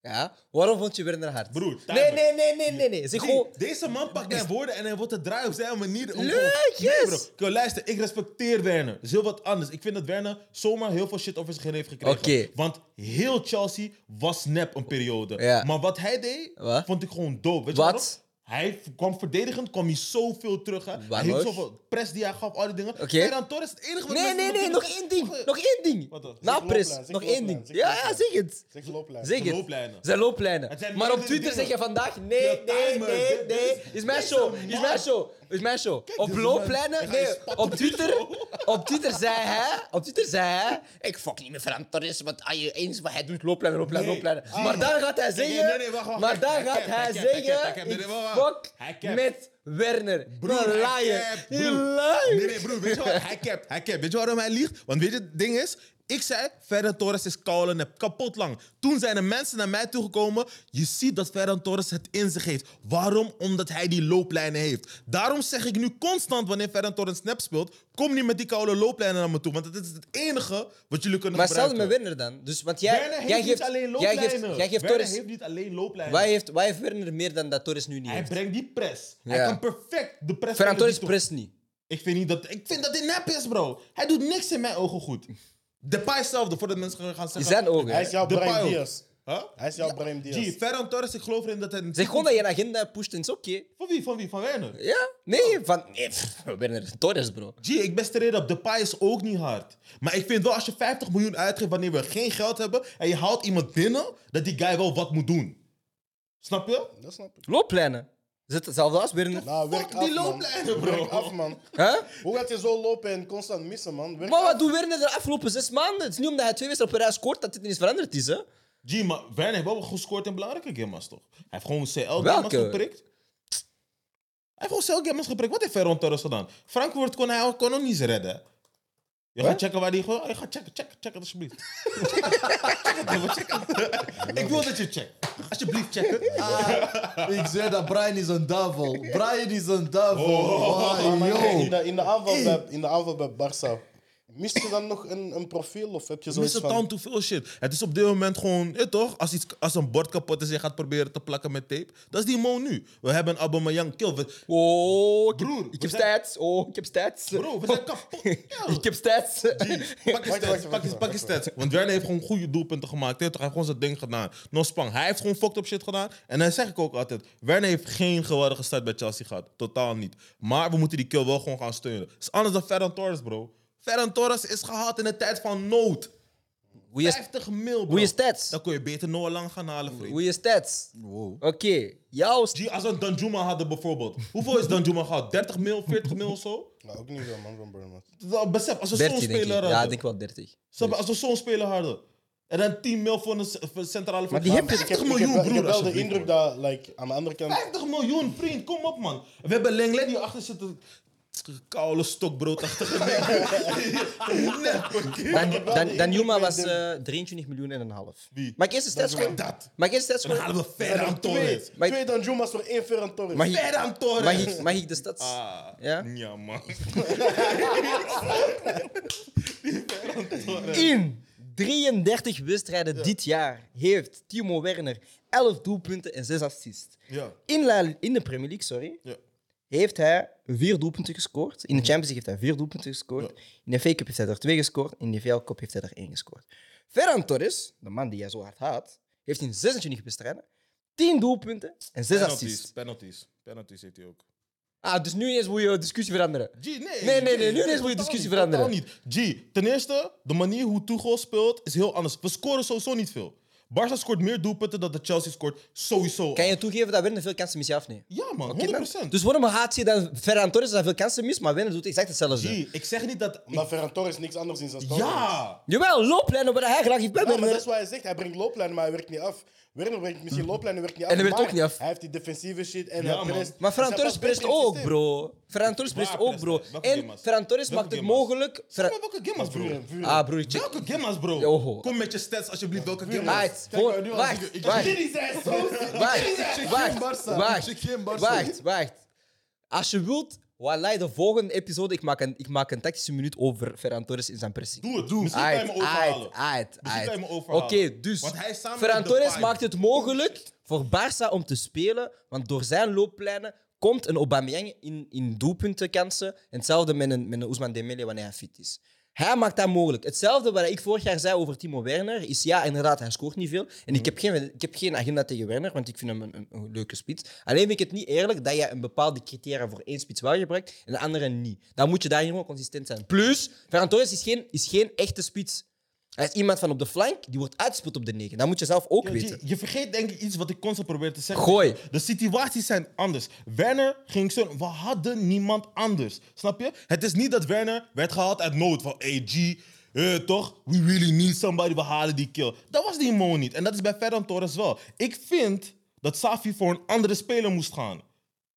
Speaker 1: Ja? Waarom vond je Werner hard?
Speaker 2: Broer,
Speaker 1: nee,
Speaker 2: timer.
Speaker 1: nee, nee, nee, nee, nee. Zeg oh,
Speaker 2: Nee,
Speaker 1: gewoon,
Speaker 2: Deze man pakt mijn woorden en hij wordt het draaien op zijn manier. om
Speaker 1: Leuk,
Speaker 2: gewoon-
Speaker 1: yes.
Speaker 2: bro. Kijk, luister, ik respecteer Werner. Dat is heel wat anders. Ik vind dat Werner zomaar heel veel shit over zich heen heeft gekregen.
Speaker 1: Oké.
Speaker 2: Want heel Chelsea was nep een periode.
Speaker 1: Ja.
Speaker 2: Maar wat hij deed,
Speaker 1: Wat?
Speaker 2: vond ik gewoon dope. Weet je
Speaker 1: Wat?
Speaker 2: waarom? Hij kwam verdedigend, kwam hij zoveel terug. Hè. Hij hield
Speaker 1: nog?
Speaker 2: zoveel press die hij gaf, al die dingen.
Speaker 1: Oké.
Speaker 2: Ferran Torres, het enige wat
Speaker 1: nee,
Speaker 2: mensen
Speaker 1: nee, nee, nog één ding. Nog één
Speaker 2: Wat dan?
Speaker 1: ding. Na
Speaker 3: Zeg
Speaker 1: pres,
Speaker 3: looplijn, zeg
Speaker 1: nog één
Speaker 3: looplijn,
Speaker 1: ding.
Speaker 3: zeg
Speaker 1: Ja, ja,
Speaker 3: looplijn.
Speaker 1: zeg het.
Speaker 3: Zeg looplijn.
Speaker 1: Zeg het.
Speaker 2: looplijnen.
Speaker 1: Zijn
Speaker 2: Het zijn
Speaker 1: looplijnen. Maar op
Speaker 2: meerdere
Speaker 1: Twitter
Speaker 2: dingen.
Speaker 1: zeg je vandaag: nee,
Speaker 2: De
Speaker 1: nee,
Speaker 2: timer,
Speaker 1: nee,
Speaker 2: dit
Speaker 1: nee.
Speaker 2: is-
Speaker 1: Is mijn
Speaker 2: deze
Speaker 1: show,
Speaker 2: man.
Speaker 1: is mijn show, is mijn show. Op
Speaker 2: deze man.
Speaker 1: looplijnen,
Speaker 2: Hij
Speaker 1: nee.
Speaker 2: spat
Speaker 1: Op Twitter, op Twitter zei hij: op Twitter zei hij ik fuck niet met Ferran Torres, want ah, je eens wat hij doet, looplijnen, looplijnen,
Speaker 2: Nee.
Speaker 1: looplijnen.
Speaker 2: Ah.
Speaker 1: Maar daar gaat hij
Speaker 2: Nee, nee, nee, wacht,
Speaker 1: zeggen:
Speaker 2: wacht.
Speaker 1: maar daar
Speaker 2: Hij
Speaker 1: gaat
Speaker 2: capt, hij
Speaker 1: hij
Speaker 2: capt,
Speaker 1: zeggen:
Speaker 2: hij capt, hij capt.
Speaker 1: ik
Speaker 2: Nee, nee, wacht, wacht.
Speaker 1: fuck
Speaker 2: Hij capt.
Speaker 1: met Werner.
Speaker 2: Broer,
Speaker 1: Je
Speaker 2: hij
Speaker 1: liar.
Speaker 2: capt,
Speaker 1: Je
Speaker 2: broer.
Speaker 1: liar.
Speaker 2: Nee, nee, broer, weet je wat? Hij capt, hij capt. Weet je waarom hij liegt? Want weet je, het ding is, Ik zei, Ferran Torres is koud en nep, kapot lang. Toen zijn er mensen naar mij toegekomen. Je ziet dat Ferran Torres het in zich heeft. Waarom? Omdat hij die looplijnen heeft. Daarom zeg ik nu constant wanneer Ferran Torres nep speelt... kom niet met die koude looplijnen naar me toe. Want dat is het enige wat jullie kunnen
Speaker 1: Maar stel
Speaker 2: gebruiken.
Speaker 1: met Werner dan. Dus, want jij,
Speaker 2: Werner heeft
Speaker 1: jij
Speaker 2: niet
Speaker 1: geeft,
Speaker 2: alleen
Speaker 1: jij
Speaker 2: looplijnen.
Speaker 1: geeft, jij geeft
Speaker 2: Werner
Speaker 1: Torres...
Speaker 2: heeft niet alleen looplijnen.
Speaker 1: Wat heeft, wat heeft Werner meer dan dat Torres nu niet
Speaker 2: Hij
Speaker 1: heeft?
Speaker 2: brengt die press.
Speaker 1: Ja.
Speaker 2: Hij kan perfect de
Speaker 1: Ferran
Speaker 2: press... van de
Speaker 1: Torres
Speaker 2: Vito-
Speaker 1: prest niet.
Speaker 2: Ik vind, niet dat, ik vind dat dit nep is, bro. Hij doet niks in mijn ogen goed. Depay zelfde, voordat mensen gaan zeggen...
Speaker 1: In zijn ogen.
Speaker 3: Hij is
Speaker 1: hè.
Speaker 3: jouw
Speaker 2: Depay
Speaker 3: Brian
Speaker 2: ook.
Speaker 3: Diaz.
Speaker 2: Huh?
Speaker 3: Hij is jouw Brian
Speaker 2: Gee,
Speaker 3: Diaz.
Speaker 2: Ferran Torres, ik geloof erin dat hij...
Speaker 1: Zeg gewoon dat je een agenda pusht en is oké.
Speaker 2: Van wie? Van wie? Van Werner?
Speaker 1: Ja? Nee, van... Nee, pff, Werner Torres, bro.
Speaker 2: Gee, ik ben straight up. Depay is ook niet hard. Maar ik vind wel, als je 50 miljoen uitgeeft wanneer we geen geld hebben... en je haalt iemand binnen, dat die guy wel wat moet doen. Snap je?
Speaker 3: Dat snap ik.
Speaker 1: Looplijnen. Is het hetzelfde als Werner?
Speaker 3: Nou, werk
Speaker 2: die
Speaker 3: af, man.
Speaker 2: looplijnen, bro.
Speaker 3: Werk af, man.
Speaker 1: Huh?
Speaker 3: Hoe gaat je zo lopen en constant missen, man? Werk
Speaker 1: Maar
Speaker 3: af.
Speaker 1: wat doet Werner de afgelopen zes maanden? Het is niet omdat hij twee wedstrijden op een rij scoort dat dit niet veranderd is, hè?
Speaker 2: Gee, maar Werner heeft wel gescoord in belangrijke gamma's, toch? Hij heeft gewoon CL-gamma's
Speaker 1: Welke?
Speaker 2: geprikt. Hij heeft gewoon CL-gamma's geprikt. Wat heeft Ferran Torres gedaan? Frankfurt kon hij ook- kon ook niet eens redden. Je gaat checken waar die gewoon... Je gaat checken, checken, checken, alsjeblieft. check het, jongen, check het. Ik wil dat je checkt. Alsjeblieft, check het.
Speaker 4: Ik zei dat Brian is een duivel. Brian is een duivel.
Speaker 2: Oh.
Speaker 4: Ah,
Speaker 3: Maar kijk,
Speaker 4: yo.
Speaker 3: in, de, in, de aanval bij, in de aanval bij Barça, mist je dan nog een, een profiel? Of heb je
Speaker 2: Ze
Speaker 3: zoiets
Speaker 2: missen
Speaker 3: van...
Speaker 2: time to veel shit. Het is op dit moment gewoon, je toch? Als, iets, als een bord kapot is en je gaat proberen te plakken met tape. Dat is die Mo nu. We hebben Aubameyang kill. We-
Speaker 1: Oh, ik,
Speaker 2: Broer,
Speaker 1: ik
Speaker 2: we
Speaker 1: heb
Speaker 2: zijn-
Speaker 1: stats. Oh, ik heb stats.
Speaker 2: Bro, we zijn kapot. Ja.
Speaker 1: Ik heb stats.
Speaker 2: Pak je
Speaker 3: Wacht, wacht,
Speaker 2: stats,
Speaker 3: wacht,
Speaker 2: pak je-
Speaker 3: wacht,
Speaker 2: pak je stats. Want Werner heeft gewoon goede doelpunten gemaakt. Hij heeft hij heeft gewoon zijn ding gedaan. Nospang, hij heeft gewoon fucked up shit gedaan. En dan zeg ik ook altijd: Werner heeft geen geweldige start bij Chelsea gehad. Totaal niet. Maar we moeten die kill wel gewoon gaan steunen. Het is anders dan Ferran Torres, bro. Ferran Torres is gehaald in de tijd van nood.
Speaker 1: Goeie, st-
Speaker 2: 50 mil, bro.
Speaker 1: goeie stats.
Speaker 2: Dan kun je beter Noah Lang gaan halen, vriend.
Speaker 1: Goeie stats.
Speaker 4: Wow.
Speaker 1: Oké, jouw st-
Speaker 2: Gee, als we een Danjuma hadden bijvoorbeeld. Hoeveel is Danjuma gehad? 30 mil, 40 mil of zo?
Speaker 3: Nou, ook niet veel, man, van Bournemouth.
Speaker 2: Dat- Besef, als we zo'n
Speaker 1: 13, denk ik.
Speaker 2: speler
Speaker 1: Ja, ik
Speaker 2: hadden.
Speaker 1: denk wel 30.
Speaker 2: Snap je? Als we zo'n speler hadden. En dan 10 mil voor een c- voor een centrale
Speaker 1: Maar die
Speaker 2: verdediger.
Speaker 1: heb je-
Speaker 3: Ik heb,
Speaker 2: 50
Speaker 3: ik
Speaker 2: miljoen,
Speaker 3: heb, wel- ik heb
Speaker 2: broer.
Speaker 3: wel de
Speaker 2: alsjeblieft,
Speaker 3: indruk
Speaker 2: broer.
Speaker 3: dat, like, aan de andere kant...
Speaker 2: 50 miljoen, vriend. Kom op, man. We hebben Lenglet die achter zit. een Koude stokbroodachtige nek. Net, hoor.
Speaker 1: Dan,
Speaker 3: heb wel de
Speaker 1: dan, dan Juma
Speaker 3: indruk
Speaker 1: was
Speaker 3: dat-
Speaker 1: eh 23 miljoen en een half.
Speaker 2: Wie?
Speaker 1: Mag ik eerst de stats
Speaker 2: Danjuma.
Speaker 1: gooien?
Speaker 2: Dat.
Speaker 1: Mag ik eerst de stats
Speaker 2: Dan halen
Speaker 1: gooien?
Speaker 2: we Ferran Torres.
Speaker 1: Maar-
Speaker 3: Twee Danjumas voor één Ferran Torres.
Speaker 1: Mag ik,
Speaker 2: Ferran Torres. Ah.
Speaker 1: mag ik, mag ik de stats? Ja?
Speaker 2: Ja, man.
Speaker 1: In 33 wedstrijden dit jaar heeft Timo Werner 11 doelpunten en 6 assists.
Speaker 2: Ja.
Speaker 1: In, La- in de Premier League, sorry,
Speaker 2: Ja.
Speaker 1: heeft hij 4 doelpunten gescoord. In de Champions League heeft hij 4 doelpunten gescoord. In de FA Cup heeft hij er 2 gescoord. In de VL Cup heeft hij er 1 gescoord. Ferran Torres, de man die jij zo hard haat, heeft in 26 wedstrijden 10 doelpunten en 6
Speaker 2: Penalties,
Speaker 1: assists.
Speaker 2: penalties. Penalties heeft hij ook.
Speaker 1: Ah, dus nu eens moet je discussie veranderen.
Speaker 2: G, nee.
Speaker 1: Nee, nee, nee, nu
Speaker 2: G,
Speaker 1: ineens moet je
Speaker 2: totaal
Speaker 1: discussie
Speaker 2: niet,
Speaker 1: veranderen.
Speaker 2: Totaal niet. G, ten eerste, de manier hoe Tuchel speelt is heel anders. We scoren sowieso niet veel. Barca scoort meer doelpunten dan de Chelsea scoort sowieso.
Speaker 1: Kan je toegeven dat Werner veel kansen mist, ja of nee?
Speaker 2: Ja, man,
Speaker 1: Oké, dan-
Speaker 2: 100%.
Speaker 1: Dus waarom haat je dan Ferran Torres dat hij veel kansen mist, maar Werner doet exact hetzelfde?
Speaker 2: G, ik zeg niet dat.
Speaker 3: Omdat Ferran Torres niks anders in zijn spel doet.
Speaker 2: Ja!
Speaker 1: Jawel, looplijnen waar hij graag iets bij
Speaker 3: Ja, maar dat
Speaker 1: wil.
Speaker 3: is wat hij zegt. Hij brengt looplijnen, maar hij werkt niet af. Werner brengt misschien looplijnen, werkt niet af.
Speaker 1: Hm. En hij werkt
Speaker 3: maar
Speaker 1: ook niet af.
Speaker 3: Hij heeft die defensieve shit en
Speaker 2: Ja,
Speaker 3: hij
Speaker 2: man.
Speaker 3: prest.
Speaker 1: Maar Ferran
Speaker 3: Dus hij
Speaker 1: Torres
Speaker 3: past
Speaker 1: prest
Speaker 3: beter in het
Speaker 1: ook,
Speaker 3: systeem.
Speaker 1: bro. Ferran Torres prest
Speaker 2: Waar
Speaker 1: ook,
Speaker 2: prest
Speaker 1: bro.
Speaker 2: hij? Welke
Speaker 1: En
Speaker 2: gamma's?
Speaker 1: Ferran Torres
Speaker 2: Welke
Speaker 1: maakt het
Speaker 2: gamma's?
Speaker 1: mogelijk...
Speaker 2: Zeg
Speaker 1: Ferran-
Speaker 2: maar welke gamma's, broer?
Speaker 3: Vuren, vuren.
Speaker 1: Ah, broer, ik check.
Speaker 2: Welke gamma's, bro?
Speaker 1: Joho.
Speaker 2: Kom met je stats alsjeblieft, welke gamma's?
Speaker 1: Wacht,
Speaker 3: Kijk,
Speaker 1: gewoon-
Speaker 3: nu al-
Speaker 1: wacht,
Speaker 3: ik-
Speaker 1: wacht.
Speaker 3: Jullie zijn zo
Speaker 1: Wacht,
Speaker 4: geen
Speaker 1: wacht,
Speaker 4: Barca, check
Speaker 1: wacht,
Speaker 4: geen Barca.
Speaker 1: wacht, wacht. Als je wilt, wallahi, de volgende episode, ik maak een, ik maak een tactische minuut over Ferran Torres in zijn pressing.
Speaker 2: Doe het, doe Misschien kan je
Speaker 1: Aight,
Speaker 2: hem
Speaker 1: aight,
Speaker 2: overhalen.
Speaker 1: aight,
Speaker 2: Misschien kan je
Speaker 1: aight.
Speaker 2: hem
Speaker 1: Oké,
Speaker 2: overhalen.
Speaker 1: dus
Speaker 2: Want hij is samen
Speaker 1: Ferran
Speaker 2: met
Speaker 1: Torres
Speaker 2: Depay.
Speaker 1: maakt het mogelijk voor Barça om te spelen, want door zijn looplijnen komt een Aubameyang in, in doelpuntenkansen. En hetzelfde met een, met een Ousmane Dembele wanneer hij fit is. Hij maakt dat mogelijk. Hetzelfde wat ik vorig jaar zei over Timo Werner is ja, inderdaad, hij scoort niet veel. En ik heb geen, ik heb geen agenda tegen Werner, want ik vind hem een, een, een leuke spits. Alleen vind ik het niet eerlijk dat je een bepaalde criteria voor één spits wel gebruikt en de andere niet. Dan moet je daar gewoon consistent zijn. Plus, Ferran Torres is geen, is geen echte spits. Hij is iemand van op de flank, die wordt uitgespeeld op de negen. Dat moet je zelf ook
Speaker 2: Ja,
Speaker 1: weten.
Speaker 2: Je, je vergeet denk ik iets wat ik constant probeer te zeggen.
Speaker 1: Gooi.
Speaker 2: De situaties zijn anders. Werner ging zo. We hadden niemand anders. Snap je? Het is niet dat Werner werd gehaald uit nood. Van AG, eh, toch? We really need somebody. We halen die kill. Dat was die Mo niet. En dat is bij Ferran Torres wel. Ik vind dat Safi voor een andere speler moest gaan.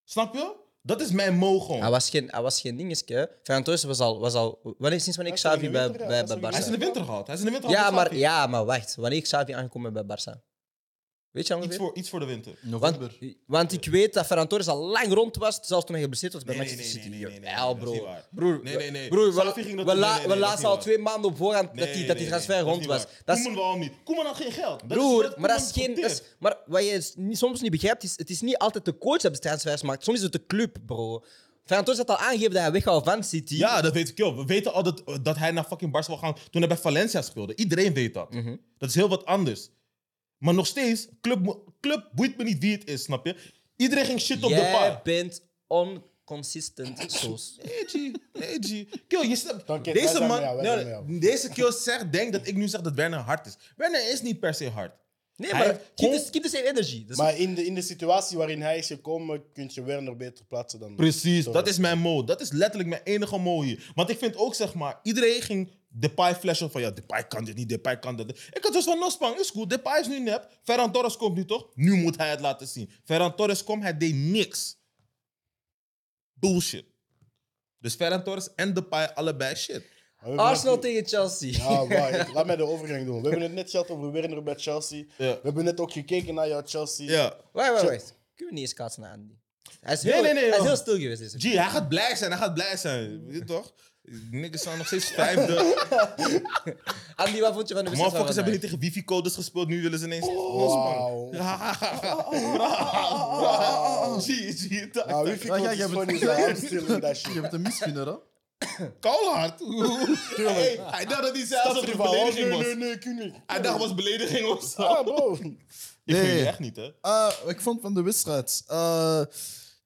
Speaker 2: Snap je? Dat is mijn mo gewoon.
Speaker 1: Hij was geen, hij was geen dingetje. hè. Ferran Torres was al, was al... Wanneer, sinds wanneer
Speaker 3: Hij is
Speaker 1: Xavi
Speaker 3: in de
Speaker 1: bij,
Speaker 3: winter,
Speaker 1: bij,
Speaker 3: ja.
Speaker 1: bij
Speaker 3: Hij is in de
Speaker 2: Hij is in de
Speaker 1: Barça...
Speaker 2: winter gehad. Hij is in de winter
Speaker 1: Ja
Speaker 2: gehad met
Speaker 1: maar,
Speaker 2: Xavi.
Speaker 1: ja, maar wacht. Wanneer Xavi aangekomen bij Barça? Weet je
Speaker 2: Iets
Speaker 1: ongeveer?
Speaker 2: voor, iets voor de winter.
Speaker 1: Want,
Speaker 4: November.
Speaker 1: want ik weet dat Ferran Torres al lang rond was, zelfs toen hij geblesseerd was bij
Speaker 2: Nee, nee,
Speaker 1: Manchester
Speaker 2: nee,
Speaker 1: City.
Speaker 2: nee, nee, nee, nee,
Speaker 1: Jawel,
Speaker 2: dat is niet
Speaker 1: bro.
Speaker 2: waar.
Speaker 1: Broer,
Speaker 2: Nee, nee, nee.
Speaker 1: broer, we,
Speaker 2: Xavi ging
Speaker 1: we,
Speaker 2: dat doen.
Speaker 1: la-
Speaker 2: Nee,
Speaker 1: we
Speaker 2: nee, dat is
Speaker 1: lazen
Speaker 2: niet
Speaker 1: al
Speaker 2: waar.
Speaker 1: twee maanden op voorhand dat die,
Speaker 2: Nee,
Speaker 1: dat
Speaker 2: nee,
Speaker 1: die
Speaker 2: nee,
Speaker 1: transfer
Speaker 2: dat is
Speaker 1: rond
Speaker 2: niet
Speaker 1: was.
Speaker 2: waar.
Speaker 1: Dat is-
Speaker 2: Koeman waarom niet? Koeman had geen geld. Dat is
Speaker 1: Broer,
Speaker 2: wat
Speaker 1: maar dat is
Speaker 2: Koeman
Speaker 1: geen. dat is-
Speaker 2: verteert.
Speaker 1: maar wat je s- niet- soms niet begrijpt, is het is niet altijd de coach dat de transfers maakt. Soms is het de club, bro. Ferran Torres had al aangegeven dat hij weg wou van City.
Speaker 2: Ja, dat weet ik ook. We weten al dat, dat hij naar fucking Barça wil gaan toen hij bij Valencia speelde. Iedereen weet dat.
Speaker 1: Mhm.
Speaker 2: Dat is heel wat anders. Maar nog steeds, club, mo- club boeit me niet wie het is, snap je? Iedereen ging shit op de
Speaker 1: Jij
Speaker 2: paard.
Speaker 1: bent onconsistent, Soos.
Speaker 2: Nee, G. Nee, G. Kill, je snapt.
Speaker 3: Oké, wij
Speaker 2: deze
Speaker 3: zijn
Speaker 2: man,
Speaker 3: met jou, wij
Speaker 2: nee,
Speaker 3: zijn met jou.
Speaker 2: deze kill zegt, denkt dat ik nu zeg dat Werner hard is. Werner is niet per se hard.
Speaker 1: Nee,
Speaker 2: Hij
Speaker 1: maar
Speaker 2: heeft
Speaker 1: keep
Speaker 2: con-
Speaker 1: the, keep the same energy. Dat is-
Speaker 3: Maar in de, in de situatie waarin hij is gekomen, kun je Werner beter plaatsen dan...
Speaker 2: Precies,
Speaker 3: Sorry.
Speaker 2: dat is mijn mode. Dat is letterlijk mijn enige mode hier. Want ik vind ook, zeg maar, iedereen ging Depay flashen van ja, Depay kan dit niet, Depay kan dat. niet. Ik had dus van Nospang, is goed, Depay is nu nep. Ferran Torres komt nu toch? Nu moet hij het laten zien. Ferran Torres komt, hij deed niks. Bullshit. Dus Ferran Torres en Depay allebei shit.
Speaker 3: Maar we hebben
Speaker 1: Arsenal
Speaker 3: net-
Speaker 1: tegen Chelsea.
Speaker 3: Ja, wacht, laat mij de overgang doen. We hebben het net gehad over Werner bij Chelsea. We hebben net ook gekeken naar jouw Chelsea.
Speaker 2: Ja.
Speaker 1: Wacht, wacht,
Speaker 3: Zo-
Speaker 1: wacht. Kunnen we niet eens kaatsen naar Andy? Hij is
Speaker 2: Nee,
Speaker 1: heel,
Speaker 2: nee, nee,
Speaker 1: hij is
Speaker 2: joh.
Speaker 1: heel stil geweest deze
Speaker 2: G, hij gaat blij zijn, hij gaat blij zijn. Weet je toch? Niggas staan nog steeds vijfde.
Speaker 1: week. Andy, wat vond je van de wedstrijd van
Speaker 2: Motherfuckers hebben
Speaker 1: vandaag?
Speaker 2: niet tegen wifi-codes gespeeld, nu willen ze ineens
Speaker 3: Wauw.
Speaker 2: Nospang. G, G, tak.
Speaker 3: Nou, wifi
Speaker 4: Ja,
Speaker 3: komt
Speaker 4: ja,
Speaker 3: is
Speaker 4: je
Speaker 3: gewoon
Speaker 4: bent-
Speaker 3: in zijn hamster en dat
Speaker 4: Je
Speaker 3: shit.
Speaker 4: hebt een misgunner, hè?
Speaker 2: Koolhard. Hey, hij dacht dat hij zei alsof het een
Speaker 3: Rival, oh,
Speaker 2: belediging
Speaker 3: nee, nee,
Speaker 2: was.
Speaker 3: nee, kun niet.
Speaker 2: Hij dacht was belediging of zo.
Speaker 3: Ah, bro.
Speaker 2: Ik
Speaker 4: Nee.
Speaker 2: vind het echt niet, hè.
Speaker 4: Ah, wat ik vond van de wedstrijd. Eh,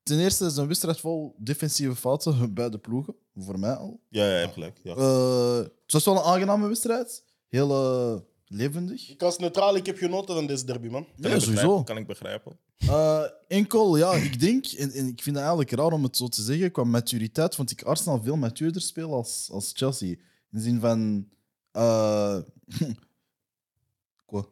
Speaker 4: ten eerste is een wedstrijd vol defensieve fouten bij de ploegen. Voor mij al.
Speaker 2: Ja, ja, je hebt gelijk. Ja.
Speaker 4: Eh, het was wel een aangename wedstrijd. Heel eh, levendig.
Speaker 3: Ik was neutraal, ik heb genoten van deze derby, man.
Speaker 2: Kan
Speaker 4: ja,
Speaker 2: ik
Speaker 4: sowieso.
Speaker 2: begrijpen, Kan ik begrijpen.
Speaker 4: Eh, enkel, ja, ik denk, en, en ik vind het eigenlijk raar om het zo te zeggen, qua maturiteit vond ik Arsenal veel matuurder spelen als, als Chelsea. In de zin van... eh, Qua?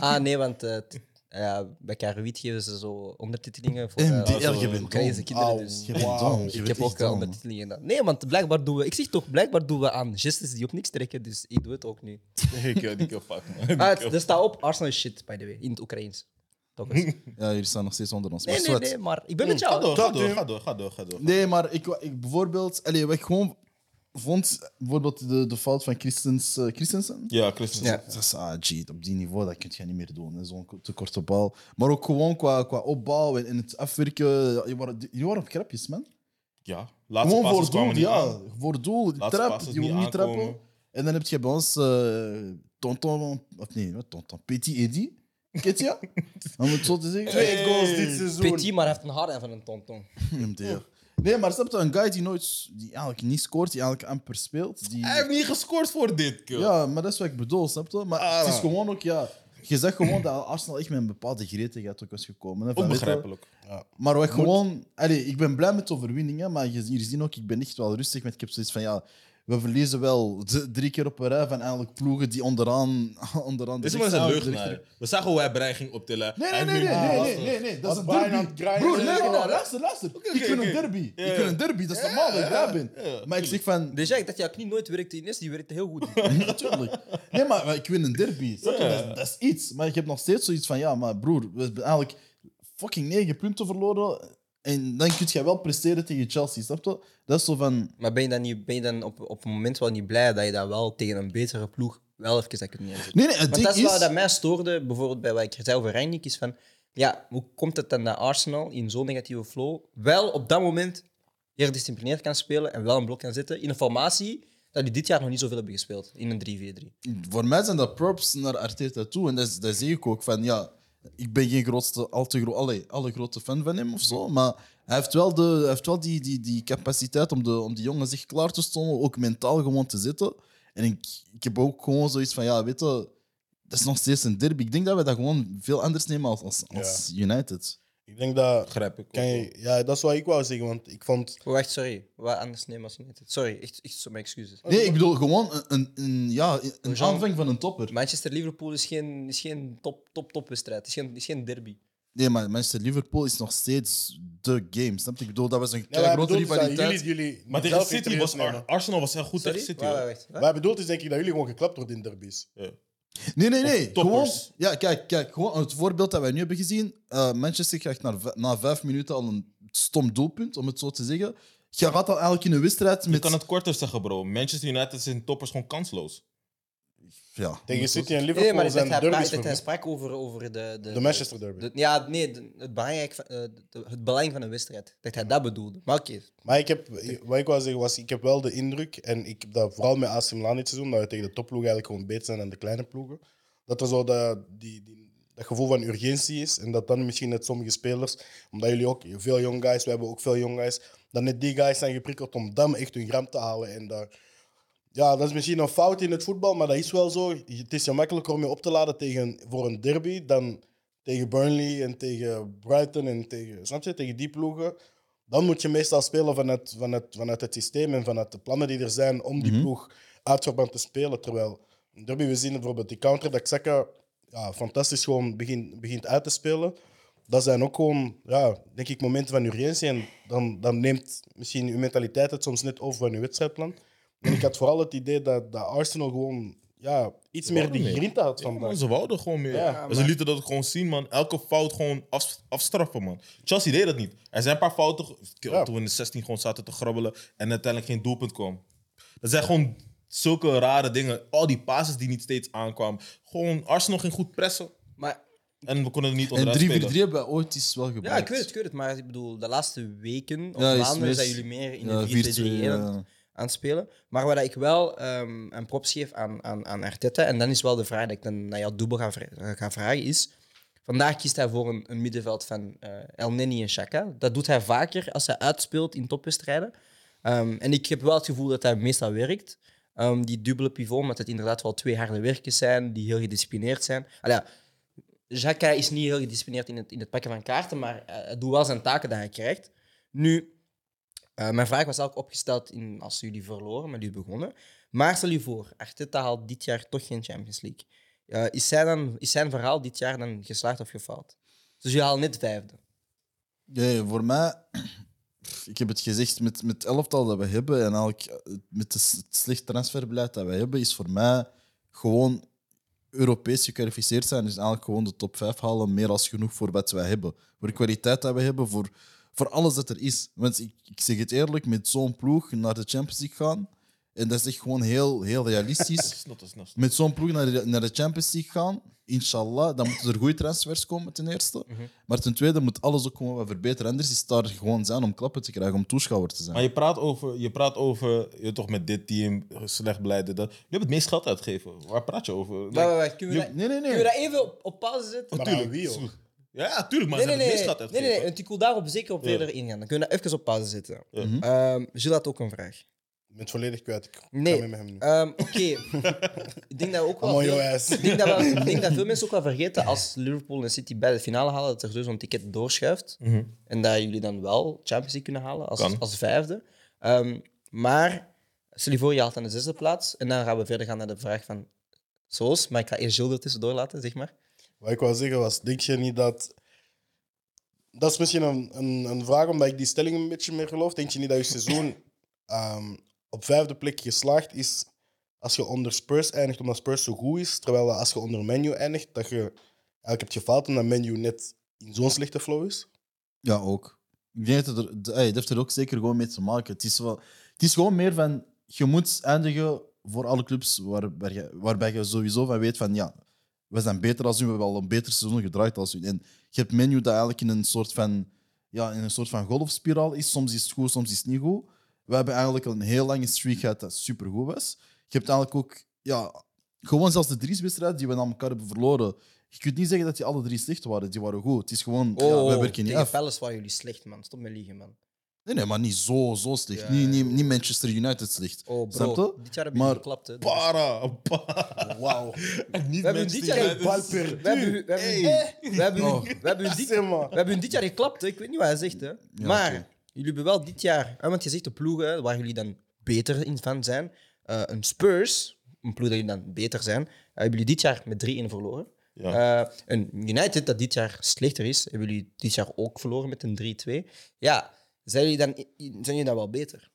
Speaker 1: Ah, nee, want eh, t- ja, bij Karuit geven ze zo ondertitelingen voor eh,
Speaker 4: MDR,
Speaker 1: zo
Speaker 4: je bent
Speaker 1: Oekraïnse
Speaker 4: dom.
Speaker 1: kinderen.
Speaker 3: Au,
Speaker 1: dus.
Speaker 4: je bent
Speaker 3: Wauw.
Speaker 4: dom. Je
Speaker 1: Ik
Speaker 4: bent
Speaker 1: heb
Speaker 4: echt
Speaker 1: ook eh,
Speaker 4: dom.
Speaker 1: ondertitelingen gedaan. Nee, want blijkbaar doen we... Ik zeg toch, blijkbaar doen we aan gestes die op niks trekken, dus ik doe het ook nu.
Speaker 2: Ik wil die kill fuck, man. Die
Speaker 1: Ah,
Speaker 2: kill-
Speaker 1: het- er staat op Arsenal is shit, by the way, in het Oekraïens. Toch eens. Nee,
Speaker 4: Ja, jullie staan nog steeds onder ons.
Speaker 1: nee,
Speaker 4: maar
Speaker 1: nee,
Speaker 4: zwart.
Speaker 1: maar Mm. ik ben met
Speaker 2: Ga
Speaker 1: jou.
Speaker 2: door, ga door, ga door, ga door, ga door.
Speaker 4: Nee, maar ik, wa- ik bijvoorbeeld, allee, wat ik gewoon vond, bijvoorbeeld de, de fout van Christens, eh, Christensen.
Speaker 2: Ja, Christus.
Speaker 1: Ja.
Speaker 4: Dat is ah, gee, op die niveau, dat kun je niet meer doen. hè, Zo'n ko- te korte bal. Maar ook gewoon qua, qua opbouw en, en het afwerken. Je waren, je waren op grapjes, man.
Speaker 2: Ja, laatste
Speaker 4: Gewoon
Speaker 2: passes
Speaker 4: voor het doel,
Speaker 2: kwamen niet
Speaker 4: ja.
Speaker 2: aan.
Speaker 4: Voor het doel,
Speaker 2: Laatste
Speaker 4: trap,
Speaker 2: passes
Speaker 4: je
Speaker 2: niet
Speaker 4: moet niet trappen.
Speaker 2: aankomen.
Speaker 4: En dan heb je bij ons eh, Tonton, of nee, wat Tonton, Petit Eddy. Kent je? dat? Om het zo te zeggen.
Speaker 3: Twee
Speaker 2: Hey.
Speaker 3: goals dit seizoen.
Speaker 1: Petit, maar hij heeft een hart en van een tonton.
Speaker 4: MDR. Nee, maar snap je, een guy die nooit, die eigenlijk niet scoort, die eigenlijk amper speelt. Die...
Speaker 2: Hij heeft niet gescoord voor dit, kill.
Speaker 4: Ja, maar dat is wat ik bedoel, snap je? Maar het is
Speaker 2: Ah.
Speaker 4: gewoon ook, ja... Je zegt gewoon dat Arsenal echt met een bepaalde gretigheid ook was gekomen. hè, van,
Speaker 2: Ook
Speaker 4: weet je wel.
Speaker 2: begrijpelijk.
Speaker 4: Maar wat gewoon... Allee, ik ben blij met de overwinningen, maar je, jullie zien ook, ik ben echt wel rustig. Met, ik heb zoiets van, ja... We verliezen wel d- drie keer op een rij van eigenlijk ploegen die onderaan... onderaan de
Speaker 2: Dit is maar eens
Speaker 4: rechter-
Speaker 2: een
Speaker 4: de
Speaker 2: leugenaar.
Speaker 4: rechter-
Speaker 2: We zagen hoe hij brein ging optillen.
Speaker 4: Nee,
Speaker 2: Hij
Speaker 4: nee,
Speaker 2: heeft
Speaker 4: nee,
Speaker 2: nu-
Speaker 4: nee,
Speaker 2: Ah,
Speaker 4: nee, nee,
Speaker 3: laatste.
Speaker 4: nee, nee, dat is een
Speaker 3: Wat Brian
Speaker 4: derby.
Speaker 3: aan het grinden
Speaker 4: Broer,
Speaker 3: is.
Speaker 4: nee, nee,
Speaker 3: Ja.
Speaker 4: luister, luister.
Speaker 2: oké,
Speaker 4: ik wil een
Speaker 2: oké.
Speaker 4: derby.
Speaker 2: Ja,
Speaker 4: Ik wil een derby, dat is normaal dat ik daar ben.
Speaker 2: ja,
Speaker 4: Maar ik zeg van,
Speaker 1: Dus ja, ik dacht dat jouw knie nooit werkte in is, die werkte heel goed.
Speaker 4: Natuurlijk. Nee, maar, maar ik win een derby. snap je? Dat, is- dat is iets. Maar ik heb nog steeds zoiets van, ja, maar broer, we hebben eigenlijk fucking negen punten verloren. En dan kun je wel presteren tegen Chelsea, snap je? Dat is zo van...
Speaker 1: Maar ben je dan, niet, ben je dan op, op het moment wel niet blij dat je dat wel tegen een betere ploeg wel even dat kunt neerzetten?
Speaker 4: Nee, nee, het
Speaker 1: Want
Speaker 4: ding
Speaker 1: dat is
Speaker 4: is...
Speaker 1: wat dat mij stoorde, bijvoorbeeld bij wat ik zei over Rangnick, is van... Ja, hoe komt het dan dat Arsenal in zo'n negatieve flow wel op dat moment heel disciplineerd kan spelen en wel een blok kan zetten in een formatie dat die dit jaar nog niet zoveel hebben gespeeld, in een 3-4-3.
Speaker 4: Voor mij zijn dat props naar Arteta toe. En dat, is- dat zie ik ook van, ja... Ik ben geen grootste, al te gro allee, alle grote fan van hem of zo. Maar hij heeft wel, de, hij heeft wel die, die, die capaciteit om, de, om die jongen zich klaar te stonden. Ook mentaal gewoon te zitten. En ik, ik heb ook gewoon zoiets van, ja, weet je... Dat is nog steeds een derby. Ik denk dat we dat gewoon veel anders nemen als, als, als United.
Speaker 3: Ik denk dat...
Speaker 2: Begrijp ik. ook
Speaker 3: Kan
Speaker 2: wel.
Speaker 3: je, ja, dat is wat ik wou zeggen, want ik vond...
Speaker 1: Oh, wacht, sorry. Wat anders nemen als United. Sorry, echt, echt zo mijn excuses.
Speaker 3: Oh.
Speaker 4: Nee, ik bedoel gewoon een, een, een, ja, een
Speaker 1: Jean-
Speaker 4: aanvang van een topper.
Speaker 1: Manchester-Liverpool is geen, is geen top, top, topwedstrijd. Het is geen, is geen derby.
Speaker 4: Nee, maar Manchester Liverpool is nog steeds de game. Snap je? Ik bedoel, dat was een
Speaker 3: Nee,
Speaker 4: kei
Speaker 3: wij
Speaker 4: grote
Speaker 3: bedoelen dus dat
Speaker 4: rivaliteit.
Speaker 3: jullie, jullie
Speaker 2: Maar tegen
Speaker 3: zelf
Speaker 2: City
Speaker 3: serieus
Speaker 2: was
Speaker 3: nemen.
Speaker 2: Ar- Arsenal was heel goed
Speaker 1: Sorry?
Speaker 2: tegen City.
Speaker 1: Wacht,
Speaker 2: hoor.
Speaker 1: wacht, wacht.
Speaker 3: Wij bedoelt is denk ik dat jullie gewoon geklapt worden in derbies.
Speaker 4: Nee, nee, nee. Gewoon,
Speaker 2: toppers.
Speaker 4: ja, kijk, kijk, gewoon het voorbeeld dat wij nu hebben gezien. eh, Manchester krijgt na, v- na vijf minuten al een stom doelpunt, om het zo te zeggen. Je raadt al eigenlijk in een wedstrijd
Speaker 2: Je
Speaker 4: met...
Speaker 2: kan het korter zeggen, bro. Manchester United zijn toppers gewoon kansloos.
Speaker 4: ja,
Speaker 3: Tegen City en
Speaker 1: Nee,
Speaker 3: Liverpool
Speaker 1: maar dat
Speaker 3: zijn
Speaker 1: hij,
Speaker 3: derbies
Speaker 1: dat hij
Speaker 3: voor mij.
Speaker 1: sprak over, over de, de...
Speaker 3: De Manchester derby.
Speaker 1: de- ja, nee, de- het, belangrijk, van- eh, de- het belang van een wedstrijd. Dat hij dat bedoelde. Maar oké.
Speaker 3: Maar ik heb, wat ik wou zeggen was, ik heb wel de indruk, en ik heb dat vooral met AC Milan dit seizoen, dat we tegen de topploegen eigenlijk gewoon beter zijn dan de kleine ploegen. Dat er zo dat, die, die, dat gevoel van urgentie is. En dat dan misschien net sommige spelers, omdat jullie ook veel young guys, we hebben ook veel young guys, dat net die guys zijn geprikkeld om dan echt hun gram te halen. En daar, ja, dat is misschien een fout in het voetbal, maar dat is wel zo. Het is gemakkelijker om je op te laden tegen, voor een derby dan tegen Burnley en tegen Brighton en tegen, snap je, tegen die ploegen. Dan moet je meestal spelen vanuit, vanuit, vanuit het systeem en vanuit de plannen die er zijn om die ploeg uit verband te spelen. Terwijl een derby, we zien bijvoorbeeld die counter dat Xhaka ja, fantastisch gewoon begint, begint uit te spelen. Dat zijn ook gewoon, ja, denk ik, momenten van urgentie. En dan, dan neemt misschien je mentaliteit het soms net over van je wedstrijdplan. En ik had vooral het idee dat, dat Arsenal gewoon ja, iets meer die
Speaker 2: Waarom niet?
Speaker 3: grinta had
Speaker 2: Ja, man,
Speaker 3: vandaag.
Speaker 2: ze wouden gewoon meer.
Speaker 3: Ja,
Speaker 2: En ze lieten dat gewoon zien, man. Elke fout gewoon af, afstraffen, man. Chelsea deed dat niet. Er zijn een paar fouten ge-
Speaker 3: Ja.
Speaker 2: toen we in de 16 gewoon zaten te grabbelen en uiteindelijk geen doelpunt kwam. Dat zijn gewoon zulke rare dingen. Al die passes die niet steeds aankwamen. Gewoon Arsenal ging goed pressen
Speaker 1: Maar
Speaker 2: en we konden er niet
Speaker 4: En 3-4-3
Speaker 2: onderuit spelen.
Speaker 4: hebben wij ooit eens wel gebruikt.
Speaker 1: ja, ik weet het, ik weet het. Maar ik bedoel, de laatste weken of
Speaker 4: Ja, is
Speaker 1: maanden
Speaker 4: mis.
Speaker 1: zijn jullie meer in
Speaker 4: Ja,
Speaker 1: de 4-2-3-1 E aan het-
Speaker 4: 4-2, ja.
Speaker 1: aan het spelen. Maar waar ik wel ehm een props geef aan, aan, aan Arteta, en dan is wel de vraag dat ik dan naar jou dubbel ga, vra- eh, ga vragen, is... Vandaag kiest hij voor een, een middenveld van eh, El Neni en Shaka. Dat doet hij vaker als hij uitspeelt in topwedstrijden. Ehm, en ik heb wel het gevoel dat dat meestal werkt. Ehm, die dubbele pivot, omdat het inderdaad wel twee harde werkers zijn, die heel gedisciplineerd zijn. Allee, ja, Xhaka is niet heel gedisciplineerd in het, in het pakken van kaarten, maar eh, hij doet wel zijn taken dat hij krijgt. Nu, eh, mijn vraag was eigenlijk opgesteld in, als jullie verloren, maar jullie begonnen. Maar stel je voor, Arteta haalt dit jaar toch geen Champions League. Eh, is, zijn dan, is zijn verhaal dit jaar dan geslaagd of gefaald? Dus je haalt net vijfde.
Speaker 4: Nee, voor mij, ik heb het gezegd, met, met het elftal dat we hebben en eigenlijk eh, met de s- het slecht transferbeleid dat we hebben, is voor mij gewoon Europees gekwalificeerd zijn. Dus eigenlijk gewoon de top 5 halen, meer als genoeg voor wat wij hebben. Voor de kwaliteit dat we hebben, voor, voor alles dat er is. Want ik, ik zeg het eerlijk, met zo'n ploeg naar de Champions League gaan, en dat is echt gewoon heel, heel realistisch.
Speaker 2: Snot, snot, snot.
Speaker 4: met zo'n ploeg naar de, naar de Champions League gaan, inshallah, dan moeten er goede transfers komen, ten eerste. Maar ten tweede moet alles ook gewoon wat verbeteren. Anders is het daar gewoon zijn om klappen te krijgen, om toeschouwer te zijn.
Speaker 2: Maar je praat over, je praat over je, toch met dit team, slecht beleid, dit, dat. Je hebt het meest geld uitgegeven. Waar praat je over? Like,
Speaker 1: Wacht, wacht, wacht. Kunnen we, dat,
Speaker 4: nee, nee, nee.
Speaker 1: kunnen we dat even op, op pauze zetten?
Speaker 3: Maar
Speaker 2: tuurlijk,
Speaker 3: aan wie,
Speaker 2: is
Speaker 3: hoor?
Speaker 2: goed. Ja, tuurlijk, maar
Speaker 1: Nee,
Speaker 2: ze
Speaker 1: nee,
Speaker 2: hebben het
Speaker 1: nee.
Speaker 2: meest geld
Speaker 1: nee, nee,
Speaker 2: uitgegeven.
Speaker 1: nee, want ik wil daarop zeker op verder ingaan. Dan kunnen we dat even op pauze zetten. Ehm Gilles had ook een vraag.
Speaker 3: Ik ben het volledig kwijt. Ik ga
Speaker 1: Nee.
Speaker 3: mee met hem nu.
Speaker 1: Ehm, Oké. ik denk dat we ook wel.
Speaker 3: Come on,
Speaker 1: veel-
Speaker 3: your ass.
Speaker 1: ik denk, dat wel- ik denk dat veel mensen ook wel vergeten als Liverpool en City bij de finale halen, dat er dus een ticket doorschuift. En dat jullie dan wel Champions League kunnen halen als,
Speaker 2: Kan.
Speaker 1: als vijfde. Ehm, maar stel je voor, je haalt aan de zesde plaats. En dan gaan we verder gaan naar de vraag van Soos. Maar ik ga eerst Gilles er tussendoor laten, zeg maar.
Speaker 3: Wat ik wou zeggen was, denk je niet dat... Dat is misschien een, een, een vraag, omdat ik die stelling een beetje meer geloof. Denk je niet dat je seizoen ehm, op vijfde plek geslaagd is als je onder Spurs eindigt, omdat Spurs zo goed is? Terwijl als je onder Menu eindigt, dat je eigenlijk hebt gefaald omdat Menu net in zo'n slechte flow is?
Speaker 4: Ja, ook. Ik denk dat er, de- hey, dat heeft er ook zeker gewoon mee te maken. Het is, wel, het is gewoon meer van, je moet eindigen voor alle clubs waar, waar je, waarbij je sowieso van weet van, ja, we zijn beter als u, we hebben al een beter seizoen gedraaid als u. En je hebt menu dat eigenlijk in een soort van, ja, in een soort van golfspiraal is. Soms is het goed, soms is het niet goed. We hebben eigenlijk al een heel lange streak gehad dat supergoed was. Je hebt eigenlijk ook, ja, gewoon zelfs de drie wedstrijden die we aan elkaar hebben verloren. Je kunt niet zeggen dat die alle drie slecht waren, die waren goed. Het is gewoon, ja, we werken niet
Speaker 1: Oh, tegen
Speaker 4: af.
Speaker 1: Palace waren jullie slecht, man. Stop met liegen, man.
Speaker 4: Nee, nee, maar niet zo, zo slecht.
Speaker 1: Ja,
Speaker 4: niet, niet, niet Manchester United slecht.
Speaker 1: Oh,
Speaker 4: Snap
Speaker 1: bro.
Speaker 4: je?
Speaker 1: Dit jaar hebben
Speaker 4: Maar-
Speaker 1: jullie geklapt, hè. Dus-
Speaker 2: Para, para.
Speaker 3: Wauw.
Speaker 2: Niet
Speaker 1: We hebben
Speaker 2: mensen
Speaker 1: dit
Speaker 2: die-
Speaker 1: jaar een
Speaker 3: Palper.
Speaker 1: We hebben, Oh. we hebben, we hebben, we hebben hun dit,
Speaker 3: Zeg maar.
Speaker 1: we hebben hun dit jaar geklapt, hè. ik weet niet wat hij zegt. Hè. maar jullie hebben wel dit jaar, hè, want je zegt de ploegen waar jullie dan beter in van zijn, eh, een Spurs, een ploeg dat jullie dan beter zijn, eh, hebben jullie dit jaar met 3-1 verloren.
Speaker 2: Ja.
Speaker 1: Eh, en United, dat dit jaar slechter is, hebben jullie dit jaar ook verloren met een 3-2. Ja, zijn jullie dan, zijn jullie dan wel beter?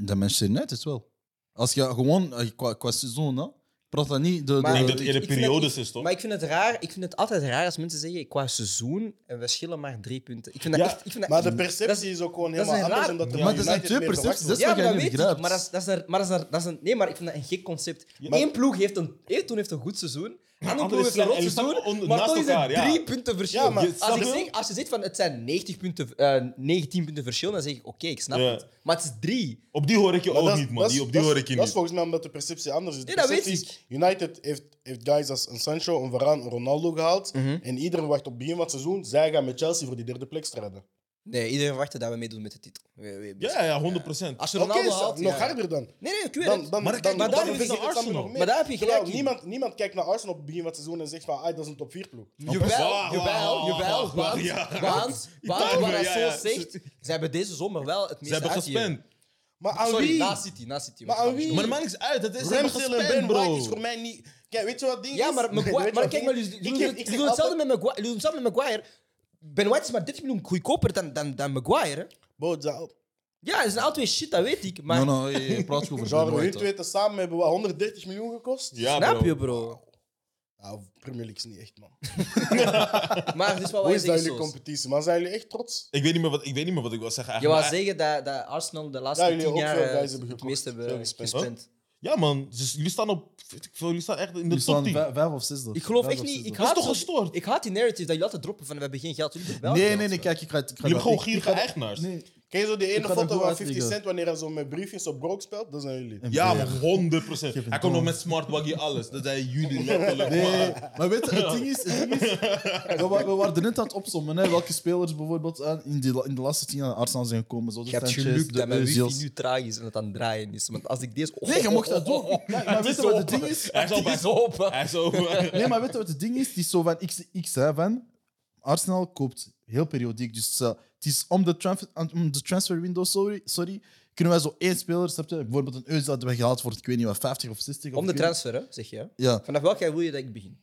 Speaker 4: Dat Manchester United wel. Als je gewoon eh, qua, qua seizoen, hè, praat dan niet de,
Speaker 1: Maar-
Speaker 2: Ik
Speaker 4: de,
Speaker 2: denk dat het eerder
Speaker 1: Ik vind dat
Speaker 2: periodes
Speaker 1: ik-
Speaker 2: is, toch?
Speaker 1: Maar ik vind het raar, ik vind het altijd raar als mensen zeggen qua seizoen en we verschillen maar drie punten. Ik vind dat
Speaker 2: Ja,
Speaker 1: echt... Ik vind dat
Speaker 3: Maar de
Speaker 1: echt- dat
Speaker 3: perceptie is ook gewoon
Speaker 1: dat is
Speaker 3: helemaal
Speaker 1: een
Speaker 3: anders.
Speaker 1: raar-
Speaker 3: Omdat de
Speaker 2: Ja,
Speaker 4: maar er zijn
Speaker 3: United
Speaker 4: twee
Speaker 3: meer
Speaker 4: percepties, dat
Speaker 3: verwacht
Speaker 4: is
Speaker 1: maar
Speaker 4: wat jij
Speaker 1: dat
Speaker 4: niet
Speaker 1: weet ik.
Speaker 4: begrijpt.
Speaker 1: Maar dat is, dat is, een, maar dat is, een- dat is een, nee, maar ik vind dat een gek concept.
Speaker 2: maar-
Speaker 1: Eén ploeg heeft een, één ploeg heeft een goed seizoen, andere
Speaker 2: andere
Speaker 1: ploeg heeft een rot
Speaker 2: is slecht. En je
Speaker 1: seizoen,
Speaker 2: staat on-
Speaker 1: maar
Speaker 2: naast
Speaker 1: toch is het
Speaker 2: elkaar, ja.
Speaker 1: drie punten verschil.
Speaker 3: Ja, maar-
Speaker 1: als,
Speaker 2: Snap
Speaker 1: ik
Speaker 2: je?
Speaker 1: zeg, als je zegt van het zijn 90 punten, eh, 19 punten verschil, dan zeg ik oké, ik snap
Speaker 2: Ja.
Speaker 1: het. Maar het is drie.
Speaker 2: Op die hoor ik je
Speaker 3: Maar
Speaker 2: ook
Speaker 3: dat-
Speaker 2: niet, man.
Speaker 3: dat-
Speaker 2: Die, op die
Speaker 3: dat-
Speaker 2: hoor ik je
Speaker 3: Dat is
Speaker 2: niet.
Speaker 3: volgens mij omdat de perceptie anders is. De
Speaker 1: Nee, dat weet
Speaker 3: perceptie is, United heeft, heeft guys als een Sancho, een Varane, een Ronaldo gehaald.
Speaker 1: Mhm.
Speaker 3: En iedereen wacht op het begin van het seizoen. Zij gaan met Chelsea voor die derde plek strijden.
Speaker 1: Nee, iedereen wachtte dat we meedoen met de titel. We- we-
Speaker 2: Ja, ja, 100 procent.
Speaker 1: Als je
Speaker 3: Oké,
Speaker 1: Ronaldo
Speaker 3: zo-
Speaker 1: haalt,
Speaker 3: nog
Speaker 1: ja.
Speaker 3: harder dan.
Speaker 1: Nee, nee, ik weet
Speaker 3: Dan,
Speaker 1: het.
Speaker 3: dan,
Speaker 2: Maar dan
Speaker 3: dan,
Speaker 2: kijk je
Speaker 3: dan,
Speaker 2: toch
Speaker 3: dan
Speaker 2: nog
Speaker 3: vergeet
Speaker 2: eens naar
Speaker 3: het dan weer
Speaker 2: Arsenal.
Speaker 3: nog meer.
Speaker 1: Maar daar heb je
Speaker 3: Terwijl
Speaker 1: gelijk in.
Speaker 3: Niemand, niemand kijkt naar Arsenal op het begin van het seizoen en zegt van, ah, dat is een top 4 ploeg.
Speaker 1: Jawel,
Speaker 2: Wauw,
Speaker 1: jawel,
Speaker 2: wauw,
Speaker 1: jawel.
Speaker 2: wauw,
Speaker 1: Want,
Speaker 2: ja.
Speaker 1: want, want,
Speaker 2: Italië,
Speaker 1: wat
Speaker 2: ja, ja.
Speaker 1: Sol zegt, ze hebben deze zomer wel het
Speaker 2: Ze
Speaker 1: meeste
Speaker 2: hebben
Speaker 1: uitgegeven.
Speaker 2: gespend.
Speaker 3: Maar aan
Speaker 1: Sorry,
Speaker 3: wie?
Speaker 1: na City, na City.
Speaker 3: Maar
Speaker 1: want-
Speaker 3: aan wie?
Speaker 2: Maar dat maakt niks uit. Het is ze hebben
Speaker 3: Ramsdale en
Speaker 2: gespend,
Speaker 3: Ben White is
Speaker 2: bro.
Speaker 3: voor mij niet... Kijk, weet je wat het ding
Speaker 1: Ja,
Speaker 3: is?
Speaker 1: maar,
Speaker 3: Weet je
Speaker 1: Maguire,
Speaker 3: wat
Speaker 1: maar
Speaker 3: het
Speaker 1: kijk, maar
Speaker 3: ding is?
Speaker 1: jullie
Speaker 3: Ik
Speaker 1: jullie
Speaker 3: heb-
Speaker 1: doen het-
Speaker 3: ik zeg
Speaker 1: jullie doen hetzelfde
Speaker 3: altijd-
Speaker 1: met Maguire. Jullie doen hetzelfde met Maguire. Ben White is maar 30 miljoen goedkoper dan, dan, dan Maguire. hè.
Speaker 3: Bro, het zijn-
Speaker 1: Ja, dat zijn al twee shit, dat weet ik. Maar
Speaker 4: No, no, je je praat gewoon over
Speaker 3: Genre,
Speaker 4: Ben
Speaker 3: hun
Speaker 4: White, hè.
Speaker 3: twee te samen hebben wat 130 miljoen gekost?
Speaker 2: Ja,
Speaker 1: snap
Speaker 2: bro.
Speaker 1: je, bro?
Speaker 3: Nou, Premier League is niet echt, man.
Speaker 4: Oh,
Speaker 1: Maar het is wel wat
Speaker 3: Hoe
Speaker 1: je
Speaker 3: is dat
Speaker 1: zegt, Soos.
Speaker 3: jullie competitie? Maar zijn jullie echt trots?
Speaker 2: Ik weet niet meer wat ik, weet niet meer wat ik wil
Speaker 1: Je
Speaker 2: zeggen. eigenlijk.
Speaker 1: wou
Speaker 2: Maar-
Speaker 1: zeggen dat, dat Arsenal de laatste
Speaker 3: Ja, jullie
Speaker 1: 10
Speaker 3: ook
Speaker 1: jaar
Speaker 3: veel
Speaker 1: eh,
Speaker 3: guys hebben
Speaker 1: het
Speaker 3: gekocht,
Speaker 1: meest hebben
Speaker 3: veel
Speaker 1: eh,
Speaker 3: gespeeld.
Speaker 1: gespend.
Speaker 2: Ja, man. Dus jullie staan op... weet ik veel, Jullie staan echt in de
Speaker 4: Die
Speaker 2: top
Speaker 4: staan
Speaker 2: 10.
Speaker 4: vij- vijf of zesde.
Speaker 1: Ik geloof
Speaker 4: Vijf
Speaker 1: echt
Speaker 4: of
Speaker 1: niet.
Speaker 4: zesde.
Speaker 1: Ik
Speaker 2: Dat is
Speaker 1: haat,
Speaker 2: toch
Speaker 1: zo-
Speaker 2: gestopt?
Speaker 1: ik haat die narrative dat je altijd droppen van we hebben geen geld. Jullie hebben wel
Speaker 4: Nee,
Speaker 1: geld,
Speaker 4: nee, nee,
Speaker 1: man.
Speaker 4: kijk, ik ga het... ik ga
Speaker 2: Jullie hebben
Speaker 4: dat-
Speaker 2: gewoon
Speaker 4: ik-
Speaker 2: gierige
Speaker 4: ik ga dat-
Speaker 2: eigenaars.
Speaker 4: Nee,
Speaker 3: Ken je zo die
Speaker 4: Ik ga
Speaker 3: ene
Speaker 4: dat
Speaker 3: foto
Speaker 4: goed
Speaker 3: van 50
Speaker 4: uitleggen.
Speaker 3: Cent wanneer hij zo met briefjes op broek speelt? Dat zijn jullie.
Speaker 2: Ja,
Speaker 4: maar-
Speaker 2: maar 100 procent.
Speaker 4: heb het
Speaker 2: Hij komt nog
Speaker 4: door.
Speaker 2: met smartwaggy alles. Dat zijn jullie letterlijk.
Speaker 4: Nee,
Speaker 2: man.
Speaker 4: maar weet je, het ding is... Het ding is we, wa- we waren er net aan het opzommen, hè, welke spelers bijvoorbeeld aan- in, die, la- in de laatste tien jaar aan Arsenal zijn gekomen. Zoals
Speaker 1: Je
Speaker 4: de
Speaker 1: hebt
Speaker 4: Sanchez,
Speaker 1: geluk
Speaker 4: de
Speaker 1: dat mijn wifi
Speaker 4: Özils.
Speaker 1: nu traag is en dat aan het draaien is. Want als ik deze...
Speaker 4: Nee, je mocht dat doen. Maar, maar
Speaker 2: Het is
Speaker 4: weet je wat het
Speaker 2: open.
Speaker 4: ding is?
Speaker 2: Hij is
Speaker 1: Het is
Speaker 2: open.
Speaker 1: open.
Speaker 2: Hij is open.
Speaker 4: Nee, maar weet je wat het ding is? Het is zo van XX, hè, van... Arsenal koopt heel periodiek. Dus eh, het is om de, transfer, om de transfer window, sorry, sorry, kunnen wij zo één speler, snap je? Bijvoorbeeld een Özil hadden we gehaald voor, ik weet niet wat, 50 of 60. of
Speaker 1: Om de
Speaker 4: ik weet niet-
Speaker 1: transfer, hè, zeg je. hè?
Speaker 4: Ja,
Speaker 1: Vanaf welk jaar wil je dat ik begin?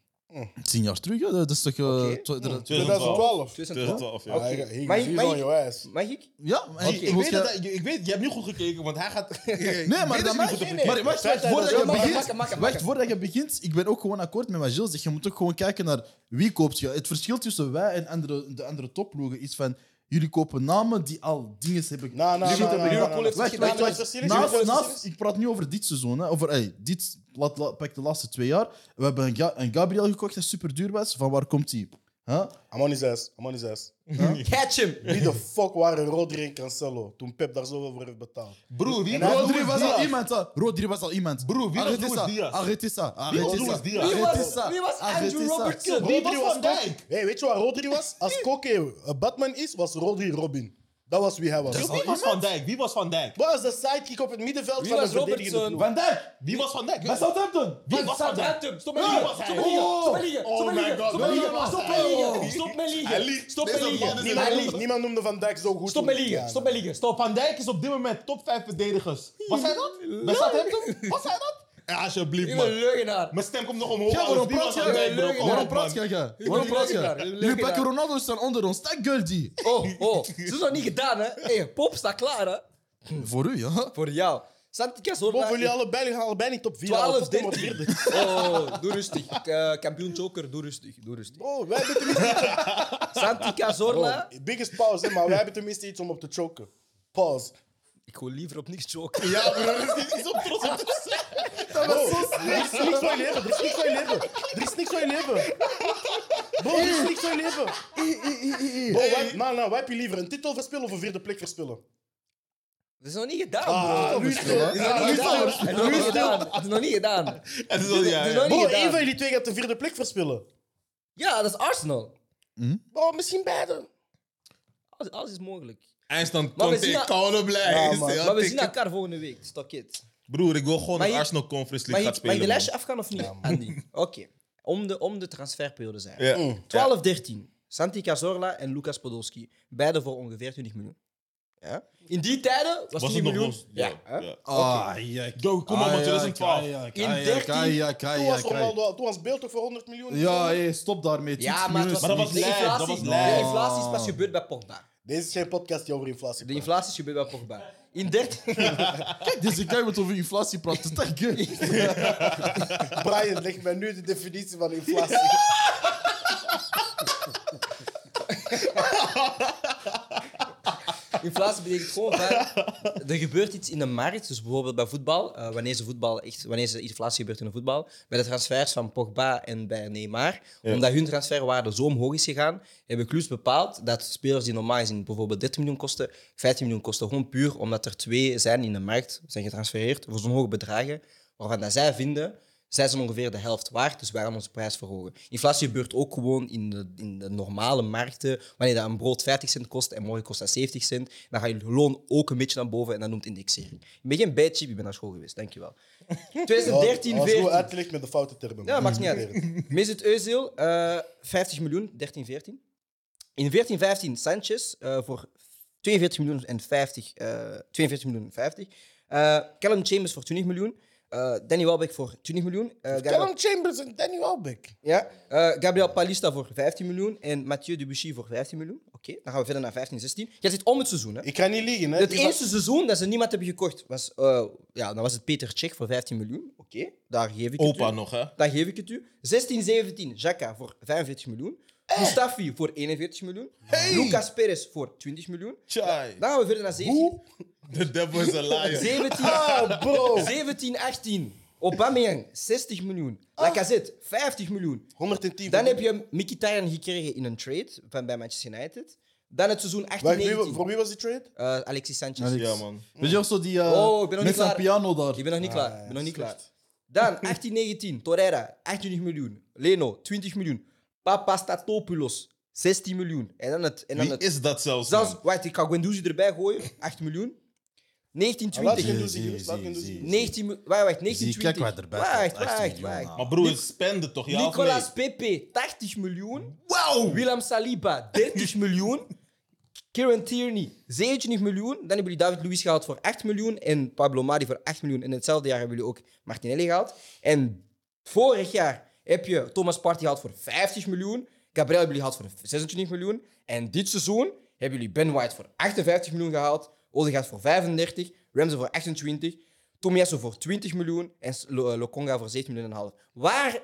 Speaker 4: tien jaar terug, hè, dat is toch... eh,
Speaker 1: Oké.
Speaker 4: twa- dat-
Speaker 3: 2012.
Speaker 1: 2012?
Speaker 2: 2012, ja.
Speaker 1: Oké.
Speaker 3: Ja, hier
Speaker 1: Mag
Speaker 3: is
Speaker 1: ik-
Speaker 3: hier
Speaker 1: mag
Speaker 3: zo aan
Speaker 1: ik-
Speaker 3: jouw ass.
Speaker 1: Mag ik?
Speaker 4: Ja, en
Speaker 1: Oké.
Speaker 2: Ik
Speaker 4: moest
Speaker 2: weet,
Speaker 4: gaan-
Speaker 2: dat, hij- ik weet, je hebt nu goed gekeken, want hij gaat.
Speaker 4: Nee, maar dat mag
Speaker 1: niet goed
Speaker 4: niet. Maar wacht, wacht, voordat je
Speaker 1: Maak het, maak het,
Speaker 4: begint,
Speaker 1: maak het, maak
Speaker 4: wacht,
Speaker 1: het.
Speaker 4: voordat je begint, ik ben ook gewoon akkoord met wat Gilles zegt. Je moet ook gewoon kijken naar wie koopt je. Het verschil tussen wij en andere, de andere topploegen is van jullie kopen namen die al dingen hebben
Speaker 3: Na, na,
Speaker 4: jullie
Speaker 3: na,
Speaker 4: hebben
Speaker 3: na,
Speaker 4: gedaan.
Speaker 3: na, na.
Speaker 1: Liverpool heeft het
Speaker 4: Wacht,
Speaker 1: gedaan.
Speaker 4: wacht, wacht.
Speaker 3: Manchester City,
Speaker 4: Naast-
Speaker 3: Manchester
Speaker 4: naast-
Speaker 3: City.
Speaker 4: Ik praat nu over dit seizoen, hè. over ey, dit, laat, laat, pak de laatste twee jaar. We hebben een, Ga- een Gabriel gekocht dat super duur was. Van waar komt die? Huh?
Speaker 3: I'm on his ass. I'm on his ass.
Speaker 1: Catch him!
Speaker 3: Wie de fuck waren Rodri en Cancelo toen Pep daar zoveel voor heeft betaald?
Speaker 2: Broer, wie
Speaker 3: En hij
Speaker 4: Rodri was al
Speaker 2: Diaz?
Speaker 4: iemand, hè. Rodri was al iemand.
Speaker 2: Broer, wie was
Speaker 4: Arrêtez
Speaker 2: Luis
Speaker 4: ça,
Speaker 2: Diaz?
Speaker 4: Arrêtez ça.
Speaker 2: Wie was
Speaker 4: arrêtez
Speaker 2: Luis
Speaker 4: ça,
Speaker 2: Diaz?
Speaker 1: Wie
Speaker 4: arrêtez
Speaker 1: was,
Speaker 4: ça,
Speaker 1: wie was
Speaker 4: arrêtez
Speaker 1: Andrew
Speaker 4: ça.
Speaker 1: Robertson?
Speaker 2: Rodri was
Speaker 3: ook-
Speaker 2: Van Dijk.
Speaker 3: Hey, weet je wat Rodri was? Als Koke eh, Batman is, was Rodri Robin. Dat was wie hij was.
Speaker 2: Wie was Van Dijk? Wie was Van Dijk?
Speaker 3: Wat was de sidekick op het middenveld
Speaker 1: Wie
Speaker 3: van
Speaker 1: was
Speaker 3: de verdedigende
Speaker 1: Robertson?
Speaker 3: ploeg?
Speaker 4: Van Dijk!
Speaker 2: Wie was Van Dijk?
Speaker 4: Bij Southampton!
Speaker 2: Wie was Van Dijk?
Speaker 1: Stop
Speaker 2: Wie
Speaker 1: met liegen!
Speaker 2: was hij?
Speaker 1: Stop met liegen!
Speaker 4: Oh.
Speaker 1: Stop met liegen! Stop met
Speaker 2: my
Speaker 1: liegen!
Speaker 2: God,
Speaker 1: Stop met liegen! Stop met
Speaker 2: wie was hij?
Speaker 1: liegen!
Speaker 2: Oh.
Speaker 1: Stop met
Speaker 2: Hij
Speaker 1: liegen!
Speaker 2: liegt.
Speaker 1: Stop met
Speaker 2: Deze man
Speaker 1: liegen! Hij
Speaker 2: is
Speaker 3: Niemand
Speaker 1: liegt.
Speaker 3: noemde, niemand noemde Van Dijk zo goed.
Speaker 1: Stop
Speaker 3: toen.
Speaker 1: met liegen!
Speaker 3: Ja,
Speaker 1: Stop met liegen! Stop!
Speaker 2: Van Dijk is op dit moment top 5 verdedigers. Was hij dat? Bij Southampton? Was hij dat? Ja, alsjeblieft,
Speaker 1: Ik ben een
Speaker 2: man.
Speaker 1: leugenaar!
Speaker 2: Mijn stem komt nog omhoog.
Speaker 4: Ja,
Speaker 2: alles.
Speaker 4: waarom
Speaker 2: Wie
Speaker 4: praat
Speaker 2: was
Speaker 4: je?
Speaker 2: Van Dijk, bro?
Speaker 1: Leugenaar.
Speaker 4: Waarom praat je? ja? Waarom praat je?
Speaker 1: Leugenaar.
Speaker 4: Jullie pakken Ronaldo staan onder ons. Dat girl die.
Speaker 1: Oh, oh. Ze is nog niet gedaan, hè? Hey, Pop staat klaar, hè?
Speaker 4: Voor u, ja.
Speaker 1: Voor jou. Santi
Speaker 3: Boven
Speaker 1: Cazorla...
Speaker 3: jullie allebei, jullie gaan allebei niet top 4.
Speaker 1: 12,
Speaker 3: 13.
Speaker 1: 13. Oh, doe rustig. Eh, kampioen Joker, doe rustig. Doe rustig.
Speaker 3: Bro, Oh, wij hebben tenminste...
Speaker 1: Santi
Speaker 3: Bro,
Speaker 1: Cazorla...
Speaker 3: biggest pause, hè, maar wij hebben tenminste iets om op te choken. Pause.
Speaker 1: Ik wil liever op niks joken.
Speaker 2: Ja, bro, dat is niet zo trots op te zeggen.
Speaker 3: Bro, er is niks van je leven, er is niks van je leven. Er is niks van je leven. Bro, er is niks van je leven. Bro, wat, nou, nou, wat heb je liever? Een titel verspillen of een vierde plek verspillen?
Speaker 1: Dat is nog niet gedaan,
Speaker 3: Ah,
Speaker 1: bro.
Speaker 3: nu is het wel, hè?
Speaker 1: Dat is nog
Speaker 3: Nu
Speaker 1: niet
Speaker 3: is het wel.
Speaker 1: gedaan. Dat is nog niet gedaan. Dat is nog niet gedaan.
Speaker 2: Het is al, ja,
Speaker 1: Dit is
Speaker 2: ja.
Speaker 1: nog
Speaker 3: Bro,
Speaker 1: niet
Speaker 3: één van
Speaker 1: gedaan.
Speaker 3: jullie twee gaat de vierde plek verspillen.
Speaker 1: Ja, dat is Arsenal.
Speaker 3: Bro, misschien beide.
Speaker 1: Alles, alles is mogelijk.
Speaker 2: Eindstand
Speaker 1: Maar we
Speaker 2: komt
Speaker 1: zien
Speaker 2: in
Speaker 1: dat-
Speaker 2: koude blij.
Speaker 3: Ja, man.
Speaker 2: Ja,
Speaker 1: Maar we
Speaker 2: tik-
Speaker 1: zien elkaar volgende week. Stok it.
Speaker 2: Broer, ik wil gewoon
Speaker 1: Maar
Speaker 2: een
Speaker 1: je-
Speaker 2: Arsenal Conference
Speaker 1: Mag
Speaker 2: League
Speaker 1: ik,
Speaker 2: gaan
Speaker 1: mag ik de
Speaker 2: spelen. man.
Speaker 1: lijstje afgaan of niet, Andy? Oké. Om, de, om de Mm. transferperiode zijn.
Speaker 2: Ja.
Speaker 1: 12-13. Santi Cazorla en Lucas Podolski. Beide voor ongeveer 20 miljoen. Ja. In die tijden was,
Speaker 2: Was
Speaker 1: 10
Speaker 2: het nog
Speaker 1: miljoen.
Speaker 2: los? Ja.
Speaker 1: hè?
Speaker 2: ja.
Speaker 4: Ah, ja.
Speaker 2: Yo, kom op, man, 2012.
Speaker 1: In 13
Speaker 4: Ja,
Speaker 3: Toen was,
Speaker 4: ja,
Speaker 3: Ronaldo, toen was Beel toch voor 100 miljoen?
Speaker 4: ja, hey, stop daarmee.
Speaker 1: Ja, maar, het was,
Speaker 2: Maar dat was
Speaker 1: de,
Speaker 2: lijp, dat
Speaker 1: inflatie,
Speaker 2: was
Speaker 1: de
Speaker 2: lijp.
Speaker 1: inflatie is pas gebeurd bij Pogba.
Speaker 3: Deze is geen podcast die over inflatie
Speaker 1: De
Speaker 3: praat.
Speaker 1: inflatie is gebeurd bij Pogba. In 13...
Speaker 4: Kijk, deze guy wordt over inflatie praten. Dat is echt gay.
Speaker 3: Brian, leg mij nu de definitie van inflatie.
Speaker 1: Inflatie betekent gewoon vaak... Er gebeurt iets in de markt, dus bijvoorbeeld bij voetbal. eh, wanneer, ze voetbal echt, wanneer ze inflatie gebeurt in de voetbal. Bij de transfers van Pogba en bij Neymar. Omdat hun transferwaarde zo omhoog is gegaan, hebben clubs bepaald dat spelers die normaal gezien bijvoorbeeld 13 miljoen kosten, 15 miljoen kosten. Gewoon puur omdat er twee zijn in de markt, zijn getransfereerd voor zo'n hoge bedragen. Waarvan dat zij vinden, zij zijn ongeveer de helft waard, dus wij gaan onze prijs verhogen. Inflatie gebeurt ook gewoon in de, in de normale markten. Wanneer dat een brood 50 cent kost en morgen kost dat 70 cent, dan gaat je loon ook een beetje naar boven en dat noemt indexering. Ik ben geen bijchip, ik ben naar school geweest, dankjewel. 2013,
Speaker 3: Dat was goed
Speaker 1: 14.
Speaker 3: uitgelegd met de foute termen.
Speaker 1: Ja, maakt niet uit. Mesut Özil, eh 50 miljoen, 13, 14. In 14, 15 Sanchez eh, voor 42 miljoen en 50. eh 42 miljoen en 50. Eh, Callum Chambers voor 20 miljoen. Eh, Danny Welbeck voor 20 miljoen. Eh, Gabriel-
Speaker 3: Callum Chambers en Danny Welbeck.
Speaker 1: ja, eh, Gabriel Palista voor 15 miljoen en Mathieu Debuchy voor 15 miljoen. Oké, dan gaan we verder naar 15, 16. Jij zit om het seizoen, hè?
Speaker 3: Ik kan niet liegen, hè.
Speaker 1: Het
Speaker 3: Die va-
Speaker 1: eerste seizoen dat ze niemand hebben gekocht, was, eh, ja, dan was het Peter Cech voor 15 miljoen. Oké, daar geef ik het
Speaker 2: Opa
Speaker 1: u.
Speaker 2: nog, hè?
Speaker 1: Daar geef ik het u. 16, 17, Jacka voor 45 miljoen.
Speaker 3: Eh.
Speaker 1: Mustafi voor 41 miljoen. Lucas Perez voor 20 miljoen.
Speaker 2: Chai.
Speaker 1: Dan gaan we verder naar 17.
Speaker 2: The devil is a liar.
Speaker 1: 17,
Speaker 3: Ah, bro.
Speaker 1: 17 18. Aubameyang, 60 miljoen.
Speaker 3: Ah.
Speaker 1: Lacazette, 50 miljoen.
Speaker 3: 110.
Speaker 1: Dan heb je Mkhitaryan gekregen in een trade van bij Manchester United. Dan het seizoen 18
Speaker 3: Wacht, wie- voor
Speaker 1: 19
Speaker 3: wie was die trade?
Speaker 1: Alexis Sanchez.
Speaker 4: Alex-
Speaker 2: Ja, man.
Speaker 4: Weet je ook zo die eh
Speaker 1: Oh, ik ben nog
Speaker 4: met
Speaker 1: niet
Speaker 4: zijn
Speaker 1: klaar.
Speaker 4: piano daar?
Speaker 1: Ik ben nog niet klaar. Ik ben nog niet
Speaker 3: slecht.
Speaker 1: klaar. Dan 18 19 Torreira, 28 miljoen. Leno, 20 miljoen. Papastatopoulos, 16 miljoen. En dan het... En dan
Speaker 2: Wie
Speaker 1: het
Speaker 2: is dat zelfs?
Speaker 1: zelfs,
Speaker 2: man?
Speaker 1: wacht, ik ga Guendouzi erbij gooien. 8 miljoen. 19
Speaker 3: Ah, Laat
Speaker 1: 20.
Speaker 3: je doen,
Speaker 4: Zie je,
Speaker 3: zie je, laat
Speaker 4: zie je,
Speaker 3: je doen,
Speaker 4: zie je.
Speaker 3: zie je.
Speaker 1: 19, mi- wacht, wacht, 19,
Speaker 4: Zie, kijk
Speaker 1: 20.
Speaker 4: waar erbij staat,
Speaker 1: Wacht,
Speaker 4: 18
Speaker 1: wacht,
Speaker 4: miljoen,
Speaker 1: wacht.
Speaker 4: man.
Speaker 2: Maar broer, het spende toch? Ja, of
Speaker 1: Nicolas
Speaker 2: nee?
Speaker 1: Pepe, 80 miljoen. Wow! Willem Saliba, 30 miljoen. Kieran Tierney, 17 miljoen. Dan hebben jullie David Luiz gehaald voor 8 miljoen. En Pablo Mari voor 8 miljoen. En hetzelfde jaar hebben jullie ook Martinelli gehaald. En vorig jaar heb je Thomas Partey gehaald voor 50 miljoen. Gabriel hebben jullie gehaald voor 26 miljoen. En dit seizoen hebben jullie Ben White voor 58 miljoen gehaald. Odegaard voor 35. Ramsey voor 28. Tomiasso voor 20 miljoen en S- Lo- eh, Lokonga voor 17 miljoen en een half. Waar,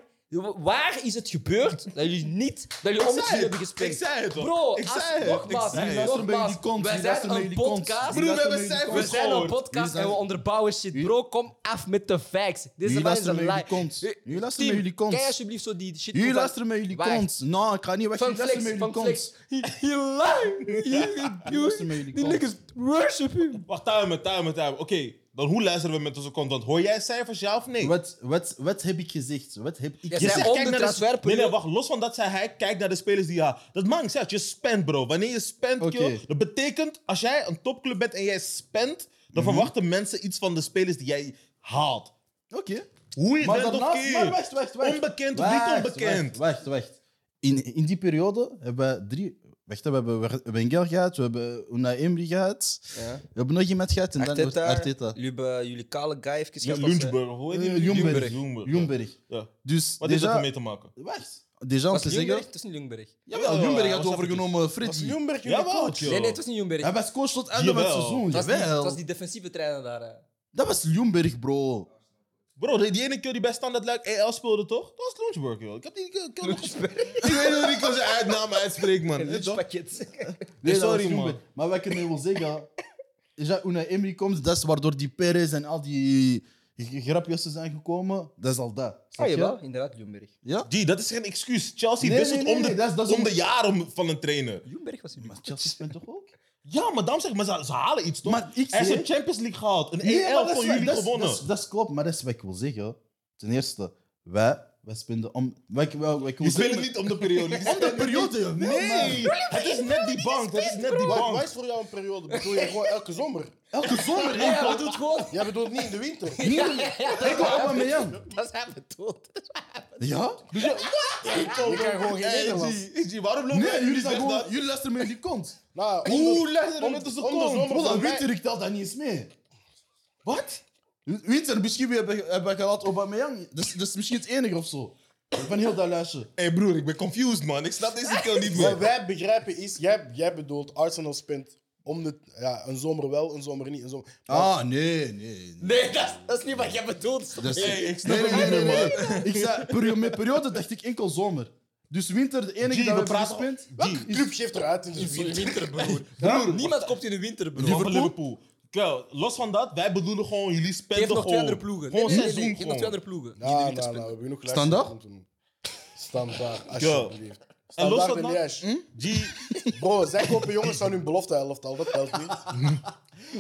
Speaker 1: waar is het gebeurd dat jullie niet dat jullie om het
Speaker 2: zei
Speaker 1: vuur hebben
Speaker 2: het.
Speaker 1: gespeeld?
Speaker 2: Ik zei het, hoor.
Speaker 1: Bro,
Speaker 2: Ik
Speaker 1: als-
Speaker 2: zei het.
Speaker 1: nogmaals,
Speaker 2: Ik zei het.
Speaker 4: Luister bij jullie kont,
Speaker 1: wij
Speaker 4: jullie
Speaker 1: zijn
Speaker 4: luister bij
Speaker 1: een
Speaker 4: jullie kont.
Speaker 1: podcast.
Speaker 2: Broer, we
Speaker 4: Luister
Speaker 2: hebben
Speaker 4: met jullie
Speaker 1: We
Speaker 2: cijfers
Speaker 1: zijn een
Speaker 2: gehoord.
Speaker 1: podcast
Speaker 4: Jullie
Speaker 1: en we
Speaker 4: zijn-
Speaker 1: onderbouwen shit.
Speaker 4: Jullie-
Speaker 1: Bro, kom af met de facts. Deze
Speaker 4: Jullie
Speaker 1: man is
Speaker 4: luisteren
Speaker 1: een
Speaker 4: met jullie
Speaker 1: lie.
Speaker 4: kont.
Speaker 1: Eh,
Speaker 4: Jullie luisteren
Speaker 1: team,
Speaker 4: met jullie kont.
Speaker 1: Kijk alsjeblieft zo die shit.
Speaker 4: Jullie
Speaker 1: van-
Speaker 4: luisteren met jullie
Speaker 1: Wacht.
Speaker 4: kont. Nou, ik ga niet weg.
Speaker 1: Van
Speaker 4: Jullie
Speaker 1: flex,
Speaker 4: luisteren met jullie
Speaker 1: van
Speaker 4: kont.
Speaker 1: flex. Je
Speaker 4: luisteren
Speaker 1: lie.
Speaker 4: met jullie
Speaker 1: Die
Speaker 4: kont.
Speaker 1: niggas worship him.
Speaker 2: Wacht, timer, timer, timer. Oké, dan hoe luisteren we met onze content? Hoor jij cijfers, ja of nee?
Speaker 4: Wat, wat, wat heb ik gezegd? Wat heb ik
Speaker 1: Ja,
Speaker 4: gezegd?
Speaker 1: zij-
Speaker 2: zegt,
Speaker 1: om
Speaker 2: kijk
Speaker 1: de
Speaker 2: naar Nee,
Speaker 1: transferperiode-
Speaker 2: nee, wacht. Los van dat zei hij, kijk naar de spelers die je haalt. Dat maakt niet uit. Je spent, bro. Wanneer je spent,
Speaker 4: Oké.
Speaker 2: kill, dat betekent, als jij een topclub bent en jij spent, dan
Speaker 4: Mhm.
Speaker 2: verwachten mensen iets van de spelers die jij haalt.
Speaker 4: Oké.
Speaker 2: Hoe je
Speaker 4: Maar
Speaker 2: bent of
Speaker 4: daarnaast-
Speaker 2: keer.
Speaker 4: maar wacht, wacht, wacht.
Speaker 2: Onbekend of
Speaker 4: Wacht,
Speaker 2: niet onbekend.
Speaker 4: Wacht, wacht. wacht. In, in die periode hebben we drie... Wacht, hè, we hebben Wenger gehad, we hebben Unai Emery gehad,
Speaker 1: Ja.
Speaker 4: we hebben nog iemand gehad en dan wordt
Speaker 1: Arteta,
Speaker 4: Arteta.
Speaker 1: jullie hebben jullie kale guy even
Speaker 2: Ja,
Speaker 1: gehad als, eh,
Speaker 2: Ljungberg, hoor je die?
Speaker 4: Eh, Ljungberg.
Speaker 2: Ljungberg.
Speaker 4: Ljungberg.
Speaker 2: Ja.
Speaker 4: Dus
Speaker 2: Wat heeft dat
Speaker 4: déjà...
Speaker 2: ermee te maken?
Speaker 4: Wacht. Déjà
Speaker 1: Was
Speaker 4: om te
Speaker 1: het Ljungberg?
Speaker 4: zeggen...
Speaker 1: Het is niet Ljungberg.
Speaker 4: Jawel,
Speaker 2: Ja,
Speaker 4: Ljungberg had
Speaker 2: was
Speaker 4: overgenomen
Speaker 3: Was
Speaker 4: Freddy.
Speaker 3: Ljungberg jullie
Speaker 2: Jawel,
Speaker 3: coach?
Speaker 2: chill.
Speaker 1: Nee, nee, het was niet Ljungberg.
Speaker 4: Hij was coach tot einde van het
Speaker 2: Jawel.
Speaker 4: seizoen.
Speaker 1: Het was, niet, het
Speaker 4: jawel.
Speaker 1: was die defensieve trainer daar. eh. hè.
Speaker 4: Dat was Ljungberg, bro.
Speaker 2: Bro, die, die ene keer die bij Standard Luik EL speelde, toch? Dat was Lunchburg, joh. Ik heb die keer keer nog gespeeld. Ik weet niet hoe ik zijn uitnaam uitspreek, man.
Speaker 1: Een lunchpakket.
Speaker 4: Nee,
Speaker 2: Nee,
Speaker 4: dat was
Speaker 2: sorry,
Speaker 4: Ljungberg.
Speaker 2: man.
Speaker 4: Maar wat ik ermee wil zeggen, is dat Unai Emery komt, dat is waardoor die Perez en al die grapjes zijn gekomen. Dat is al dat. Snap
Speaker 1: Ah,
Speaker 4: je?
Speaker 1: jawel, inderdaad, Ljungberg.
Speaker 4: Ja?
Speaker 2: Die, dat is geen excuus. Chelsea
Speaker 4: Nee,
Speaker 2: wisselt
Speaker 4: nee, nee,
Speaker 2: om, de,
Speaker 4: nee, dat is- dat is
Speaker 2: om
Speaker 4: om-
Speaker 2: de jaren van een trainer.
Speaker 1: Ljungberg was in
Speaker 4: Chelsea speelt toch ook?
Speaker 2: Ja, maar daarom zeg ik, maar ze, ze halen iets, toch?
Speaker 4: Maar ik
Speaker 2: er is
Speaker 4: zeg-
Speaker 2: een Champions League gehaald. Een
Speaker 4: Nee, maar
Speaker 2: EL
Speaker 4: dat
Speaker 2: van
Speaker 4: is wat-
Speaker 2: jullie
Speaker 4: dat is-
Speaker 2: gewonnen.
Speaker 4: Dat, is- dat is klopt, maar dat is wat ik wil zeggen. Ten eerste, wij, wij spenden om... Wij, wij, wij, wij
Speaker 2: die spelen niet om de periode. Die
Speaker 4: om de
Speaker 2: spelen-
Speaker 4: periode.
Speaker 2: Nee, het is net die bank. Het is net die
Speaker 3: Wat wat
Speaker 2: bank.
Speaker 3: is voor jou een periode? Bedoel je gewoon elke zomer?
Speaker 4: Elke zomer.
Speaker 1: Ja, ja, we doen het gewoon.
Speaker 3: Jij bedoelt niet in de winter.
Speaker 4: Hier, ik wil Aubameyang.
Speaker 1: Dat is hij bedoeld.
Speaker 4: Ja?
Speaker 3: Je kan gewoon geen Nederlands.
Speaker 2: waarom lopen
Speaker 4: Nee, jullie, zijn gewoon, jullie luisteren mee in die kont.
Speaker 3: Nou,
Speaker 2: Oeh,
Speaker 3: onder-
Speaker 2: leg er
Speaker 3: om-
Speaker 2: met onze
Speaker 3: onderzomer
Speaker 2: kont.
Speaker 3: van
Speaker 4: Voilà,
Speaker 3: mij-
Speaker 4: Winter, ik tel dat niet eens mee. Wat? Winter, misschien heb ik, heb ik gehad Aubameyang. Dat is, dat is misschien het enige of zo. Van heel dat lijstje.
Speaker 2: Hé hey broer, ik ben confused man. Ik snap deze kill niet
Speaker 3: Wat
Speaker 2: meer.
Speaker 3: wij begrijpen is, jij, jij bedoelt Arsenal spint om de, ja, een zomer wel, een zomer niet, een zomer...
Speaker 4: Ah, nee, nee. nee.
Speaker 1: Nee, dat is, dat is niet wat jij bedoelt.
Speaker 4: Dat is-
Speaker 2: Hey, ik snap
Speaker 4: nee,
Speaker 2: het
Speaker 4: nee,
Speaker 2: niet
Speaker 4: nee,
Speaker 2: meer,
Speaker 4: nee, nee. Ik zei, periode, met periode dacht ik enkel zomer. Dus winter, de enige
Speaker 2: Gee,
Speaker 4: dat
Speaker 2: we
Speaker 4: we
Speaker 2: praten-
Speaker 4: gespeeld.
Speaker 3: Welke club geeft eruit in de
Speaker 1: Een
Speaker 3: vierde?
Speaker 1: winterbroer.
Speaker 4: Ja?
Speaker 1: Niemand komt in de winterbroer.
Speaker 2: Liverpool? Liverpool. Kijk, los van dat, wij bedoelen gewoon jullie spenden
Speaker 1: Geef nog
Speaker 2: gewoon.
Speaker 1: twee andere ploegen. Nee,
Speaker 2: Gewoon
Speaker 1: nee, nee, nee,
Speaker 2: seizoen
Speaker 1: geef nog twee
Speaker 2: gewoon.
Speaker 1: andere ploegen. Die in de winter
Speaker 3: Nou, nou, nou, we
Speaker 1: spelen.
Speaker 3: hebben genoeg
Speaker 4: Standaard?
Speaker 3: luisteren. Standaard, alsjeblieft.
Speaker 2: En los
Speaker 3: Standaard
Speaker 2: van
Speaker 3: en
Speaker 2: dat,
Speaker 3: Liège.
Speaker 2: G,
Speaker 3: Bro, zij kopen jongens van hun belofte helft al, dat telt niet.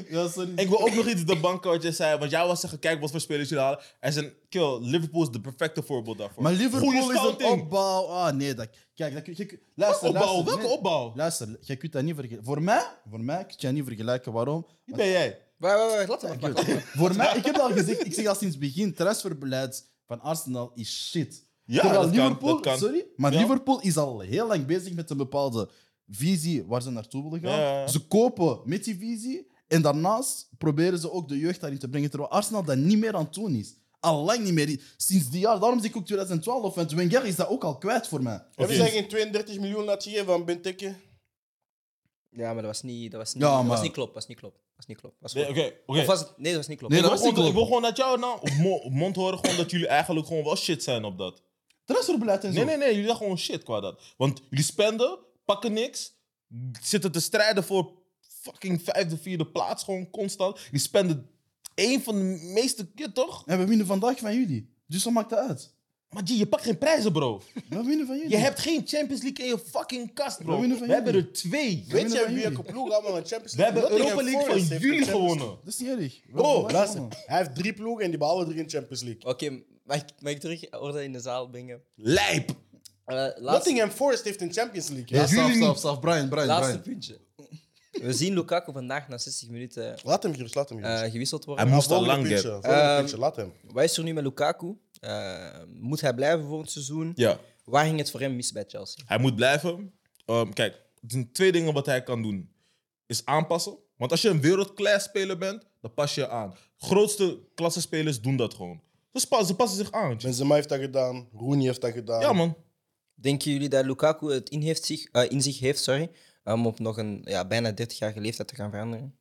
Speaker 4: Ja, sorry.
Speaker 2: ik wil ook nog iets op de bank wat je zei, want jij was zeggen, kijk wat voor spelers jullie halen. En zijn, kill, Liverpool is de perfecte voorbeeld daarvoor.
Speaker 4: Maar
Speaker 2: Goeie
Speaker 4: Liverpool is een
Speaker 2: scouting.
Speaker 4: opbouw. Ah, nee. Dat, kijk, dat, kun je- luister,
Speaker 2: opbouw?
Speaker 4: luister,
Speaker 2: Welke
Speaker 4: nee.
Speaker 2: opbouw?
Speaker 4: Luister, je kunt dat niet vergelijken. Voor mij, voor mij kun je dat niet vergelijken. Waarom?
Speaker 2: Wie ben jij?
Speaker 1: Wacht, wacht, wacht, laat maar.
Speaker 4: Kijk, voor mij, ik heb dat al gezegd, ik zeg al sinds het begin, transferbeleid van Arsenal is shit.
Speaker 2: Ja,
Speaker 4: Terwijl
Speaker 2: dat kan,
Speaker 4: Liverpool,
Speaker 2: dat kan.
Speaker 4: sorry, maar
Speaker 2: Ja.
Speaker 4: Liverpool is al heel lang bezig met een bepaalde visie waar ze naartoe willen gaan.
Speaker 2: Ja, ja, ja.
Speaker 4: Ze kopen met die visie en daarnaast proberen ze ook de jeugd daarin te brengen, terwijl Arsenal dat niet meer aan het doen is. Al lang niet meer. Sinds die jaar, daarom zeg ik ook 2012, want Wenger is dat ook al kwijt voor mij.
Speaker 2: Oké.
Speaker 3: Hebben zij geen 32 miljoen laten geven aan Benteke?
Speaker 1: Ja, maar dat was niet, dat was niet,
Speaker 4: Ja,
Speaker 1: dat was
Speaker 4: maar-
Speaker 1: niet klopt. was niet klopt. was niet klopt. Was
Speaker 2: Nee,
Speaker 1: goed.
Speaker 2: Oké,
Speaker 1: Of
Speaker 2: oké.
Speaker 1: was het... Nee, dat was niet klopt.
Speaker 4: Nee,
Speaker 2: Ik
Speaker 4: dat
Speaker 2: wil
Speaker 4: was niet
Speaker 2: gewoon- Ik
Speaker 4: klopt.
Speaker 2: wil gewoon uit jouw naam, op mo- op mond horen gewoon dat jullie eigenlijk gewoon wel shit zijn op dat.
Speaker 4: Transferbeleid en zo.
Speaker 2: Nee, nee, nee, jullie zijn gewoon shit qua dat. Want jullie spenden, pakken niks, zitten te strijden voor fucking vijfde, vierde plaats, gewoon constant. Jullie spenden één van de meeste keer, toch?
Speaker 4: En we winnen vandaag van jullie. Dus wat maakt dat uit?
Speaker 2: Maar G, je pakt geen prijzen, bro.
Speaker 4: We winnen van jullie.
Speaker 2: Je hebt geen Champions League in je fucking kast,
Speaker 4: We
Speaker 2: bro.
Speaker 4: winnen
Speaker 2: We
Speaker 4: van
Speaker 2: hebben
Speaker 4: jullie.
Speaker 2: er twee.
Speaker 4: winnen
Speaker 3: Weet jij
Speaker 4: van
Speaker 3: wie
Speaker 4: jullie.
Speaker 3: welke ploeg allemaal een Champions
Speaker 2: We hebben Europa
Speaker 3: Nottingham
Speaker 2: League
Speaker 3: Forest
Speaker 2: van
Speaker 3: heeft de
Speaker 2: jullie
Speaker 3: Champions
Speaker 2: gewonnen.
Speaker 4: Dat is niet erg.
Speaker 2: Oh,
Speaker 4: We hebben
Speaker 3: Bro,
Speaker 4: vandaag
Speaker 3: luister.
Speaker 4: gewonnen.
Speaker 3: Hij heeft drie ploegen en die behalen drie in Champions League.
Speaker 1: Oké, mag, ik- mag ik terug orde in de zaal brengen?
Speaker 2: Lijp.
Speaker 1: Eh, laatste,
Speaker 3: Nottingham Forest heeft een Champions League.
Speaker 4: Ja,
Speaker 3: Ja.
Speaker 4: staf,
Speaker 2: jullie
Speaker 4: staf,
Speaker 2: niet.
Speaker 4: staf. Brian, Brian,
Speaker 1: laatste
Speaker 4: Brian.
Speaker 1: puntje. We zien Lukaku vandaag na 60 minuten
Speaker 3: Laat hem gerust, laat hem
Speaker 1: eh,
Speaker 3: gerust.
Speaker 1: gewisseld
Speaker 2: Hij
Speaker 1: worden.
Speaker 2: moest al
Speaker 3: Volgende
Speaker 2: lang
Speaker 3: puntje,
Speaker 2: get.
Speaker 3: volgende
Speaker 1: Ehm,
Speaker 3: puntje, laat hem.
Speaker 1: Wat is er nu met Lukaku? Eh, moet hij blijven voor het seizoen?
Speaker 2: Ja,
Speaker 1: Waar ging het voor hem mis bij Chelsea?
Speaker 2: hij moet blijven. Ehm, kijk, er zijn twee dingen wat hij kan doen. Is aanpassen. Want als je een wereldclass speler bent, dan pas je je aan. Grootste klasse spelers doen dat gewoon. Ze passen, ze passen zich aan. G.
Speaker 3: Benzema heeft dat gedaan, Rooney heeft dat gedaan.
Speaker 2: Ja, man.
Speaker 1: Denken jullie dat Lukaku het in, heeft zich, eh, in zich heeft sorry, om op nog een ja, bijna 30-jarige leeftijd te gaan veranderen?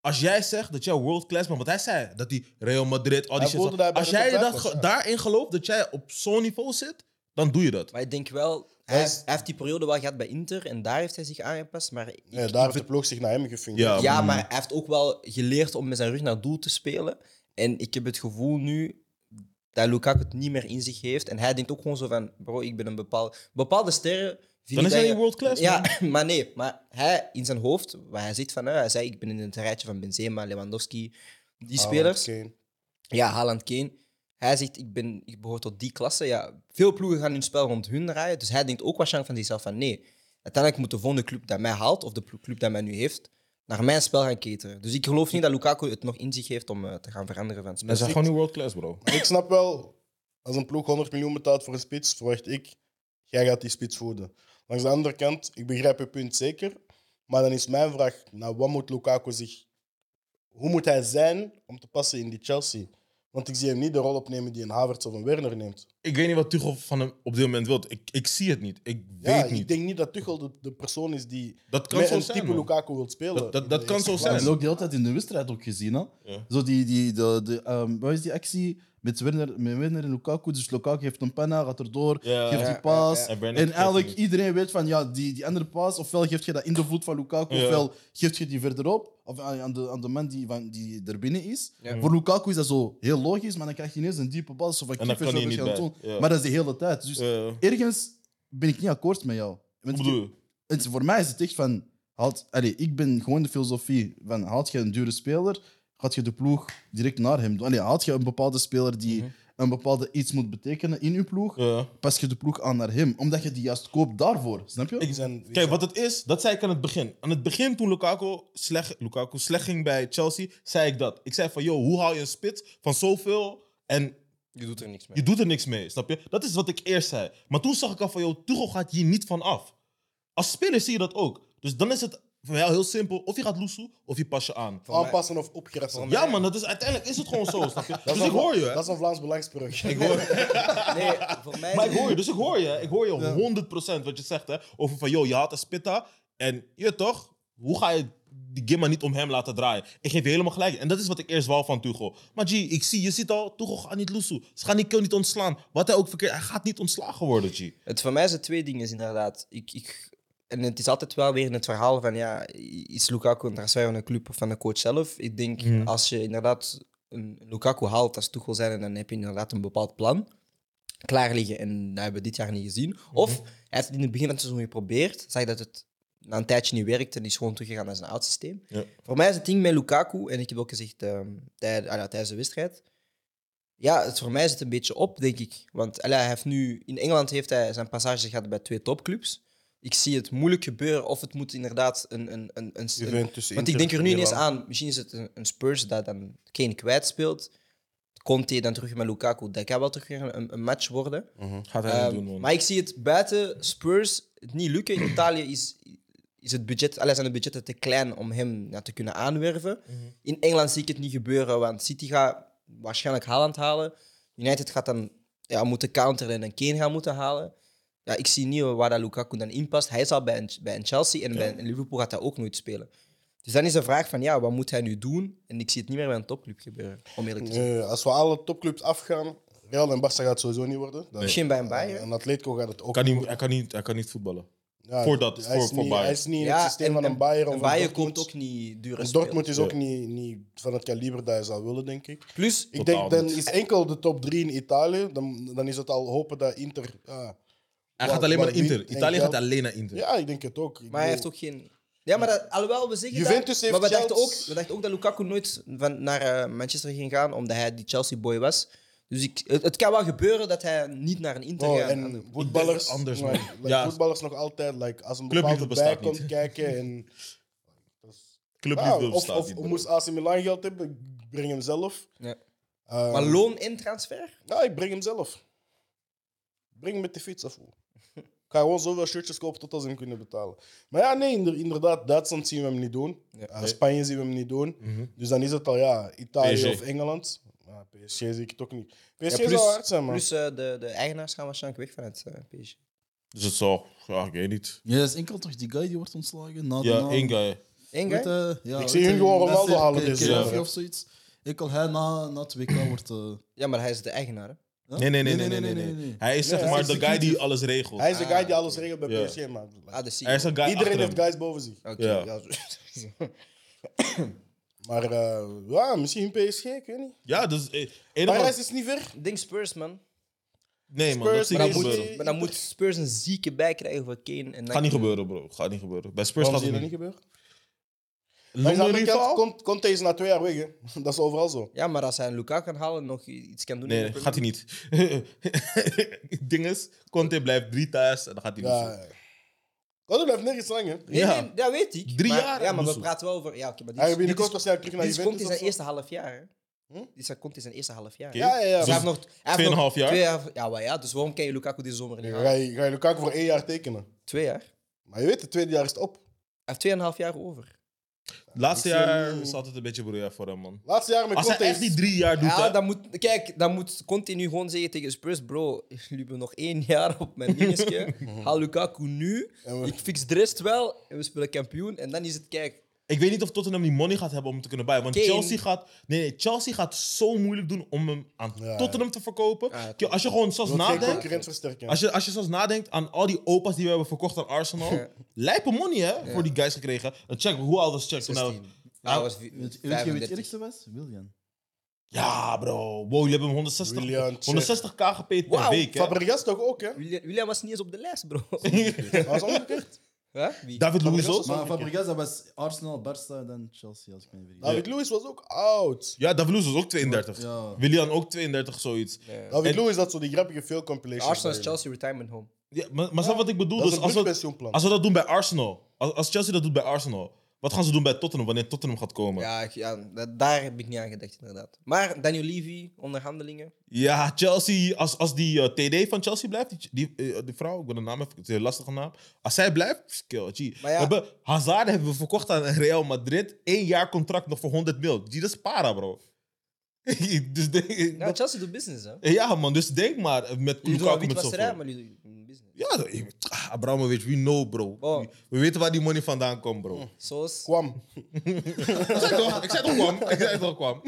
Speaker 2: Als jij zegt dat jij world class bent, want hij zei dat die Real Madrid, al die
Speaker 3: Hij
Speaker 2: shit.
Speaker 3: voelde dat hij bij
Speaker 2: als
Speaker 3: de
Speaker 2: jij
Speaker 3: top
Speaker 2: dat,
Speaker 3: was,
Speaker 2: ge-
Speaker 3: ja.
Speaker 2: daarin gelooft dat jij op zo'n niveau zit, dan doe je dat.
Speaker 1: Maar ik denk wel, hij,
Speaker 3: Hij is-
Speaker 1: heeft- hij heeft die periode wel gehad bij Inter en daar heeft hij zich aangepast. Maar ik-
Speaker 3: Ja,
Speaker 1: ik
Speaker 3: Eh, daar heeft de ploeg zich naar hem gefungeerd.
Speaker 2: Ja.
Speaker 1: Ja, maar hij heeft ook wel geleerd om met zijn rug naar het doel te spelen. En ik heb het gevoel nu dat Lukaku het niet meer in zich heeft. En hij denkt ook gewoon zo van, bro, ik ben een bepaalde... Bepaalde sterren... vind
Speaker 2: Dan
Speaker 1: ik
Speaker 2: is
Speaker 1: dat
Speaker 2: hij
Speaker 1: je-
Speaker 2: niet world class,
Speaker 1: Ja, maar nee. Maar hij, in zijn hoofd, waar hij zit van, hè, hij zei, ik ben in het rijtje van Benzema, Lewandowski, die
Speaker 2: Ah,
Speaker 1: spelers. Ja, Haaland, Kane. Hij zegt, ik, ben, ik behoor tot die klasse. Ja, veel ploegen gaan hun spel rond hun draaien. Dus hij denkt ook waarschijnlijk van zichzelf van nee. Uiteindelijk moet de volgende club dat mij haalt, of de plo- club dat mij nu heeft, naar mijn spel gaan cateren. Dus ik geloof niet dat Lukaku het nog in zich heeft om eh, te gaan veranderen van spel.
Speaker 2: Hij zijn gewoon niet world class, bro.
Speaker 3: Ik snap wel, als een ploeg 100 miljoen betaalt voor een spits, verwacht ik, jij gaat die spits voeden. Langs de andere kant, ik begrijp je punt zeker, maar dan is mijn vraag, nou, wat moet Lukaku zich... Hoe moet hij zijn om te passen in die Chelsea? Want ik zie hem niet de rol opnemen die een Havertz of een Werner neemt.
Speaker 2: Ik weet niet wat Tuchel van hem op dit moment wilt. Ik, ik zie het niet. Ik
Speaker 3: Ja,
Speaker 2: weet
Speaker 3: ik
Speaker 2: niet.
Speaker 3: denk niet dat Tuchel de, de persoon is die
Speaker 2: Dat kan
Speaker 3: met
Speaker 2: zo
Speaker 3: een
Speaker 2: zijn,
Speaker 3: type
Speaker 2: man.
Speaker 3: Lukaku wil spelen.
Speaker 2: Dat- dat-
Speaker 3: in
Speaker 2: dat
Speaker 3: de
Speaker 2: kan
Speaker 3: eerste
Speaker 2: zo
Speaker 4: We
Speaker 2: zijn.
Speaker 3: plaats.
Speaker 4: hebben ook de hele tijd in de wedstrijd ook gezien. Hè?
Speaker 2: Ja.
Speaker 4: Zo die, die, de, de, ehm, wat is die actie met Werner, met Werner en Lukaku? Dus Lukaku heeft een panna, gaat erdoor,
Speaker 2: Ja.
Speaker 4: geeft
Speaker 2: Ja,
Speaker 4: die paas.
Speaker 2: ja, ja. En Werner
Speaker 4: En
Speaker 2: geeft
Speaker 4: eigenlijk
Speaker 2: niet.
Speaker 4: iedereen weet van ja, die, die andere paas, ofwel geef je dat in de voet van Lukaku,
Speaker 2: Ja.
Speaker 4: ofwel geef je die verderop, of eh, aan, aan de, aan de man die, van, die er binnen is.
Speaker 1: Ja.
Speaker 4: Voor Lukaku is dat zo heel logisch, maar dan krijg je ineens een diepe bal. Zo van
Speaker 2: En dan
Speaker 4: keeper,
Speaker 2: kan
Speaker 4: zo
Speaker 2: hij
Speaker 4: van
Speaker 2: niet
Speaker 4: Anton.
Speaker 2: bij. Ja.
Speaker 4: Maar dat is de hele tijd. Dus
Speaker 2: Eh,
Speaker 4: ergens ben ik niet akkoord met jou. Want
Speaker 2: Wat
Speaker 4: ik-
Speaker 2: bedoel je?
Speaker 4: het, voor mij is het echt van. Haalt, allee, ik ben gewoon de filosofie van. Haalt je een dure speler, gaat je de ploeg direct naar hem doen. Allee, haalt je een bepaalde speler die een bepaalde iets moet betekenen in je ploeg,
Speaker 2: Mhm. Ja.
Speaker 4: pas je de ploeg aan naar hem. Omdat je die juist koopt daarvoor, snap je?
Speaker 3: Die zijn- die
Speaker 2: Kijk,
Speaker 3: zijn-
Speaker 2: wat het is, dat zei ik aan het begin. Aan het begin, toen Lukaku slecht, Lukaku slecht ging bij Chelsea, zei ik dat. Ik zei van, yo, hoe haal je een spits van zoveel en
Speaker 1: Je doet er niks mee.
Speaker 2: Je doet er niks mee, snap je? Dat is wat ik eerst zei. Maar toen zag ik al van, joh, Tuchel gaat hier niet van af. Als speler zie je dat ook. Dus dan is het voor mij heel simpel. Of je gaat loesoe, of je pas je aan.
Speaker 1: mij-
Speaker 3: Aanpassen of opgerassen.
Speaker 2: Ja man, dat is, uiteindelijk is het gewoon zo, snap je? Dus
Speaker 3: een
Speaker 2: ik
Speaker 3: Vla-
Speaker 2: hoor je. hè.
Speaker 3: Dat is een Vlaams belangsbrug.
Speaker 1: Ik hoor... Nee, voor mij...
Speaker 2: Maar ik hoor je, dus ik hoor je. Ik hoor je 100% wat je zegt, hè. Over van, joh, je had een spitta. En je toch, hoe ga je die Gimma niet om hem laten draaien? Ik geef je helemaal gelijk. En dat is wat ik eerst wou van Tuchel. Maar G, ik zie, je ziet al, Tuchel gaat niet loesoe. Ze gaan die kill niet ontslaan. Wat hij ook verkeerd, hij gaat niet ontslagen worden, G.
Speaker 1: Het voor mij zijn twee dingen, inderdaad. Ik, ik, en het is altijd wel weer in het verhaal van, ja, is Lukaku een transfer van een club of van de coach zelf? Ik denk, als je inderdaad een Lukaku haalt als Tuchel zijn, dan heb je inderdaad een bepaald plan klaar liggen. En dat hebben we dit jaar niet gezien. Of hij heeft het in het begin van het seizoen geprobeerd, zag dat het na een tijdje niet werkte en is gewoon teruggegaan naar zijn oud systeem.
Speaker 2: Ja.
Speaker 1: Voor mij is het ding met Lukaku, en ik heb ook gezegd ehm, tijd- ah ja, tijdens de wedstrijd, ja, het, voor mij zit het een beetje op, denk ik. Want allee, hij heeft nu, in Engeland heeft hij zijn passage gehad bij twee topclubs. Ik zie het moeilijk gebeuren of het moet inderdaad een... een, een, een, een-
Speaker 3: Juventus,
Speaker 1: want ik
Speaker 3: Inter,
Speaker 1: denk er nu ineens
Speaker 3: Milan.
Speaker 1: aan, misschien is het een, een Spurs dat dan Kane kwijtspeelt. Conte dan terug met Lukaku. Dat kan wel terug weer een, een match worden.
Speaker 2: Gaat hij niet
Speaker 1: Ehm,
Speaker 2: doen, man.
Speaker 1: maar ik zie het buiten Spurs het niet lukken. In Italië is, is het budget, allee, zijn de budgetten te klein om hem ja, te kunnen aanwerven.
Speaker 3: Mhm.
Speaker 1: In Engeland zie ik het niet gebeuren, want City gaat waarschijnlijk Haaland halen. United gaat dan ja, moeten counteren en Kane gaan moeten halen. Ja, ik zie niet waar dat Lukaku dan in past. Hij is al bij een, bij een Chelsea en bij een Liverpool gaat hij ook nooit spelen. Dus dan is de vraag van, ja, wat moet hij nu doen? En ik zie het niet meer bij een topclub gebeuren, om eerlijk te zijn.
Speaker 3: Nee, Eh, als we alle topclubs afgaan, Real en Barca gaat het sowieso niet worden. Dat-
Speaker 1: Misschien bij een Bayern.
Speaker 3: En Atletico gaat het ook
Speaker 2: Kan niet, hij, kan niet, hij kan niet voetballen.
Speaker 3: Ja,
Speaker 2: voor dat-
Speaker 3: hij is
Speaker 2: voor- voor
Speaker 3: niet,
Speaker 2: Bayern.
Speaker 3: Hij is niet in het systeem
Speaker 1: en-
Speaker 3: van een
Speaker 1: en-
Speaker 3: Bayern
Speaker 1: en
Speaker 3: of een
Speaker 1: Bayern
Speaker 3: Dortmund.
Speaker 1: komt ook niet duur
Speaker 3: En Dortmund is ook niet, niet van het kaliber dat hij zou willen, denk ik.
Speaker 1: Plus,
Speaker 3: Ik
Speaker 2: Totaal
Speaker 3: denk, dan
Speaker 2: niet.
Speaker 3: is enkel de top 3 in Italië. Dan, dan is het al hopen dat Inter... ah,
Speaker 2: Hij
Speaker 3: Waar-
Speaker 2: gaat alleen maar
Speaker 3: waar
Speaker 2: naar Inter.
Speaker 3: niet- en
Speaker 2: Italië
Speaker 3: geld-
Speaker 2: gaat alleen naar Inter.
Speaker 3: ja, ik denk het ook. Ik
Speaker 1: maar hij heeft
Speaker 3: bedoel,
Speaker 1: ook geen... Ja, maar dat, alhoewel, we zeggen dat,
Speaker 3: Juventus heeft
Speaker 1: maar we dachten, ook,
Speaker 3: Chelsea-
Speaker 1: we dachten ook dat Lukaku nooit van, naar eh, Manchester ging gaan, omdat hij die Chelsea-boy was. Dus ik, het, het kan wel gebeuren dat hij niet naar een Inter
Speaker 3: oh,
Speaker 1: gaat.
Speaker 3: en voetballers,
Speaker 2: anders,
Speaker 3: maar,
Speaker 2: man.
Speaker 3: like,
Speaker 2: Ja.
Speaker 3: voetballers nog altijd, like, als een
Speaker 2: Club
Speaker 3: bepaalde
Speaker 2: Juve
Speaker 3: bij
Speaker 2: bestaat
Speaker 3: komt
Speaker 2: niet.
Speaker 3: kijken. En,
Speaker 2: Club
Speaker 3: Ah,
Speaker 2: Liverpool
Speaker 3: of
Speaker 2: staat
Speaker 3: of
Speaker 2: niet.
Speaker 3: moest AC Milan geld hebben, ik breng hem zelf.
Speaker 1: Ja.
Speaker 3: Ehm,
Speaker 1: Maar loon en transfer?
Speaker 3: Ja, ik breng hem zelf. Ik Breng hem met de fiets af. hoor. Ik ga gewoon zoveel shirtjes kopen tot als ze hem kunnen betalen. Maar ja, nee, inder- inderdaad, Duitsland zien we hem niet doen. Eh, Spanje zien we hem niet doen. Dus dan is het al, ja, Italië
Speaker 2: PSG.
Speaker 3: of Engeland. Ja, PSG zie ik het ook niet. PSG
Speaker 1: plus-
Speaker 3: zou hard zijn, man.
Speaker 1: Plus eh, de, de eigenaars gaan waarschijnlijk weg vanuit eh PSG.
Speaker 2: Dus het zal... Ja, ik weet niet.
Speaker 4: Ja, dat is enkel toch die guy die wordt ontslagen? Na de
Speaker 2: Ja,
Speaker 3: nou-
Speaker 4: naam.
Speaker 2: één guy.
Speaker 1: Eén
Speaker 4: Weet,
Speaker 1: guy?
Speaker 4: eh, ja,
Speaker 3: Ik
Speaker 4: weet
Speaker 3: zie hun
Speaker 4: je,
Speaker 3: gewoon
Speaker 4: Messi,
Speaker 3: Ronaldo halen
Speaker 4: K-
Speaker 3: dit
Speaker 4: K-
Speaker 2: jaar.
Speaker 4: K- of zoiets. Enkel hij na, na het WK wordt... eh,
Speaker 1: Ja, maar hij is de eigenaar. hè?
Speaker 4: huh?
Speaker 2: Nee, nee, nee, nee, nee, nee, Hij is
Speaker 3: Nee,
Speaker 2: zeg
Speaker 3: hij
Speaker 2: maar
Speaker 3: is
Speaker 2: de guy die alles regelt.
Speaker 3: Hij is de
Speaker 1: Ah,
Speaker 3: guy die alles regelt bij
Speaker 2: Ja.
Speaker 3: PSG, man.
Speaker 1: Ah, de CEO.
Speaker 2: Hij is een guy
Speaker 3: Iedereen
Speaker 2: achter
Speaker 3: heeft
Speaker 2: hem.
Speaker 3: guys boven zich.
Speaker 1: Oké,
Speaker 2: Ja.
Speaker 1: ja, zo-
Speaker 3: Maar eh, ja, misschien PSG, ik weet niet.
Speaker 2: Ja, dus... eh, een of
Speaker 3: Parijs
Speaker 2: andere-
Speaker 3: is niet ver.
Speaker 1: Ik denk Spurs, man.
Speaker 2: Nee man, dat
Speaker 3: Spurs,
Speaker 2: zie ik
Speaker 1: Maar
Speaker 2: niet
Speaker 1: dan,
Speaker 3: Spurs.
Speaker 1: moet,
Speaker 2: gebeuren.
Speaker 1: maar dan moet Spurs een zieke bij krijgen voor Kane. En dan
Speaker 2: Gaat niet gebeuren bro, gaat niet gebeuren. Bij Spurs
Speaker 3: Waarom
Speaker 2: gaat
Speaker 3: zie je
Speaker 2: het
Speaker 3: dat niet
Speaker 2: niet.
Speaker 3: gebeuren? Maar aan de
Speaker 2: Londen
Speaker 3: andere kant
Speaker 2: rival?
Speaker 3: komt- komt deze na twee jaar weg, hè. Dat is overal zo.
Speaker 1: Ja, maar als hij een Lukaku kan halen en nog iets kan doen... in de
Speaker 2: Nee,
Speaker 1: Premier
Speaker 2: gaat hij niet. Ding is, Conte blijft drie thuis en dan gaat hij niet.
Speaker 3: Ja. eh. Conte blijft nergens lang, hè?
Speaker 1: Nee,
Speaker 2: Ja.
Speaker 1: nee, dat weet ik.
Speaker 2: Drie
Speaker 1: maar,
Speaker 2: jaar
Speaker 1: Ja, maar we
Speaker 2: Boezel.
Speaker 1: praten wel over. Ja, oké, maar dit,
Speaker 3: Hij
Speaker 1: is-
Speaker 3: gaat Ah, binnenkort
Speaker 1: dit,
Speaker 3: waarschijnlijk
Speaker 1: is,
Speaker 3: terug naar
Speaker 1: dit dus is
Speaker 4: dus
Speaker 3: Juventus.
Speaker 1: Conte zijn
Speaker 3: of
Speaker 1: eerste half jaar. Hè?
Speaker 3: Hm?
Speaker 1: Dit is Conte zijn eerste half jaar.
Speaker 2: Oké.
Speaker 3: Ja, ja, ja.
Speaker 1: Dus hij heeft nog, hij heeft nog
Speaker 2: Tweeënhalf jaar?
Speaker 1: twee jaar. Ja, maar ja, dus waarom kan je Lukaku deze zomer niet
Speaker 3: zo.
Speaker 1: halen?
Speaker 3: Ga je, ga je Lukaku voor één jaar tekenen.
Speaker 1: Twee jaar. Hij
Speaker 3: Maar je weet, het tweede jaar is het op.
Speaker 1: heeft tweeënhalf jaar over.
Speaker 2: Laatste
Speaker 3: Ik zie hem
Speaker 2: jaar
Speaker 3: niet.
Speaker 2: is altijd een beetje broeia voor hem man.
Speaker 3: Laatste jaar met
Speaker 2: Als
Speaker 3: Conte
Speaker 2: hij echt
Speaker 3: is...
Speaker 2: die drie jaar doet,
Speaker 1: Ja,
Speaker 2: hè,
Speaker 1: dan moet, kijk, dan moet Conte nu gewoon zeggen tegen Spurs, bro, jullie hebben nog één jaar op mijn dingetje.
Speaker 2: Mhm.
Speaker 1: Haal Lukaku nu,
Speaker 3: En we-
Speaker 1: ik fix de rest wel en we spelen kampioen. En dan is het, kijk,
Speaker 2: Ik weet niet of Tottenham die money gaat hebben om hem te kunnen buyen. Want
Speaker 1: Kane.
Speaker 2: Chelsea, gaat, nee, nee, Chelsea gaat zo moeilijk doen om hem aan
Speaker 3: Ja.
Speaker 2: Tottenham te verkopen.
Speaker 1: Ah,
Speaker 2: Kijk, als je gewoon zelfs
Speaker 3: wil geen
Speaker 2: nadenkt.
Speaker 3: concurrent versterken.
Speaker 2: Als je, als je zelfs nadenkt aan al die opa's die we hebben verkocht aan Arsenal.
Speaker 1: Ja.
Speaker 2: Lijpe money, hè? Voor die guys gekregen. En check, hoe oud was Check toen? hij-
Speaker 1: 16. Hij was vi-
Speaker 4: Weet weet je wie het
Speaker 1: 35.
Speaker 4: ergste was? William.
Speaker 2: Ja, bro. Wow, jullie hebben hem 160,
Speaker 3: Willian, check.
Speaker 2: 160k gepeet per
Speaker 1: Wauw,
Speaker 2: week, hè?
Speaker 3: Fabregas toch ook, hè?
Speaker 1: William, William was niet eens op de lijst, bro.
Speaker 3: Hij was omgekeerd.
Speaker 1: Huh? Wie?
Speaker 2: David Luiz ook.
Speaker 3: Fabregas was
Speaker 4: Maar
Speaker 3: omgekeerd.
Speaker 4: Fabregas, dat was Arsenal, Barca, dan Chelsea, als ik me niet vergis.
Speaker 3: David Luiz was ook oud.
Speaker 2: Ja, David Luiz was ook 32.
Speaker 4: Ja.
Speaker 2: Willian ook 32, zoiets.
Speaker 1: Ja.
Speaker 3: David
Speaker 2: En-
Speaker 3: Luiz had zo die grappige veel compilations.
Speaker 1: Arsenal is
Speaker 3: bij hem.
Speaker 1: Chelsea retirement home.
Speaker 2: Oh. Ja, maar maar snap wat ik bedoel?
Speaker 3: Dat is
Speaker 2: Dus
Speaker 3: een
Speaker 2: als we,
Speaker 3: pensioenplan.
Speaker 2: als we dat doen bij Arsenal. Als, als Chelsea dat doet bij Arsenal. Wat gaan ze doen bij Tottenham wanneer Tottenham gaat komen? Ja,
Speaker 1: Ja, ik- ja da- daar heb ik niet aan gedacht, inderdaad. Maar Daniel Levy, onderhandelingen.
Speaker 2: Chelsea, als, als die eh, TD van Chelsea blijft, die, die, eh, die vrouw, ik ben de naam even, het is een lastige naam. Als zij blijft, kill, G.
Speaker 1: Maar ja.
Speaker 2: We hebben, Hazard hebben we verkocht aan Real Madrid. Eén jaar contract nog voor 100 mil. G, dat is para, bro. dus denk,
Speaker 1: Ja, Chelsea doet business, hè?
Speaker 2: ja, man, dus denk maar met
Speaker 1: Ludo
Speaker 2: Lukaku
Speaker 1: Wit
Speaker 2: met
Speaker 1: was
Speaker 2: zoveel.
Speaker 1: er, hè, maar Ludo business.
Speaker 2: Ja, dat- ah, Abramovic, we know, bro.
Speaker 1: Oh. Hm.
Speaker 2: We, we weten waar die money vandaan komt, bro.
Speaker 1: Soos.
Speaker 3: Kwam.
Speaker 2: Ik zei toch, ik zei toch kwam. Ik zei toch kwam.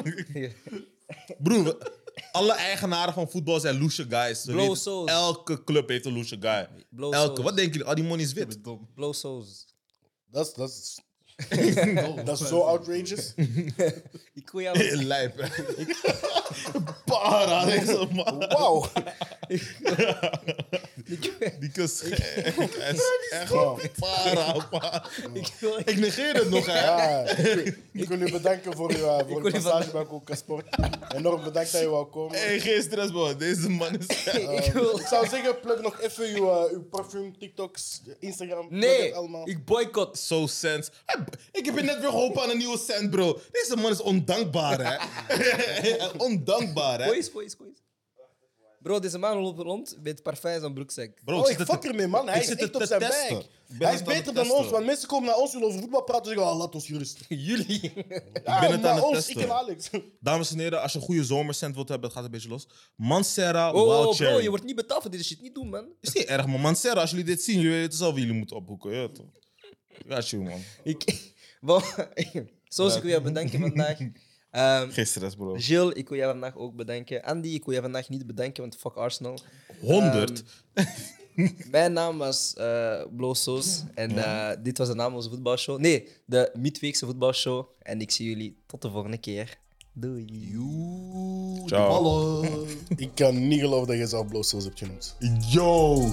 Speaker 2: Broer, we- alle eigenaren van voetbal zijn loesje guys. Ze
Speaker 1: Blow
Speaker 2: weten-
Speaker 1: souls.
Speaker 2: Elke club heeft een loesje guy.
Speaker 1: Blow
Speaker 2: elke.
Speaker 1: souls.
Speaker 2: Wat denken jullie? Al die money is wit.
Speaker 1: Blow Soos.
Speaker 3: Dat is- dat is... Dat is zo outrageous.
Speaker 1: Ik wil jou...
Speaker 2: Lijp. Para, deze man.
Speaker 3: Wauw.
Speaker 2: Die kus. Hij is echt
Speaker 3: Wow.
Speaker 2: para, para.
Speaker 1: Ik wil...
Speaker 2: Ik negeer het nog, hè.
Speaker 3: Ja, ik wil u bedanken voor uw eh, voor
Speaker 1: wil
Speaker 3: uw
Speaker 1: u
Speaker 3: passage bij Coca Sport. Enorm bedankt dat je wou komen.
Speaker 2: Hey, geen stress, man. Deze man is...
Speaker 3: Eh,
Speaker 1: Ik wil...
Speaker 3: ik zou zeggen, plug nog even uw, eh, uw parfum, TikToks, Instagram. plug
Speaker 1: Nee,
Speaker 3: het allemaal.
Speaker 1: ik boycott.
Speaker 2: Zo sens. Hij- Ik heb je net weer geholpen aan een nieuwe cent, bro. Deze man is ondankbaar, hè? ondankbaar, hè?
Speaker 1: Koeis, koeis, koeis. Bro, deze man loopt rond met parfum in zijn broekzak.
Speaker 2: Bro,
Speaker 3: Oh,
Speaker 2: zit
Speaker 3: ik
Speaker 2: het
Speaker 3: fuck
Speaker 2: te-
Speaker 3: ermee, man. Hij
Speaker 2: ik
Speaker 3: is
Speaker 2: zit
Speaker 3: echt
Speaker 2: het
Speaker 3: op
Speaker 2: te
Speaker 3: zijn
Speaker 2: testen.
Speaker 3: bek.
Speaker 2: Ik ben
Speaker 3: Hij is
Speaker 2: het aan het
Speaker 3: beter dan
Speaker 2: testen.
Speaker 3: ons, want mensen komen naar ons, willen over voetbal praten en zeggen, oh, laat ons gerust.
Speaker 1: Jullie.
Speaker 3: Ja,
Speaker 2: ben het
Speaker 3: maar
Speaker 2: aan het
Speaker 3: ons,
Speaker 2: testen.
Speaker 3: Ah, ik en Alex.
Speaker 2: Dames en heren, als je een goede zomercent wilt hebben, het gaat een beetje los. Mancera
Speaker 1: Oh,
Speaker 2: Wild Cherry.
Speaker 1: bro, je wordt niet betaald voor deze shit. Niet doen, man.
Speaker 2: Is niet erg, man. Mancera, als jullie dit zien, jullie weten zelf wie jullie moeten opboeken. Ja, toch? Ja, chill, man.
Speaker 1: Ik... Bon, Soos, ik wil jou bedanken vandaag. Ehm,
Speaker 2: Geen stress, bro.
Speaker 1: Gilles, ik wil jou vandaag ook bedanken. Andy, ik wil jou vandaag niet bedanken, want fuck Arsenal.
Speaker 2: 100.
Speaker 1: Ehm, Mijn naam was eh Blow Soos en eh, dit was de naam van onze voetbalshow. Nee, de midweekse voetbalshow. En ik zie jullie tot de volgende keer. Doei.
Speaker 2: Ciao.
Speaker 4: Hallo.
Speaker 3: Ik kan niet geloven dat je zelf bloot hebt genoemd.
Speaker 2: Yo!